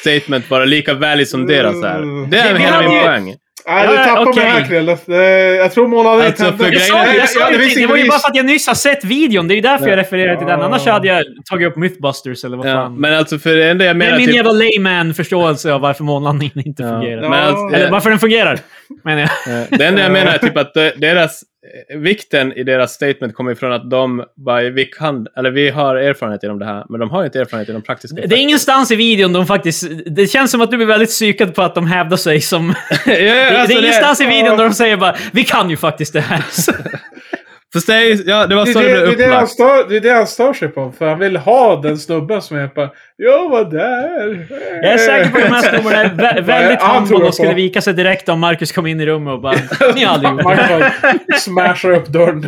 [SPEAKER 2] statement vara lika värdig som deras är. Det är
[SPEAKER 3] Mm. Vi- vi
[SPEAKER 2] hela
[SPEAKER 3] hade
[SPEAKER 2] min
[SPEAKER 3] ju-
[SPEAKER 2] poäng.
[SPEAKER 1] Nej, du
[SPEAKER 3] Ja,
[SPEAKER 1] tappar
[SPEAKER 3] okej.
[SPEAKER 1] mig här, Krille. Det- Jag tror månaden
[SPEAKER 2] Alltså, för
[SPEAKER 3] Jag
[SPEAKER 2] grejen
[SPEAKER 3] sa,
[SPEAKER 2] är-
[SPEAKER 3] jag sa
[SPEAKER 1] Ja, det
[SPEAKER 3] det,
[SPEAKER 1] finns
[SPEAKER 3] det,
[SPEAKER 1] ingen
[SPEAKER 3] var ju
[SPEAKER 1] risk.
[SPEAKER 3] bara för att jag nyss har sett videon. Det är ju därför jag refererar till den.
[SPEAKER 1] Ja.
[SPEAKER 3] Annars hade jag tagit upp Mythbusters eller vad
[SPEAKER 2] Ja,
[SPEAKER 3] fan.
[SPEAKER 2] men alltså för det enda jag
[SPEAKER 3] det
[SPEAKER 2] menar...
[SPEAKER 3] är min
[SPEAKER 2] typ-
[SPEAKER 3] jävla layman-förståelse av varför månlandningen inte
[SPEAKER 2] Ja,
[SPEAKER 3] fungerar.
[SPEAKER 2] Men alltså,
[SPEAKER 1] Ja.
[SPEAKER 3] Eller varför den fungerar, menar jag.
[SPEAKER 2] Eh, Det enda jag menar är typ att de- deras, eh, vikten i deras statement kommer ifrån att de bara, vi kan, eller vi har erfarenhet inom det här, men de har ju inte erfarenhet inom praktiska
[SPEAKER 3] Det är ingenstans i videon de faktiskt... Det känns som att du blir väldigt psykad på att de hävdar sig som...
[SPEAKER 2] ja, ja,
[SPEAKER 3] det,
[SPEAKER 2] alltså,
[SPEAKER 3] det är ingenstans i videon
[SPEAKER 1] ja.
[SPEAKER 3] där de säger bara “Vi kan ju faktiskt det här”. Så-
[SPEAKER 2] Fast det är, ja, det var
[SPEAKER 1] Det
[SPEAKER 2] så det,
[SPEAKER 1] är det,
[SPEAKER 2] blev
[SPEAKER 1] det, är det, han
[SPEAKER 2] upplagt.
[SPEAKER 1] stör, det är det han stör sig på. För han vill ha den snubben som är på Jag var där.
[SPEAKER 3] Jag är säker på att de här snubbarna är vä- väldigt
[SPEAKER 1] han tror
[SPEAKER 3] humble
[SPEAKER 1] jag
[SPEAKER 3] och skulle
[SPEAKER 1] på.
[SPEAKER 3] vika sig direkt om Marcus kom in i rummet och bara “Ni har aldrig gjort det här."
[SPEAKER 1] Man bara smashar upp dörren.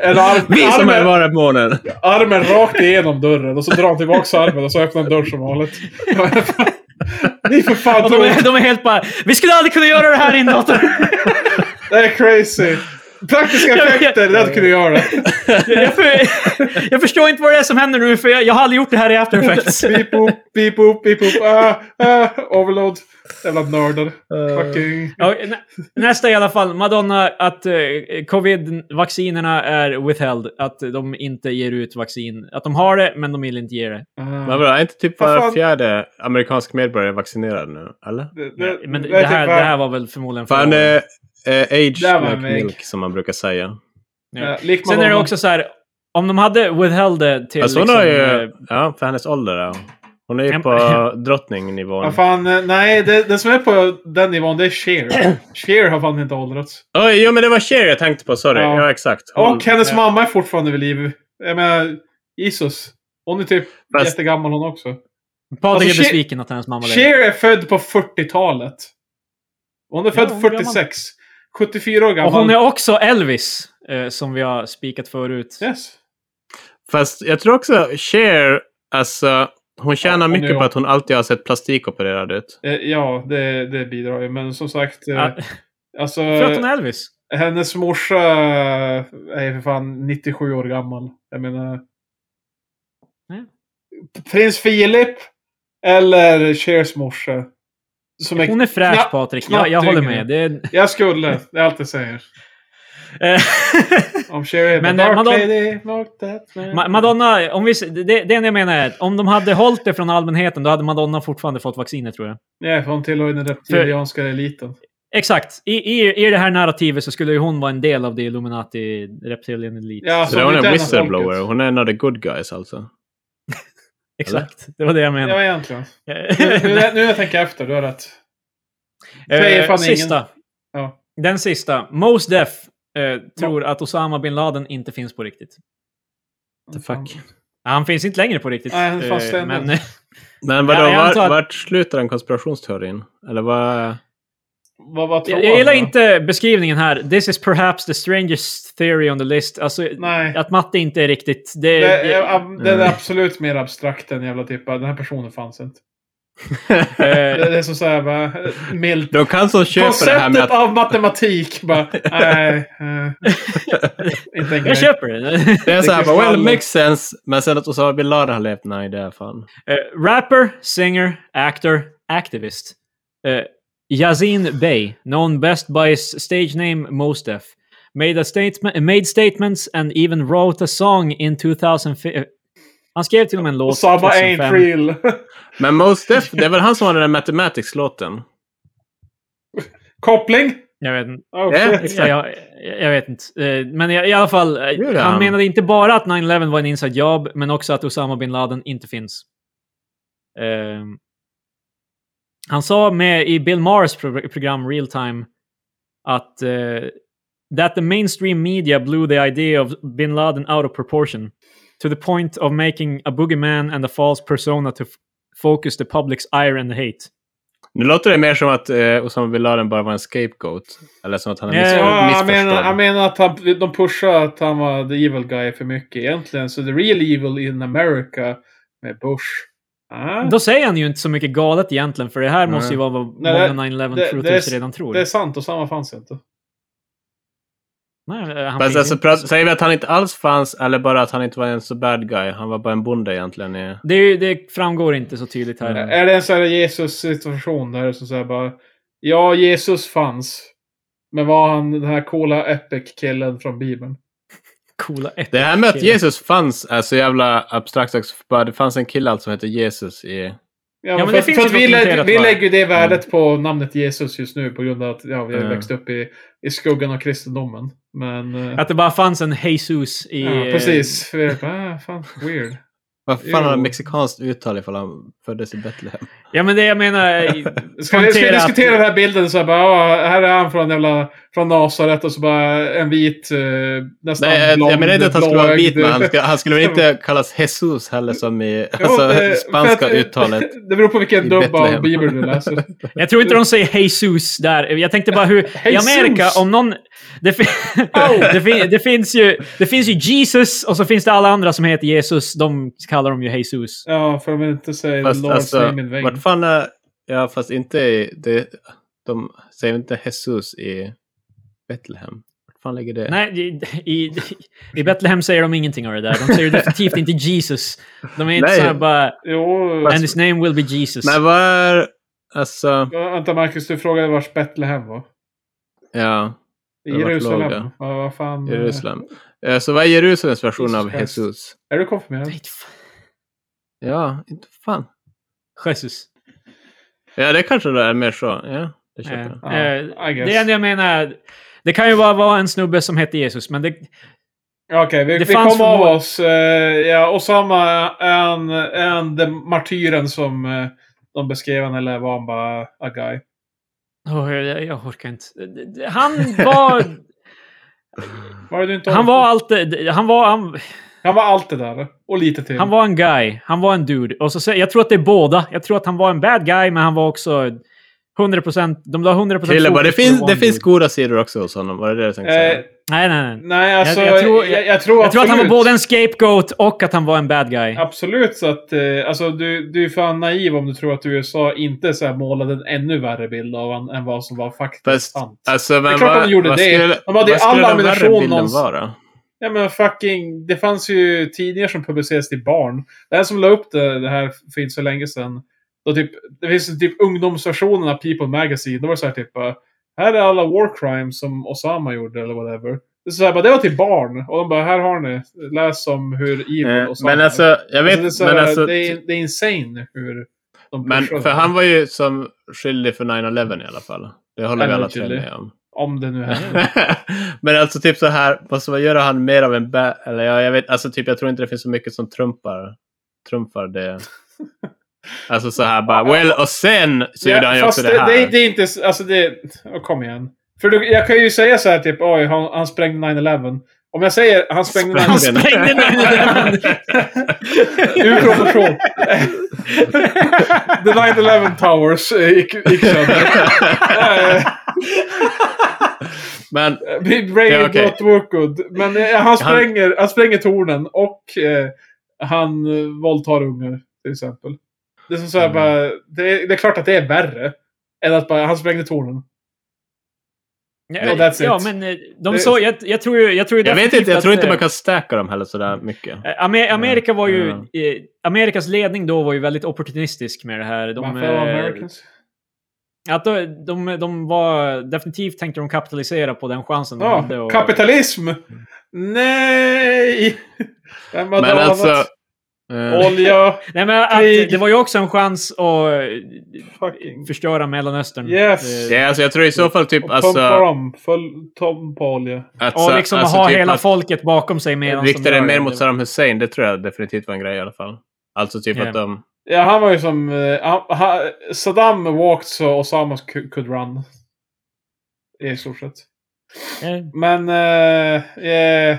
[SPEAKER 1] Eller arm,
[SPEAKER 2] Vi som är
[SPEAKER 1] armen,
[SPEAKER 2] bara på månen.
[SPEAKER 1] armen rakt igenom dörren och så drar han tillbaka armen och så öppnar han dörren som vanligt. Ni för fan
[SPEAKER 3] Och de,
[SPEAKER 1] tror
[SPEAKER 3] är, de är helt bara “Vi skulle aldrig kunna göra det här i en dator”.
[SPEAKER 1] Det är crazy. Praktiska
[SPEAKER 3] Jag vet.
[SPEAKER 1] effekter, det hade kunnat göra.
[SPEAKER 3] Jag, för, jag förstår inte vad det är som händer nu, för jag, jag har aldrig gjort det här i After Effects.
[SPEAKER 1] Beep boop, beep boop, beep boop. Ah, ah, overload. Jävla nördar.
[SPEAKER 3] Eh.
[SPEAKER 1] Fucking.
[SPEAKER 3] Ja, nä- nästa i alla fall. Madonna, att eh, covid-vaccinerna är withheld. Att de inte ger ut vaccin. Att de har det, men de vill inte ge det.
[SPEAKER 2] Men
[SPEAKER 1] Ah.
[SPEAKER 2] vadå, är inte typ
[SPEAKER 1] Vad
[SPEAKER 2] var
[SPEAKER 1] fan?
[SPEAKER 2] fjärde amerikansk medborgare vaccinerad nu? Eller?
[SPEAKER 1] Det,
[SPEAKER 3] Men det,
[SPEAKER 1] är
[SPEAKER 3] det,
[SPEAKER 1] typ
[SPEAKER 3] här, det
[SPEAKER 1] värre.
[SPEAKER 3] här var väl förmodligen
[SPEAKER 2] Fan,
[SPEAKER 3] förra året.
[SPEAKER 2] eh, eh, age
[SPEAKER 1] Där var
[SPEAKER 2] like
[SPEAKER 1] mig.
[SPEAKER 2] milk som man brukar säga.
[SPEAKER 1] Ja, lik
[SPEAKER 3] Sen är det
[SPEAKER 1] Madonna.
[SPEAKER 3] också så här. Om de hade withheld det till...
[SPEAKER 2] Alltså, hon
[SPEAKER 3] liksom,
[SPEAKER 2] har ju,
[SPEAKER 3] eh,
[SPEAKER 2] ja, för hennes ålder. Ja. Hon är ju
[SPEAKER 3] Em-
[SPEAKER 2] på drottningnivån.
[SPEAKER 1] Ja, fan, eh, nej, det, den som är på den nivån det är Cher. Cher har fan inte åldrats.
[SPEAKER 2] Oj, jo men det var Cher jag tänkte på, sorry.
[SPEAKER 1] Ja.
[SPEAKER 2] Ja, exakt. Hon-
[SPEAKER 1] Och hennes
[SPEAKER 3] eh,
[SPEAKER 1] mamma är fortfarande vid liv. Jag menar, Jesus. Hon är typ
[SPEAKER 2] Fast-
[SPEAKER 1] jättegammal hon också.
[SPEAKER 3] Patrik
[SPEAKER 1] Alltså,
[SPEAKER 3] är
[SPEAKER 1] Cher-
[SPEAKER 3] besviken att hennes mamma lever.
[SPEAKER 1] Cher är född på 40-talet. Hon är född
[SPEAKER 3] hon är
[SPEAKER 1] 46. 74 år gammal.
[SPEAKER 3] Och hon är också Elvis, eh, som vi har spikat förut.
[SPEAKER 1] Yes.
[SPEAKER 2] Fast jag tror också Cher, alltså, hon tjänar
[SPEAKER 1] hon är
[SPEAKER 2] mycket
[SPEAKER 1] ju-
[SPEAKER 2] på att hon alltid har sett plastikopererad ut.
[SPEAKER 1] Eh, Ja, det, det bidrar ju. Men som sagt. eh,
[SPEAKER 3] Ja,
[SPEAKER 1] Alltså,
[SPEAKER 3] för att hon är Elvis.
[SPEAKER 1] hennes morsa är för fan 97 år gammal. Jag menar...
[SPEAKER 3] Mm.
[SPEAKER 1] Prins Philip eller Chers morsa. Som är
[SPEAKER 3] Hon är fräsch,
[SPEAKER 1] Kna-
[SPEAKER 3] Patrik.
[SPEAKER 1] knappt
[SPEAKER 3] Jag, jag håller
[SPEAKER 1] yngre.
[SPEAKER 3] med. Det är,
[SPEAKER 1] Jag skulle, det är allt jag säger.
[SPEAKER 3] Eh,
[SPEAKER 1] Om Sherry
[SPEAKER 3] Men,
[SPEAKER 1] Men
[SPEAKER 3] eh,
[SPEAKER 1] Dark
[SPEAKER 3] Madonna-
[SPEAKER 1] Lady, Dark Death, nej.
[SPEAKER 3] Ma- Madonna, om vi, s- det, det är det jag menar är att om de hade hållit det från allmänheten då hade Madonna fortfarande fått vaccinet tror jag.
[SPEAKER 1] Nej, för hon tillhör ju den reptilianska eliten.
[SPEAKER 3] Exakt. I, i, i det här narrativet så skulle ju hon vara en del av det Illuminati Reptilian Elite.
[SPEAKER 1] Ja,
[SPEAKER 2] Så hon
[SPEAKER 1] inte
[SPEAKER 2] är
[SPEAKER 1] en
[SPEAKER 2] en
[SPEAKER 1] av folket.
[SPEAKER 2] whistleblower. Hon är en av the good guys alltså.
[SPEAKER 3] Exakt. Det var det jag menade. Eh,
[SPEAKER 1] Ja, egentligen. Nu, nu, nu när jag tänker efter, du har rätt. säger
[SPEAKER 3] Eh,
[SPEAKER 1] fan ingen.
[SPEAKER 3] sista.
[SPEAKER 1] Ja.
[SPEAKER 3] Den sista. Mos Def eh, tror att Osama bin Laden inte finns på riktigt.
[SPEAKER 2] The fuck.
[SPEAKER 3] Han finns inte längre på riktigt.
[SPEAKER 1] Nej, han fanns det
[SPEAKER 3] eh,
[SPEAKER 1] ändå.
[SPEAKER 3] men eh,
[SPEAKER 2] Men vadå,
[SPEAKER 3] Ja, jag
[SPEAKER 2] var,
[SPEAKER 3] antar att-
[SPEAKER 2] vart slutar den konspirationsteorin? Eller vad...
[SPEAKER 1] Vad, vad tror
[SPEAKER 3] jag, jag gillar
[SPEAKER 1] han då?
[SPEAKER 3] inte beskrivningen här. This is perhaps the strangest theory on the list. Alltså,
[SPEAKER 1] Nej.
[SPEAKER 3] att matte inte är riktigt... Det,
[SPEAKER 1] Det, är-
[SPEAKER 3] det,
[SPEAKER 1] ab- det är
[SPEAKER 2] Mm.
[SPEAKER 1] absolut mer abstrakt än jävla typ Den här personen fanns inte.
[SPEAKER 3] eh,
[SPEAKER 1] Det, det är så såhär bara... Milt.
[SPEAKER 2] De kan så köpa det här med
[SPEAKER 1] Konceptet
[SPEAKER 2] att...
[SPEAKER 1] av matematik bara... Nej. eh, inte en grej.
[SPEAKER 3] jag köper det.
[SPEAKER 2] Det är så här,
[SPEAKER 1] kan
[SPEAKER 2] bara, well,
[SPEAKER 1] falla.
[SPEAKER 2] makes sense. Men sen att Osama bin Laden har levt, nej det är fan.
[SPEAKER 3] Eh, rapper, singer, actor, activist. Uh, Yazin Bey, known best by his stage name Mos Def, made, a statement, made statements and even wrote a song in 2005. eh, Han skrev till och med en låt
[SPEAKER 1] Osama ain't
[SPEAKER 3] 2005.
[SPEAKER 1] real.
[SPEAKER 2] Men Mos Def, det är väl han som hade den där Mathematics-låten?
[SPEAKER 1] Koppling?
[SPEAKER 3] Jag vet inte.
[SPEAKER 1] Oh,
[SPEAKER 2] Ja,
[SPEAKER 1] shit.
[SPEAKER 2] exakt.
[SPEAKER 3] Jag, jag, jag vet inte. Eh, Men i, i alla fall, eh,
[SPEAKER 2] Gjorde
[SPEAKER 3] han
[SPEAKER 2] han?
[SPEAKER 3] menade inte bara att 9-11 var en inside job, men också att Osama bin Laden inte finns. Ehm, han sa med i Bill Maher's pro program Real Time att eh, that the mainstream media blew the idea of bin Laden out of proportion to the point of making a boogeyman and a false persona to f- focus the public's ire and hate.
[SPEAKER 2] Nu låter det mer som att eh, Osama bin Laden bara var en scapegoat. Eller som att han är
[SPEAKER 3] Ja,
[SPEAKER 2] missför-
[SPEAKER 1] Ja, han
[SPEAKER 2] missförstådd.
[SPEAKER 1] menar, han menar att han, de pushar att han var the evil guy för mycket egentligen. Så the real evil in America med Bush. Ah,
[SPEAKER 3] Då säger han ju inte så mycket galet egentligen, för det här måste ju vara vad
[SPEAKER 1] Nej,
[SPEAKER 3] många 9-11
[SPEAKER 1] det- det
[SPEAKER 3] trooters
[SPEAKER 1] är-
[SPEAKER 3] redan tror.
[SPEAKER 1] det är sant, och samma fanns inte.
[SPEAKER 3] Nej, eh, han
[SPEAKER 2] Fast
[SPEAKER 3] finns
[SPEAKER 2] alltså,
[SPEAKER 3] inte.
[SPEAKER 2] pra- säger vi att han inte alls fanns eller bara att han inte var en så bad guy? Han var bara en bonde egentligen. i-
[SPEAKER 3] det, är ju- det framgår inte så tydligt här.
[SPEAKER 2] Nej.
[SPEAKER 1] Är det en sån här Jesus-situation där som säger bara... Ja, Jesus fanns. Men var han den här coola epic-killen från Bibeln?
[SPEAKER 3] Coola
[SPEAKER 2] Det här med att
[SPEAKER 3] Killen.
[SPEAKER 2] Jesus fanns är så jävla abstrakt också. för bara Det fanns en kille alltså som hette Jesus i...
[SPEAKER 1] Ja,
[SPEAKER 3] men
[SPEAKER 1] för,
[SPEAKER 3] det finns
[SPEAKER 1] för
[SPEAKER 3] ju
[SPEAKER 1] att vi,
[SPEAKER 3] dokumenterat, Mm.
[SPEAKER 1] lägger, vi
[SPEAKER 3] va?
[SPEAKER 1] lägger ju det värdet på namnet Jesus just nu på grund av att ja, vi har
[SPEAKER 2] Ja.
[SPEAKER 1] växt upp i, i skuggan av kristendomen. Men... eh,
[SPEAKER 3] Att det bara fanns en Jesus i...
[SPEAKER 1] ja, precis. För vi är bara, ah, fan, weird.
[SPEAKER 2] Vad fan har
[SPEAKER 1] Jo.
[SPEAKER 2] han mexikanskt uttal ifall han föddes i Betlehem?
[SPEAKER 3] eh, Ja, men det jag menar... eh,
[SPEAKER 1] Ska vi, ska vi
[SPEAKER 3] poängtera att-
[SPEAKER 1] diskutera den här bilden så här bara, ja, här är han från jävla, från Nasaret och så bara en vit, eh, nästan
[SPEAKER 2] Nej, jag, jag menar inte att han skulle vara vit,
[SPEAKER 1] blåögd-
[SPEAKER 2] men han skulle, han skulle väl inte kallas Jesus heller som i
[SPEAKER 1] Jo,
[SPEAKER 2] alltså,
[SPEAKER 1] eh, för
[SPEAKER 2] spanska
[SPEAKER 1] att-
[SPEAKER 2] uttalet.
[SPEAKER 1] Det beror på vilken
[SPEAKER 2] i
[SPEAKER 1] dubb av
[SPEAKER 2] Betlehem.
[SPEAKER 1] Bibeln du läser.
[SPEAKER 3] Jag tror inte de säger Jesus där. Jag tänkte bara hur... I
[SPEAKER 1] Jesus!
[SPEAKER 3] Amerika, om någon... Det, fin- det, fin- det, finns ju, det finns ju Jesus och så finns det alla andra som heter Jesus. De kallar dem ju Jesus.
[SPEAKER 1] Ja, för de vill inte säga
[SPEAKER 2] Fast
[SPEAKER 1] Lords
[SPEAKER 2] alltså,
[SPEAKER 1] name in vain.
[SPEAKER 2] vart fan är... Ja, fast inte i... Det, de säger inte Jesus i Betlehem. Vart fan ligger det?
[SPEAKER 3] Nej, i, i, i Betlehem säger de ingenting av det där. De säger definitivt inte Jesus. De är inte
[SPEAKER 2] Nej. alltså,
[SPEAKER 3] såhär bara...
[SPEAKER 1] Jo,
[SPEAKER 3] And his name will be Jesus.
[SPEAKER 2] Men vad är... Alltså...
[SPEAKER 1] vänta Marcus, du frågade vars Betlehem var.
[SPEAKER 2] Ja,
[SPEAKER 1] I
[SPEAKER 2] Det vart
[SPEAKER 1] Jerusalem?
[SPEAKER 2] låg, ja.
[SPEAKER 1] Ja, vad fan. eh,
[SPEAKER 2] Jerusalem. Eh, Så vad är Jerusalems version
[SPEAKER 1] Jesus
[SPEAKER 2] av
[SPEAKER 1] Christ.
[SPEAKER 2] Jesus?
[SPEAKER 1] Är du konfirmerad?
[SPEAKER 3] Nej, fan.
[SPEAKER 2] Ja, inte fan.
[SPEAKER 3] Jesus.
[SPEAKER 2] Ja, det kanske det är mer så. Ja, det köper
[SPEAKER 3] Eh,
[SPEAKER 2] jag.
[SPEAKER 1] Ja,
[SPEAKER 3] eh,
[SPEAKER 1] I guess.
[SPEAKER 3] det enda jag menar... Det kan ju bara vara en snubbe som heter Jesus, men det...
[SPEAKER 1] Okej, vi,
[SPEAKER 3] Det
[SPEAKER 1] vi
[SPEAKER 3] fanns
[SPEAKER 1] kom av
[SPEAKER 3] förmod-
[SPEAKER 1] oss. Eh, ja, Osama är en, en den martyren som eh, de beskrev han, eller var han bara a guy?
[SPEAKER 3] Åh, jag, jag orkar inte. Det- det- Han var...
[SPEAKER 1] Var det du inte
[SPEAKER 3] han var allt... det- Han var... Han,
[SPEAKER 1] han var allt det där. Och lite till.
[SPEAKER 3] han var en guy. Han var en dude. Och så, sä- jag tror att det är båda. Jag tror att han var en bad guy, men han var också... 100%, de la 100%
[SPEAKER 2] Krille bara, det
[SPEAKER 3] fokus på
[SPEAKER 2] finns,
[SPEAKER 3] one
[SPEAKER 2] det finns
[SPEAKER 3] dude."
[SPEAKER 2] goda sidor också hos honom. Var det det du tänkte säga?
[SPEAKER 1] eh,
[SPEAKER 3] Nej, nej, nej.
[SPEAKER 1] nej, alltså.
[SPEAKER 3] Jag-
[SPEAKER 1] Jag,
[SPEAKER 3] jag tror-
[SPEAKER 1] tror, jag, jag tror
[SPEAKER 3] Jag tror att han var
[SPEAKER 1] absolut-
[SPEAKER 3] både en scapegoat och att han var en bad guy.
[SPEAKER 1] Absolut, så att eh, alltså, du, du är fan naiv om du tror att USA inte så här målade en ännu värre bild av han än vad som var faktiskt
[SPEAKER 2] Fast,
[SPEAKER 1] sant.
[SPEAKER 2] alltså, men
[SPEAKER 1] är klart
[SPEAKER 2] vad,
[SPEAKER 1] de gjorde
[SPEAKER 2] vad
[SPEAKER 1] det.
[SPEAKER 2] Skulle,
[SPEAKER 1] De hade ju
[SPEAKER 2] vad skulle
[SPEAKER 1] alla
[SPEAKER 2] den värre
[SPEAKER 1] ammunition
[SPEAKER 2] bilden
[SPEAKER 1] någonstans.
[SPEAKER 2] vara?
[SPEAKER 1] Ja men fucking, det fanns ju tidningar som publicerades till barn. Det här som la upp det, det här för inte så länge sedan. Då typ, det finns typ ungdomsversionen av People Magazine. Då var det så här typ, eh, här är alla war crimes som Osama gjorde eller whatever. Så jag bara, det var till barn. Och de bara, här har ni. Läs om hur evil
[SPEAKER 2] Eh,
[SPEAKER 1] och sånt
[SPEAKER 2] Men
[SPEAKER 1] är."
[SPEAKER 2] alltså, jag vet...
[SPEAKER 1] det, är så här,
[SPEAKER 2] men alltså,
[SPEAKER 1] det, är, det är insane hur de
[SPEAKER 2] men
[SPEAKER 1] pushar
[SPEAKER 2] för
[SPEAKER 1] det.
[SPEAKER 2] han var ju som skyldig för 9-11 i alla fall. Det håller vi alla tre
[SPEAKER 1] Allegedly.
[SPEAKER 2] med om.
[SPEAKER 1] Om det nu händer.
[SPEAKER 2] men alltså typ så här, måste man göra han mer av en bä... Eller ja, jag vet, alltså typ jag tror inte det finns så mycket som trumpar, trumpar det. Alltså så här bara, well och sen så gjorde han ju också
[SPEAKER 1] fast
[SPEAKER 2] det, här.
[SPEAKER 1] Det, det är inte... s- Alltså det... åh, kom igen. För du, jag kan ju säga så här typ, oj, han, han sprängde 9-11. Om jag säger han sprängde 9-11.
[SPEAKER 3] Han sprängde 9-11.
[SPEAKER 1] Ur proportion. The 9-11 Towers eh, gick, gick sönder. Eh,
[SPEAKER 2] Men
[SPEAKER 1] Big Brain
[SPEAKER 2] Ja, okej.
[SPEAKER 1] not work good. Men eh, han spränger, han... spränger tornen och eh, han eh, våldtar ungar till exempel. Det är, som så här,
[SPEAKER 2] Mm.
[SPEAKER 1] bara, det, är, det är klart att det är värre. Än att bara, han sprängde tornen.
[SPEAKER 3] Ja,
[SPEAKER 1] Yeah, that's
[SPEAKER 3] ja
[SPEAKER 1] it.
[SPEAKER 3] men eh, de
[SPEAKER 1] Det-
[SPEAKER 3] så, jag, jag tror ju... Jag, tror ju
[SPEAKER 2] jag vet
[SPEAKER 3] definitivt
[SPEAKER 2] inte, jag
[SPEAKER 3] att,
[SPEAKER 2] tror inte
[SPEAKER 3] eh,
[SPEAKER 2] man kan stacka dem heller sådär mycket.
[SPEAKER 3] Eh, Amer Amerika var ju...
[SPEAKER 2] Mm.
[SPEAKER 3] Eh, Amerikas ledning då var ju väldigt opportunistisk med det här.
[SPEAKER 1] My
[SPEAKER 3] De,
[SPEAKER 1] fellow
[SPEAKER 3] eh,
[SPEAKER 1] Americans.
[SPEAKER 3] att de, de, de var... Definitivt tänkte de kapitalisera på den chansen de hade.
[SPEAKER 1] Ja,
[SPEAKER 3] och-
[SPEAKER 1] kapitalism! Nej! Vem har
[SPEAKER 2] Men
[SPEAKER 1] dramat?
[SPEAKER 2] alltså... eh,
[SPEAKER 1] Olja,
[SPEAKER 3] Nej, men att,
[SPEAKER 1] Krig.
[SPEAKER 3] det var ju också en chans att eh,
[SPEAKER 1] fucking...
[SPEAKER 3] förstöra Mellanöstern.
[SPEAKER 1] Yes.
[SPEAKER 3] Eh,
[SPEAKER 2] Ja, alltså jag tror i så fall typ
[SPEAKER 1] Och pumpa
[SPEAKER 2] alltså...
[SPEAKER 1] dem. Full tom på olja.
[SPEAKER 2] alltså
[SPEAKER 3] Och liksom
[SPEAKER 2] alltså,
[SPEAKER 3] ha
[SPEAKER 2] typ
[SPEAKER 3] hela
[SPEAKER 2] att-
[SPEAKER 3] folket bakom sig medan de
[SPEAKER 2] Rikta
[SPEAKER 3] gör
[SPEAKER 2] det mer
[SPEAKER 3] det.
[SPEAKER 2] mot Saddam Hussein, det tror jag definitivt var en grej i alla fall. Alltså typ
[SPEAKER 3] Ja.
[SPEAKER 2] att de...
[SPEAKER 1] Ja, han var ju som... eh, han- han- Saddam walked så Osama cu- could run. I stort sett.
[SPEAKER 3] Eh,
[SPEAKER 1] Men... Eh, eh,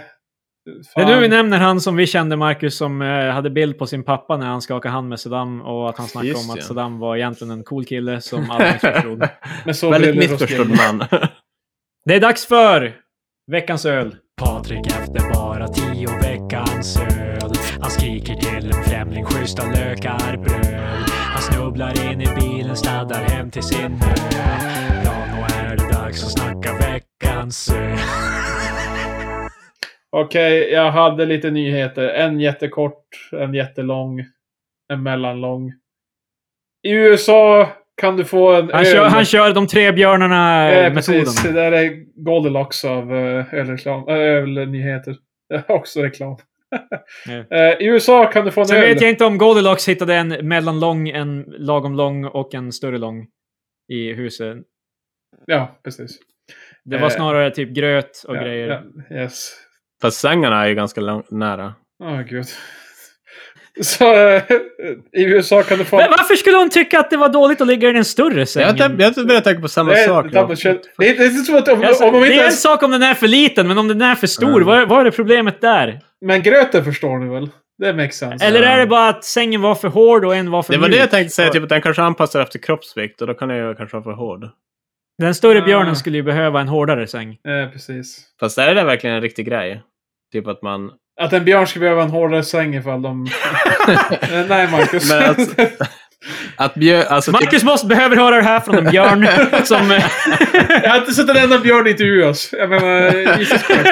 [SPEAKER 3] Det
[SPEAKER 1] fan.
[SPEAKER 3] är nu vi nämner han som vi kände, Marcus, som eh, hade bild på sin pappa när han skakade hand med Saddam och att han snackade
[SPEAKER 2] Just
[SPEAKER 3] om att
[SPEAKER 2] ja.
[SPEAKER 3] Saddam var egentligen en cool kille som alla missförstod.
[SPEAKER 1] Men så
[SPEAKER 2] Väldigt
[SPEAKER 1] blev det
[SPEAKER 2] missförstådd
[SPEAKER 1] Roskilde.
[SPEAKER 2] man.
[SPEAKER 3] Det är dags för veckans öl.
[SPEAKER 4] Patrik efter bara tio veckans öl Han skriker till en främling schyssta lökar bröd Han snubblar in i bilen, sladdar hem till sin ö Ja, nu är det dags att snacka veckans öl
[SPEAKER 1] Okej, jag hade lite nyheter. En jättekort, en jättelång, en mellanlång. I USA kan du få en
[SPEAKER 3] Han, kör, han kör de tre
[SPEAKER 1] Eh,
[SPEAKER 3] björnarna-metoden.
[SPEAKER 1] precis, det där är Goldilocks av eh, ölreklam, äh, ölnyheter. Också reklam.
[SPEAKER 3] Ja.
[SPEAKER 1] Eh, I USA kan du få en
[SPEAKER 3] Sen
[SPEAKER 1] öl.
[SPEAKER 3] vet jag inte om Goldilocks hittade en mellanlång, en lagom lång och en större lång i huset.
[SPEAKER 1] Ja, precis.
[SPEAKER 3] Det var
[SPEAKER 1] Eh,
[SPEAKER 3] snarare typ gröt och
[SPEAKER 1] ja,
[SPEAKER 3] grejer.
[SPEAKER 1] Ja, yes.
[SPEAKER 2] Fast sängarna är ju ganska lång, nära.
[SPEAKER 1] Åh, gud. Så eh, i USA kan du få...
[SPEAKER 3] Men varför skulle hon tycka att det var dåligt att ligga i den större
[SPEAKER 2] Jag har
[SPEAKER 3] sängen?
[SPEAKER 2] typ- jag har börjat tänka på samma
[SPEAKER 1] det,
[SPEAKER 2] sak.
[SPEAKER 1] är,
[SPEAKER 2] då.
[SPEAKER 1] double shit. det, är, inte- det är inte så att om,
[SPEAKER 3] Alltså,
[SPEAKER 1] om de
[SPEAKER 3] det
[SPEAKER 1] inte
[SPEAKER 3] är en
[SPEAKER 1] ens...
[SPEAKER 3] sak om den är för liten, men om den är för stor,
[SPEAKER 2] Mm.
[SPEAKER 3] vad, vad är det problemet där?
[SPEAKER 1] Men gröten förstår ni väl? Det makes sense.
[SPEAKER 3] Eller är det bara att sängen var för hård och en var för
[SPEAKER 2] Det var det
[SPEAKER 3] mjuk?
[SPEAKER 2] jag tänkte säga, typ att den kanske anpassar efter kroppsvikt och då kan jag ju kanske vara för hård.
[SPEAKER 3] Den större björnen
[SPEAKER 1] Ah.
[SPEAKER 3] skulle ju behöva en hårdare säng.
[SPEAKER 1] Eh, precis.
[SPEAKER 2] Fast är det där verkligen en riktig grej? Typ att man...
[SPEAKER 1] Att en björn ska behöva en hårdare säng ifall de... Eh, Nej, Marcus.
[SPEAKER 2] Men alltså- att bjö... Alltså, typ,
[SPEAKER 3] Marcus måste behöver höra det här från en björn som... eh,
[SPEAKER 1] Jag har inte sett en enda björn intervjuas. Jag menar, Jesus Christ.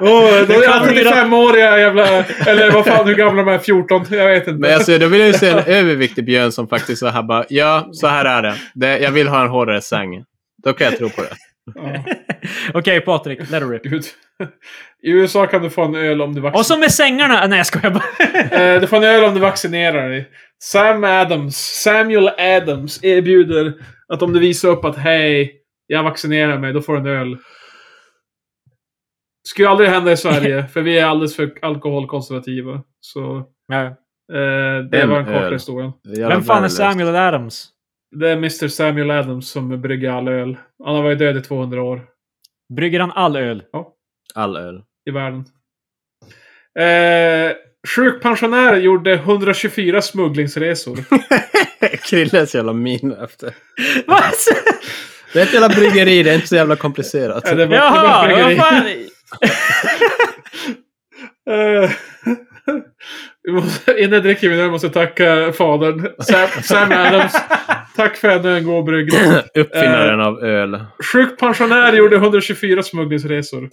[SPEAKER 1] Åh, de
[SPEAKER 3] Det kan
[SPEAKER 1] är
[SPEAKER 3] bli-
[SPEAKER 1] 35-åriga jävla... Eller vad fan, hur gamla de är? 14? Jag vet inte.
[SPEAKER 2] men alltså, då vill jag ju se en överviktig björn som faktiskt så här bara, ja, så här är det. det jag vill ha en hårdare säng. Då kan jag tro på det.
[SPEAKER 1] Ja,
[SPEAKER 3] Okej, Patrik. Let it rip.
[SPEAKER 1] gud. I USA kan du få en öl om du
[SPEAKER 3] Och
[SPEAKER 1] vaccinerar
[SPEAKER 3] så med sängarna... Nej, jag skojar bara.
[SPEAKER 1] dig. Du Eh, får en öl om du vaccinerar dig. Sam Adams, Samuel Adams erbjuder att om du visar upp att hej, jag vaccinerar mig, då får du en öl. Skulle aldrig hända i Sverige, för vi är alldeles för alkoholkonservativa. Så
[SPEAKER 3] Ja.
[SPEAKER 1] eh, det
[SPEAKER 2] En
[SPEAKER 1] var den korta
[SPEAKER 2] öl.
[SPEAKER 1] historien.
[SPEAKER 3] Vem fan är Samuel Adams?
[SPEAKER 1] Det är Mr Samuel Adams som brygger all öl. Han har varit död i 200 år
[SPEAKER 3] Brygger han all öl?
[SPEAKER 2] All öl.
[SPEAKER 1] i världen. Eh, sjukpensionär gjorde 124 smugglingsresor. Eh,
[SPEAKER 2] Krilles jävla min efter.
[SPEAKER 3] Vad?
[SPEAKER 2] Det är ett jävla bryggeri, det är inte så jävla komplicerat.
[SPEAKER 1] Ja, det var- det var
[SPEAKER 3] Jaha!
[SPEAKER 1] ett bryggeri.
[SPEAKER 3] Vad fan?
[SPEAKER 1] Eh, vi måste- Innan jag dricker min öl måste jag tacka fadern. Sam, Sam Adams. Tack för ännu en god brygd. Eh,
[SPEAKER 2] Uppfinnaren av öl.
[SPEAKER 1] Sjukpensionär gjorde 124 smugglingsresor.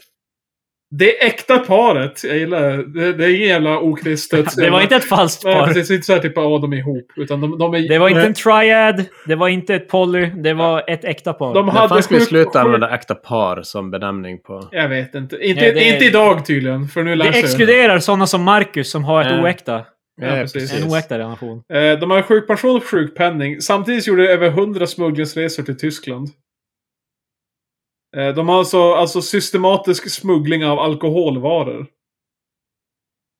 [SPEAKER 1] Det äkta paret, jag gillar det. Det, det är inget jävla okristet.
[SPEAKER 3] Det var inte ett falskt
[SPEAKER 1] Nej,
[SPEAKER 3] par.
[SPEAKER 1] precis. Det är inte så här typ ja, de är ihop. Utan de, de är...
[SPEAKER 3] Det var inte en triad, det var inte ett poly, det var ett äkta par.
[SPEAKER 1] De
[SPEAKER 2] När
[SPEAKER 1] hade
[SPEAKER 2] fan ska vi
[SPEAKER 1] sjuk-
[SPEAKER 2] sluta
[SPEAKER 1] sjuk-
[SPEAKER 2] använda äkta par som benämning på...
[SPEAKER 1] Jag vet inte. Inte,
[SPEAKER 3] Nej, det-
[SPEAKER 1] inte idag tydligen, för nu lär
[SPEAKER 3] det
[SPEAKER 1] sig.
[SPEAKER 3] exkluderar sådana som Marcus som har ett
[SPEAKER 2] Eh,
[SPEAKER 3] oäkta.
[SPEAKER 1] Ja,
[SPEAKER 2] Eh,
[SPEAKER 1] precis.
[SPEAKER 3] En oäkta relation.
[SPEAKER 1] Eh, De har sjukpension och sjukpenning. Samtidigt gjorde de över 100 smugglingsresor till Tyskland. Eh, De har alltså, alltså systematisk smuggling av alkoholvaror.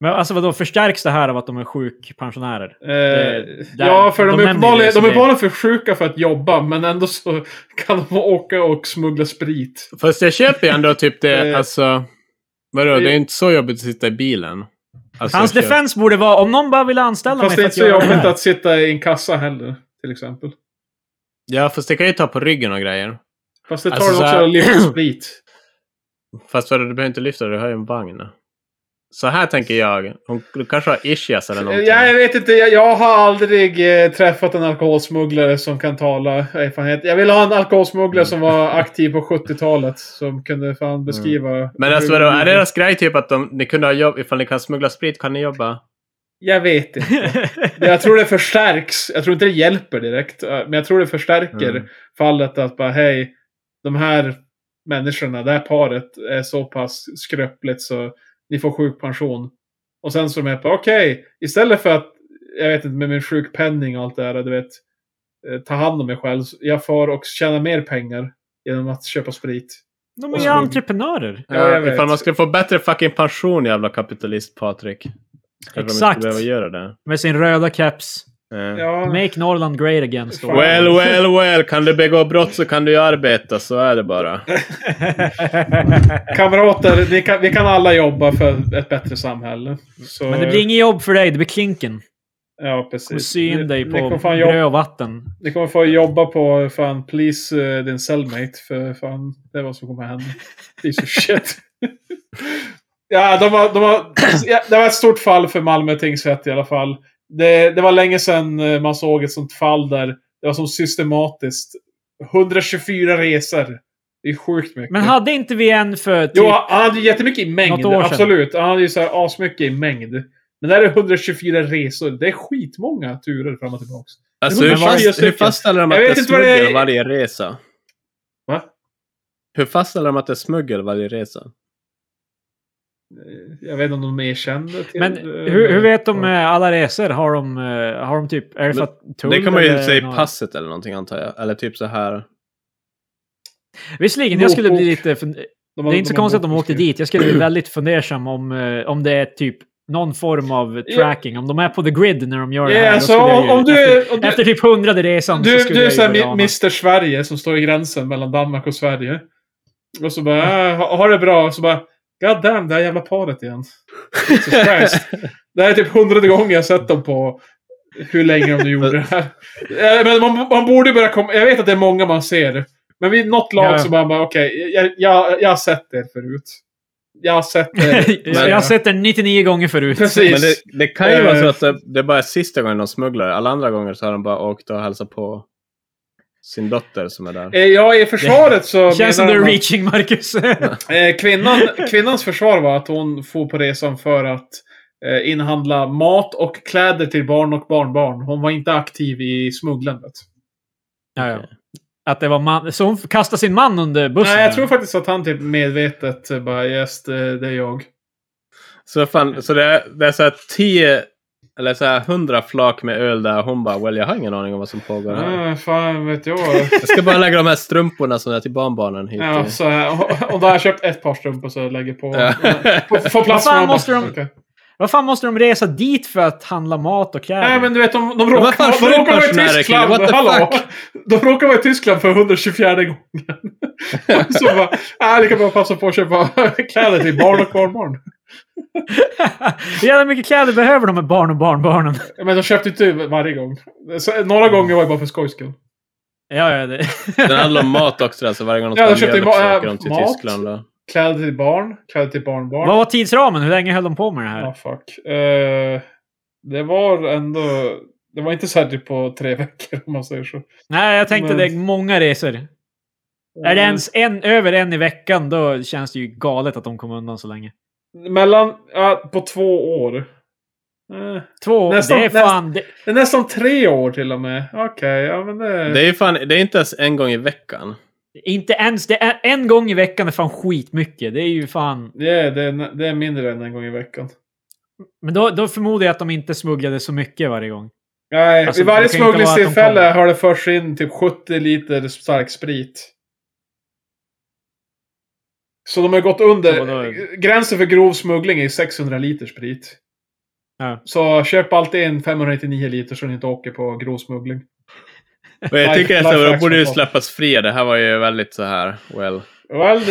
[SPEAKER 3] Men alltså vadå, förstärks det här av att de är sjukpensionärer?
[SPEAKER 1] Eh,
[SPEAKER 3] där-
[SPEAKER 1] ja, för de,
[SPEAKER 3] de
[SPEAKER 1] är
[SPEAKER 3] nämner
[SPEAKER 1] uppenbarligen
[SPEAKER 3] det, så
[SPEAKER 1] de är
[SPEAKER 3] det-
[SPEAKER 1] uppenbarligen för sjuka för att jobba, men ändå så kan de åka och smuggla sprit.
[SPEAKER 2] Fast jag köper ju ändå typ det,
[SPEAKER 1] Eh,
[SPEAKER 2] alltså... Vadå, det är inte så jobbigt att sitta i bilen. Alltså,
[SPEAKER 3] Hans
[SPEAKER 2] jag köper-
[SPEAKER 3] defense borde vara om någon bara ville anställa
[SPEAKER 1] Fast det
[SPEAKER 3] mig
[SPEAKER 1] är
[SPEAKER 3] för
[SPEAKER 1] inte
[SPEAKER 3] att
[SPEAKER 1] så
[SPEAKER 3] göra det
[SPEAKER 1] jobbigt
[SPEAKER 3] här.
[SPEAKER 1] att sitta i en kassa heller, till exempel.
[SPEAKER 2] Ja, fast det kan ju ta på ryggen och grejer.
[SPEAKER 1] Fast det tar
[SPEAKER 2] Alltså,
[SPEAKER 1] alltså,
[SPEAKER 2] så
[SPEAKER 1] också
[SPEAKER 2] här-
[SPEAKER 1] att lyfta sprit.
[SPEAKER 2] Fast vadå, du behöver inte lyfta, du har ju en vagn. Så här tänker jag. Hon du kanske har ischias eller någonting.
[SPEAKER 1] Ja, jag vet inte, jag, jag har aldrig eh, träffat en alkoholsmugglare som kan tala erfarenhet. Jag vill ha en alkoholsmugglare
[SPEAKER 2] Mm.
[SPEAKER 1] som var aktiv på 70-talet. Som kunde fan beskriva...
[SPEAKER 2] Men alltså vadå, är deras grej typ att de, ni kunde ha jobb, ifall ni kan smuggla sprit kan ni jobba?
[SPEAKER 1] Jag vet inte. Jag tror det förstärks. Jag tror inte det hjälper direkt. eh, Men jag tror det förstärker
[SPEAKER 2] Mm.
[SPEAKER 1] fallet att bara hej, de här människorna, det här paret är så pass skröpligt så ni får sjukpension. Och sen så är de här på okej, istället för att, jag vet inte, med min sjukpenning och allt det här, du vet, eh, ta hand om mig själv. så Jag får och tjäna mer pengar genom att köpa sprit.
[SPEAKER 3] De är ju entreprenörer.
[SPEAKER 1] Ja, jag vet.
[SPEAKER 2] Eh, ifall man skulle få bättre fucking pension jävla kapitalist Patrik. Kanske de inte
[SPEAKER 3] Exakt.
[SPEAKER 2] behöva göra det.
[SPEAKER 3] Med sin röda caps.
[SPEAKER 2] Eh.
[SPEAKER 1] Ja,
[SPEAKER 3] Make Norrland great again, står det.
[SPEAKER 2] Well, well, well. Kan du begå brott så kan du ju arbeta. Så är det bara.
[SPEAKER 1] kamrater, vi kan, vi kan alla jobba för ett bättre samhälle. Så,
[SPEAKER 3] Men det blir inget jobb för dig, det blir klinken.
[SPEAKER 1] Ja,
[SPEAKER 3] Och
[SPEAKER 1] precis.
[SPEAKER 3] sy in dig
[SPEAKER 1] ni,
[SPEAKER 3] på
[SPEAKER 1] kommer fan
[SPEAKER 3] bröd
[SPEAKER 1] jobb,
[SPEAKER 3] och vatten.
[SPEAKER 1] ni kommer få jobba på fan please eh, din cellmate. För fan, det är vad som kommer hända. Piece of shit. ja, de har, de har, ja, det var ett stort fall för Malmö tingsrätt i alla fall. Det, det var länge sedan eh, man såg ett sånt fall där det var som systematiskt. 124 resor. Det är sjukt mycket.
[SPEAKER 3] Men hade inte vi en för typ...
[SPEAKER 1] Jo, han hade ju jättemycket i mängd.
[SPEAKER 3] Något år sedan.
[SPEAKER 1] Absolut. Han hade ju så här asmycket i mängd. Men där är 124 resor. Det är skitmånga turer fram och tillbaka.
[SPEAKER 2] Alltså,
[SPEAKER 1] Det
[SPEAKER 2] hur,
[SPEAKER 1] var varje
[SPEAKER 2] fast, hur
[SPEAKER 1] stycke.
[SPEAKER 2] fastställer de att
[SPEAKER 1] Jag
[SPEAKER 2] det är
[SPEAKER 1] vet inte vad det är-
[SPEAKER 2] smuggel varje resa?
[SPEAKER 1] Va?
[SPEAKER 2] Hur fastställer de att det är smuggel varje resa?
[SPEAKER 1] Eh, Jag vet inte om de erkände till
[SPEAKER 3] Men
[SPEAKER 1] eh,
[SPEAKER 3] hur, hur vet de eh, alla resor? Har de, eh, har de typ... Är det för
[SPEAKER 2] Men
[SPEAKER 3] att tull
[SPEAKER 2] det kan man ju
[SPEAKER 3] eller
[SPEAKER 2] säga i
[SPEAKER 3] något?
[SPEAKER 2] passet eller någonting antar jag. Eller typ så här.
[SPEAKER 3] Visserligen, jag skulle bli
[SPEAKER 1] Motbok.
[SPEAKER 3] lite... fun-
[SPEAKER 1] De
[SPEAKER 3] Det
[SPEAKER 1] har-
[SPEAKER 3] är inte så
[SPEAKER 1] har
[SPEAKER 3] konstigt att de
[SPEAKER 1] bok-
[SPEAKER 3] åkte dit. Jag skulle bli väldigt fundersam om, eh, om det är typ någon form av
[SPEAKER 1] Ja.
[SPEAKER 3] tracking. Om de är på the grid när de gör det
[SPEAKER 1] Ja,
[SPEAKER 3] här. då
[SPEAKER 1] alltså,
[SPEAKER 3] skulle jag
[SPEAKER 1] om,
[SPEAKER 3] ju-
[SPEAKER 1] om du är... Om
[SPEAKER 3] efter,
[SPEAKER 1] du,
[SPEAKER 3] efter typ hundrade resan så
[SPEAKER 1] du, du
[SPEAKER 3] skulle
[SPEAKER 1] är
[SPEAKER 3] jag ju
[SPEAKER 1] såhär
[SPEAKER 3] börja
[SPEAKER 1] mi-
[SPEAKER 3] ana.
[SPEAKER 1] Mr Sverige som står i gränsen mellan Danmark och Sverige. Och så bara, äh, ha, ha det bra. Och så bara, God damn, det här jävla paret igen. Jesus Christ. Det här är typ hundrade gången jag sett dem på hur länge de gjorde det här. Eh, Men man, man borde börja komma... Jag vet att det är många man ser. Men vid något lag
[SPEAKER 3] Ja.
[SPEAKER 1] så bara, bara okej, jag, jag, jag har sett er förut. Jag har sett er.
[SPEAKER 3] jag har sett den 99 gånger förut.
[SPEAKER 1] Precis.
[SPEAKER 2] Men det, det kan ju vara så
[SPEAKER 1] Eh.
[SPEAKER 2] att det, det är bara är sista gången de smugglar. Alla andra gånger så har de bara åkt och hälsat på sin dotter som är där.
[SPEAKER 1] Eh, Ja, i försvaret så...
[SPEAKER 3] Det känns som
[SPEAKER 1] menar
[SPEAKER 3] du
[SPEAKER 1] de
[SPEAKER 3] är
[SPEAKER 1] att-
[SPEAKER 3] reaching, Marcus.
[SPEAKER 1] Eh, kvinnan, kvinnans försvar var att hon for på resan för att eh, inhandla mat och kläder till barn och barnbarn. Hon var inte aktiv i smugglandet.
[SPEAKER 3] ja, ja. Att det var man... Så hon kastade sin man under bussen?
[SPEAKER 1] Nej,
[SPEAKER 3] där.
[SPEAKER 1] jag tror faktiskt att han typ medvetet eh, bara yes, det, det är jag.
[SPEAKER 2] Så, fan, så det, är, det är så här 10 eller så här 100 flak med öl där. Hon bara well jag har ingen aning om vad som pågår här.
[SPEAKER 1] Äh, fan vet jag.
[SPEAKER 2] Jag ska bara lägga de här strumporna som är till barnbarnen hit.
[SPEAKER 1] ja,
[SPEAKER 2] Ja,
[SPEAKER 1] så, eh, och- och då har jag köpt ett par strumpor så jag lägger på.
[SPEAKER 2] Ja.
[SPEAKER 1] På- Får plats
[SPEAKER 3] Vad fan
[SPEAKER 1] med dem.
[SPEAKER 3] måste de-
[SPEAKER 1] Okej.
[SPEAKER 3] Vad fan måste de resa dit för att handla mat och kläder?
[SPEAKER 1] Nej men du vet, de, de
[SPEAKER 2] vad
[SPEAKER 1] råkar,
[SPEAKER 2] fan
[SPEAKER 1] de råkar vara i
[SPEAKER 2] sjukpensionärer,
[SPEAKER 1] Tyskland.
[SPEAKER 2] killar? What the
[SPEAKER 1] Hallå! De råkar vara i Tyskland för 124 gången. Så bara, äh, lika bra passa på att köpa kläder till barn och barnbarn.
[SPEAKER 3] Hur jävla mycket kläder behöver de med barn och barnbarnen?
[SPEAKER 1] Men de köpte inte varje gång. Så, några gånger var det bara för skojs skull.
[SPEAKER 3] ja, ja, det...
[SPEAKER 2] Den handlar om mat också. Alltså varje gång de
[SPEAKER 1] Ja,
[SPEAKER 2] ska
[SPEAKER 1] de köpte
[SPEAKER 2] mjölk
[SPEAKER 1] ma-
[SPEAKER 2] så
[SPEAKER 1] äh,
[SPEAKER 2] åker de till
[SPEAKER 1] mat.
[SPEAKER 2] Tyskland. Då.
[SPEAKER 1] Kläder till barn, kläder till barnbarn.
[SPEAKER 3] Vad var tidsramen? Hur länge höll de på med det här?
[SPEAKER 1] Ja, Ah, fuck. Eh, det var ändå... Det typ var inte särskilt på tre veckor om man säger så.
[SPEAKER 3] Nej, jag tänkte
[SPEAKER 1] Men-
[SPEAKER 3] det är många resor. Är det ens en, över en i veckan, då känns det ju galet att de kom undan så länge.
[SPEAKER 1] Eh, Mellan, ja, på två år. Eh,
[SPEAKER 3] Två,
[SPEAKER 1] Nästan-
[SPEAKER 3] det är fan... Det,
[SPEAKER 1] Det är nästan tre år till och med. Okej, ja men det...
[SPEAKER 2] Det är, fan, det är inte ens en gång i veckan.
[SPEAKER 3] inte ens... Det är, en gång i veckan är fan skitmycket. Det är ju fan...
[SPEAKER 1] det, är, det, är, det är mindre än en gång i veckan.
[SPEAKER 3] Men då, då förmodar jag att de inte smugglade så mycket varje gång.
[SPEAKER 1] Nej,
[SPEAKER 3] Alltså,
[SPEAKER 1] vid varje
[SPEAKER 3] det kan inte vara att de
[SPEAKER 1] smugglingstillfälle
[SPEAKER 3] kommer.
[SPEAKER 1] har det förts in typ 70 liter stark sprit. Så de har gått under.
[SPEAKER 3] Ja, vadå?
[SPEAKER 1] Gränsen för grov smuggling är 600 liter sprit.
[SPEAKER 3] Ja.
[SPEAKER 1] Så köp alltid en 599 liter så ni inte åker på grov smuggling.
[SPEAKER 2] Men jag
[SPEAKER 1] Life-
[SPEAKER 2] tycker att
[SPEAKER 1] life
[SPEAKER 2] de borde ju
[SPEAKER 1] action.
[SPEAKER 2] släppas fria. Det här var ju väldigt så här, well.
[SPEAKER 1] Well,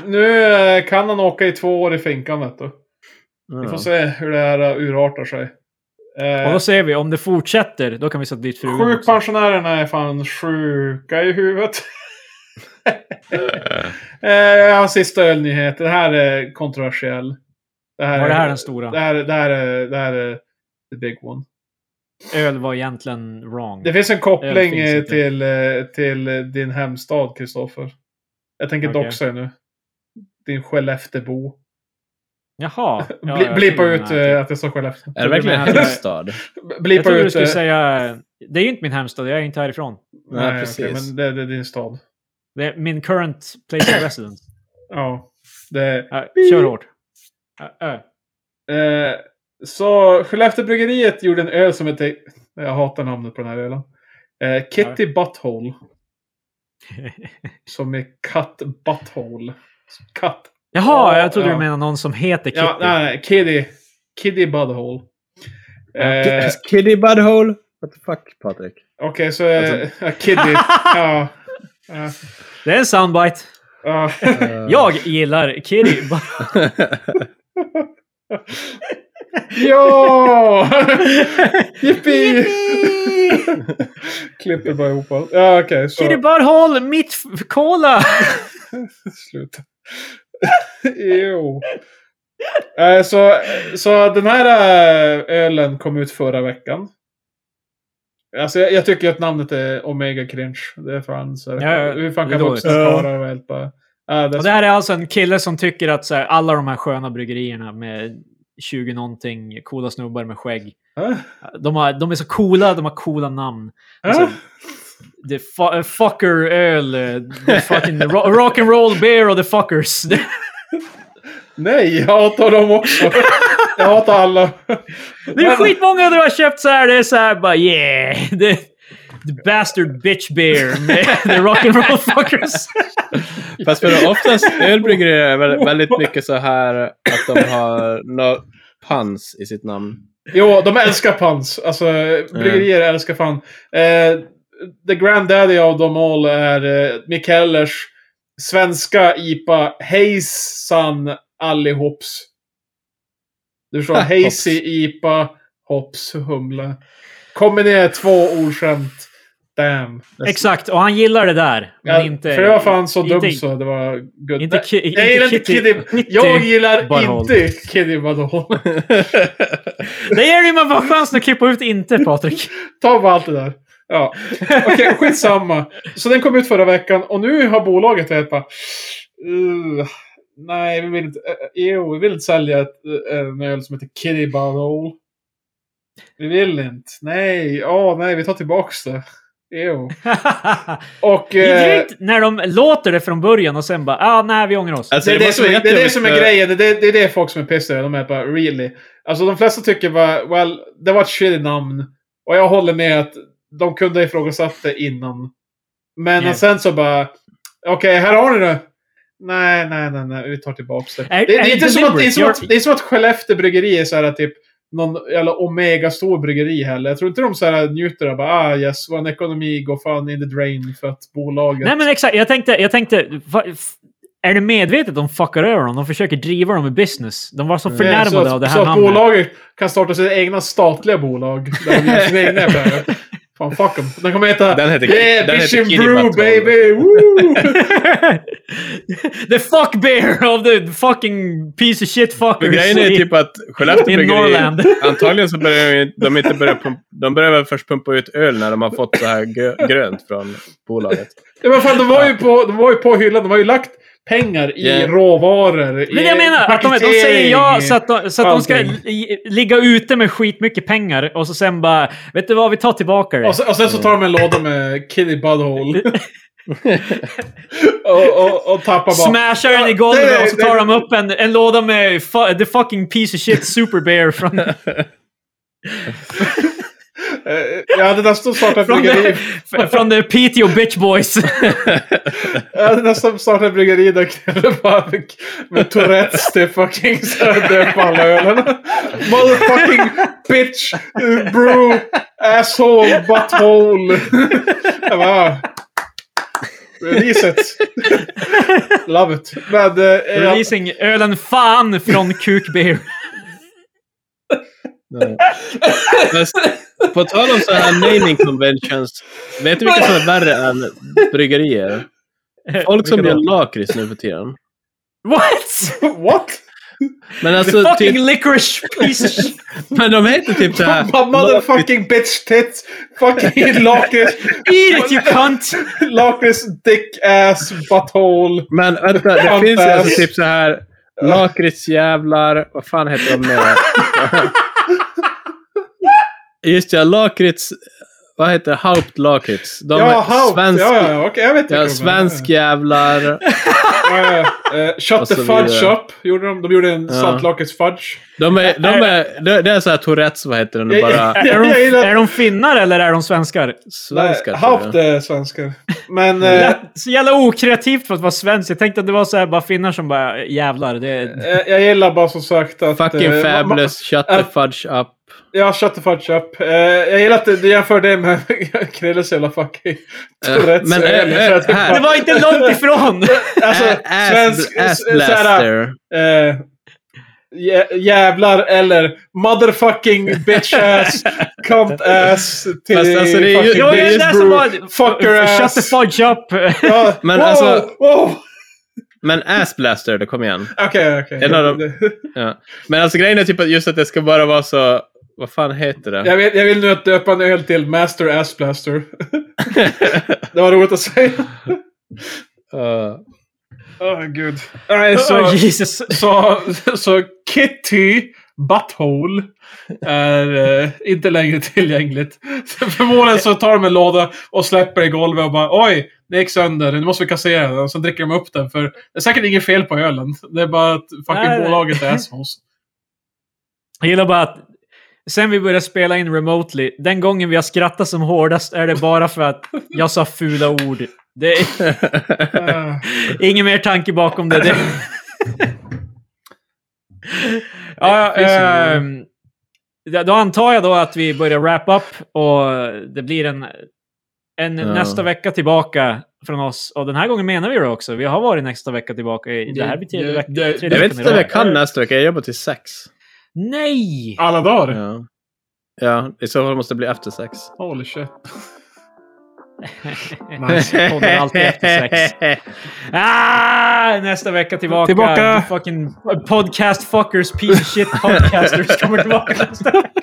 [SPEAKER 1] nu, nu eh, kan han åka i två år i finkan vet du. Vi får
[SPEAKER 2] Ja.
[SPEAKER 1] se hur det här eh, urartar sig. Eh,
[SPEAKER 3] Och då ser vi, om det fortsätter, då kan vi sätta dit frugan också.
[SPEAKER 1] Sjukpensionärerna är fan sjuka i huvudet. Eh, Jag har en sista ölnyhet. Det här är kontroversiell. Det här
[SPEAKER 3] Var det här den
[SPEAKER 1] det
[SPEAKER 3] stora?
[SPEAKER 1] här, det här, är- det här är the big one.
[SPEAKER 3] Öl var egentligen wrong.
[SPEAKER 1] Det finns en koppling
[SPEAKER 3] finns
[SPEAKER 1] eh,
[SPEAKER 3] inte.
[SPEAKER 1] till, eh, till eh, din hemstad, Kristoffer. Jag tänker
[SPEAKER 3] Okej.
[SPEAKER 1] doxa er nu. Din Skelleftebo.
[SPEAKER 3] Jaha. Ja,
[SPEAKER 1] Bli,
[SPEAKER 3] jag
[SPEAKER 1] blippa
[SPEAKER 3] tror
[SPEAKER 1] ut
[SPEAKER 3] den här.
[SPEAKER 1] eh, att jag sa Skellefteå.
[SPEAKER 2] Är det verkligen
[SPEAKER 3] Jag
[SPEAKER 2] en
[SPEAKER 3] tror-
[SPEAKER 2] hemstad?
[SPEAKER 1] B-
[SPEAKER 3] Jag
[SPEAKER 1] Blippa
[SPEAKER 3] trodde du
[SPEAKER 1] ut...
[SPEAKER 3] skulle
[SPEAKER 1] eh,
[SPEAKER 3] säga... Det är ju inte min hemstad, jag är inte härifrån.
[SPEAKER 1] Nej,
[SPEAKER 2] Nej,
[SPEAKER 1] okej,
[SPEAKER 2] precis.
[SPEAKER 1] men det, det är din stad.
[SPEAKER 3] Det är min current place of residence.
[SPEAKER 1] Ja. Det,
[SPEAKER 3] Ja, kör hårt. Ja, ja.
[SPEAKER 1] Eh, så Skelleftebryggeriet gjorde en öl som hette... Jag hatar namnet på den här ölen. Eh, Kitty Butthole. som är Cut Butthole. Cut.
[SPEAKER 3] Jaha, jag trodde
[SPEAKER 1] Ja.
[SPEAKER 3] du menade någon som heter Kitty.
[SPEAKER 1] Ja, nej, nej. Kitty. Kitty Butthole. Eh, Okej,
[SPEAKER 2] Kiddy Budhole? What the fuck, Patrik?
[SPEAKER 1] så... Eh, ja, Kitty. ja. Ja.
[SPEAKER 3] Det är en soundbite.
[SPEAKER 1] ja.
[SPEAKER 3] Jag gillar Kitty.
[SPEAKER 1] ja! Jippi! Klipper bara ihop allt. Ja, okej. så...
[SPEAKER 3] Kitty Butthole, mitt f- cola!
[SPEAKER 1] Sluta. jo. Eh, Så, så den här eh, ölen kom ut förra veckan. Alltså jag, jag tycker att namnet är Omega Cringe. Det är fan så
[SPEAKER 3] Ja, ja.
[SPEAKER 1] här. Hur fan
[SPEAKER 3] Det är
[SPEAKER 1] kan
[SPEAKER 3] dåligt.
[SPEAKER 1] vuxna karlar vara helt bara... Ja, det är
[SPEAKER 3] Och det här är alltså en kille som tycker att så här, alla de här sköna bryggerierna med 20 någonting coola snubbar med skägg.
[SPEAKER 1] så-
[SPEAKER 3] De, har, de är så coola, de har coola namn.
[SPEAKER 1] Ah,
[SPEAKER 3] The fu- eh, fucker öl, eh, the fucking ro- rock and roll beer och the fuckers. Det
[SPEAKER 1] Nej, jag hatar dem också. jag hatar alla.
[SPEAKER 3] är skitmånga du har köpt så här, det är så här bara yeah. The, the bastard bitch beer med the rock and roll fuckers.
[SPEAKER 2] Fast för att oftast ölbryggerier är väldigt, väldigt mycket så här att de har no pans i sitt namn.
[SPEAKER 1] Jo, de älskar pans. Alltså, bryggerier älskar fan. Eh, the granddaddy of them all är eh, Mikkellers svenska IPA. Hejsan allihops. Du förstår,
[SPEAKER 2] Hops.
[SPEAKER 1] hazy IPA, hops, humle. Kombinera två ordskämt. Damn.
[SPEAKER 3] Exakt, och han gillar det där. Men
[SPEAKER 1] Ja,
[SPEAKER 3] inte...
[SPEAKER 1] för det var fan så
[SPEAKER 3] inte,
[SPEAKER 1] dumt så det var good.
[SPEAKER 3] Inte, ki, inte,
[SPEAKER 1] jag gillar inte Kiddy. Jag gillar
[SPEAKER 3] Butthole.
[SPEAKER 1] inte Kiddy Butthole.
[SPEAKER 3] Det ger ju mig bara chansen att klippa ut inte, Patrik.
[SPEAKER 1] Ta bara allt det där. Ja. Okej, skitsamma. Så den kom ut förra veckan och nu har bolaget helt bara... "Ugh, nej, vi vill inte... eh, jo, vi vill inte sälja ett, eh, en öl som heter Kitty Bottle. Vi vill inte. Nej, åh nej, vi tar tillbaks det. Jo. Och... eh,
[SPEAKER 3] Vidrigt när de låter det från början och sen bara ah, nej, vi ångrar oss.
[SPEAKER 2] Alltså,
[SPEAKER 1] det, är det,
[SPEAKER 2] måste
[SPEAKER 1] som
[SPEAKER 2] vara
[SPEAKER 1] är, det är det
[SPEAKER 2] jättejobbigt
[SPEAKER 1] som är
[SPEAKER 2] för-
[SPEAKER 1] grejen. Det, är- det är det folk som är pissade. De är bara really. Alltså de flesta tycker bara, well, det var ett shitty namn. Och jag håller med att de kunde ha ifrågasatt det innan. Men
[SPEAKER 3] Ja.
[SPEAKER 1] sen så bara, okej, här har ni det. Nej, nej, nej, nej, vi tar tillbaks det.
[SPEAKER 3] Är-
[SPEAKER 1] det, det,
[SPEAKER 3] är
[SPEAKER 1] är
[SPEAKER 3] det
[SPEAKER 1] inte som att, det, är som
[SPEAKER 3] deliberate?
[SPEAKER 1] att, det är som att Skellefteå bryggeri är så här typ någon jävla omega-stor bryggeri heller. Jag tror inte de så här njuter av bara, ah yes, vår ekonomi går fan in the drain för att bolaget...
[SPEAKER 3] Nej men exakt, jag tänkte, jag tänkte va, f- är det medvetet de fuckar över dem? De försöker driva dem i business. De var så
[SPEAKER 2] Mm.
[SPEAKER 3] förnärmade
[SPEAKER 1] Eh, så att,
[SPEAKER 3] av det
[SPEAKER 1] så
[SPEAKER 3] här
[SPEAKER 1] att
[SPEAKER 3] namnet.
[SPEAKER 1] bolaget kan starta sina egna statliga bolag. Där de gör sina egna affärer. Fan, fuck em. Den kommer heta...
[SPEAKER 2] Den heter-
[SPEAKER 1] yeah,
[SPEAKER 2] den
[SPEAKER 1] bitch
[SPEAKER 2] heter
[SPEAKER 1] and
[SPEAKER 2] Kitty
[SPEAKER 1] brew
[SPEAKER 2] Patrol.
[SPEAKER 1] baby! Woo!
[SPEAKER 3] the fuck bear of the fucking piece of shit
[SPEAKER 2] För
[SPEAKER 3] fuckers.
[SPEAKER 2] grejen är
[SPEAKER 3] i-
[SPEAKER 2] typ att Skellefteå
[SPEAKER 3] I
[SPEAKER 2] bryggeri,
[SPEAKER 3] Norrland.
[SPEAKER 2] antagligen så börjar de ju- de inte börja pumpa, de börjar väl först pumpa ut öl när de har fått så här grö, grönt från bolaget.
[SPEAKER 1] ja, men fan, de var, ju på, de var ju på hyllan. De har ju lagt pengar i
[SPEAKER 2] Yeah.
[SPEAKER 1] råvaror. i
[SPEAKER 3] Men jag menar, att de, de säger ja så att de, så att de ska
[SPEAKER 1] Allting.
[SPEAKER 3] li, ligga ute med skitmycket pengar och så sen bara, vet du vad, vi tar tillbaka det.
[SPEAKER 1] Och, sen, och sen så tar de en låda med Kitty Butthole. och, och, och tappar bara...
[SPEAKER 3] Smashar den i
[SPEAKER 1] Ja, det-
[SPEAKER 3] golvet och så
[SPEAKER 1] det-
[SPEAKER 3] tar de upp en, en låda med fu- the fucking piece of shit super bear från,
[SPEAKER 1] Eh, Jag hade nästan startat ett
[SPEAKER 3] från,
[SPEAKER 1] bryggeri.
[SPEAKER 3] the, från the Piteå bitch boys.
[SPEAKER 1] Jag hade nästan startat ett bryggeri där knäller bara med, med Tourettes till fucking så här döpa alla ölen. Motherfucking bitch, eh, brew, asshole, butthole. Jag bara... "Ah." Release it. Love it. Men, eh, jag-
[SPEAKER 3] Releasing ölen fan från kuk bear.
[SPEAKER 2] Fast, på tal om så här naming conventions, vet du vilka som är värre än bryggerier? Folk som gör lakrits nu för tiden.
[SPEAKER 3] What?
[SPEAKER 1] what?
[SPEAKER 2] Men
[SPEAKER 3] The
[SPEAKER 2] alltså,
[SPEAKER 3] fucking
[SPEAKER 2] typ,
[SPEAKER 3] licorice piece of shit.
[SPEAKER 2] men de heter typ så här...
[SPEAKER 1] My motherfucking bitch tits. Fucking lakrits.
[SPEAKER 3] Eat it you cunt!
[SPEAKER 1] Lakrits, dick ass, butthole.
[SPEAKER 2] Men vänta, det
[SPEAKER 1] Fan,
[SPEAKER 2] finns ju
[SPEAKER 1] fan.
[SPEAKER 2] alltså typ så här... Lakritsjävlar, vad fan heter de mer? Just ja, lakrits... Vad heter det? Haupt lakrits. De
[SPEAKER 1] ja,
[SPEAKER 2] är
[SPEAKER 1] haupt.
[SPEAKER 2] svensk,
[SPEAKER 1] Ja, ja, okej. jag vet inte.
[SPEAKER 2] ja,
[SPEAKER 1] vad de är.
[SPEAKER 2] svensk jävlar.
[SPEAKER 1] Ja, ja. Eh, Shut
[SPEAKER 2] Och
[SPEAKER 1] the
[SPEAKER 2] så
[SPEAKER 1] fudge
[SPEAKER 2] vidare.
[SPEAKER 1] up. Gjorde de, de gjorde en
[SPEAKER 2] Ja.
[SPEAKER 1] saltlakritsfudge.
[SPEAKER 2] De är, de är, det det är så här Tourettes, vad heter den?
[SPEAKER 1] Jag-
[SPEAKER 2] Bara
[SPEAKER 3] Är
[SPEAKER 1] Jag
[SPEAKER 3] de,
[SPEAKER 1] gillar- Eh.
[SPEAKER 3] är de finnar eller är de svenskar?
[SPEAKER 2] svenskar. tror jag. Mm.
[SPEAKER 1] Haupt är svenskar. Men... eh,
[SPEAKER 3] Lät så jävla okreativt för att vara svensk. Jag tänkte att det var så här bara finnar som bara jävlar. Det är...
[SPEAKER 1] eh, jag gillar bara som sagt att... eh,
[SPEAKER 2] Fucking
[SPEAKER 1] ma- ma-
[SPEAKER 2] fabulous, shut the
[SPEAKER 1] eh,
[SPEAKER 2] fudge up.
[SPEAKER 1] Ja, shut the fudge up. Eh, jag gillar att du du jämför det med Krilles jävla fucking
[SPEAKER 2] Eh,
[SPEAKER 1] Tourettes.
[SPEAKER 2] men,
[SPEAKER 1] Eh,
[SPEAKER 2] eh,
[SPEAKER 1] för att-
[SPEAKER 2] eh, här.
[SPEAKER 3] Det var inte långt ifrån!
[SPEAKER 1] Alltså,
[SPEAKER 2] Ä- ass,
[SPEAKER 1] svensk...
[SPEAKER 2] ass
[SPEAKER 1] så- såhär,
[SPEAKER 2] blaster.
[SPEAKER 1] eh, jä- Jävlar eller motherfucking bitch ass, cunt ass till
[SPEAKER 2] Fast alltså, det är ju-
[SPEAKER 1] fucking
[SPEAKER 3] Jo, det är
[SPEAKER 1] bitch
[SPEAKER 3] det som
[SPEAKER 1] bro,
[SPEAKER 3] var...
[SPEAKER 1] fucker ass.
[SPEAKER 3] Shut the fudge up!
[SPEAKER 1] Ja,
[SPEAKER 2] Men
[SPEAKER 1] wow,
[SPEAKER 2] alltså-
[SPEAKER 1] wow.
[SPEAKER 2] Men ass blaster, då kom igen.
[SPEAKER 1] Okej, okej.
[SPEAKER 2] En av dem. Ja. Men alltså grejen är typ att just att det ska bara vara så... Vad fan heter det?
[SPEAKER 1] Jag vill, jag vill nu att döpa en öl till Master Ass Blaster. det var roligt att säga.
[SPEAKER 2] Eh,
[SPEAKER 1] Åh, gud. Nej, så,
[SPEAKER 3] Oh, Jesus.
[SPEAKER 1] så, så Kitty Butthole är eh, inte längre tillgängligt. Förmodligen så tar de en låda och släpper i golvet och bara oj, det gick sönder, nu måste vi kassera den. Och sen dricker de upp den för det är säkert inget fel på ölen. Det är bara att fucking
[SPEAKER 3] Nej, nej.
[SPEAKER 1] bolaget är assholes.
[SPEAKER 3] Jag gillar bara att sen vi började spela in remotely, den gången vi har skrattat som hårdast är det bara för att jag sa fula ord. Det är
[SPEAKER 1] Eh,
[SPEAKER 3] ingen mer tanke bakom det. det... ja,
[SPEAKER 1] finns
[SPEAKER 3] ehm, ja, då antar jag då att vi börjar wrap up och det blir en, en
[SPEAKER 2] Ja.
[SPEAKER 3] nästa vecka tillbaka från oss. Och den här gången menar vi det också. Vi har varit nästa vecka tillbaka. I, det här blir tredje
[SPEAKER 1] Det-
[SPEAKER 3] veckan.
[SPEAKER 1] det-
[SPEAKER 3] tredje
[SPEAKER 2] jag vet
[SPEAKER 3] veckan i
[SPEAKER 2] inte om
[SPEAKER 3] rad.
[SPEAKER 2] jag kan nästa vecka, jag jobbar till sex.
[SPEAKER 3] Nej!
[SPEAKER 1] Alla dagar.
[SPEAKER 2] Ja. ja, i så fall måste det bli efter sex.
[SPEAKER 1] Holy shit.
[SPEAKER 3] Podden är Alltså, alltid efter sex. Ah, nästa vecka tillbaka.
[SPEAKER 1] Tillbaka.
[SPEAKER 3] You Fucking podcast fuckers, piece of shit podcasters kommer tillbaka nästa vecka.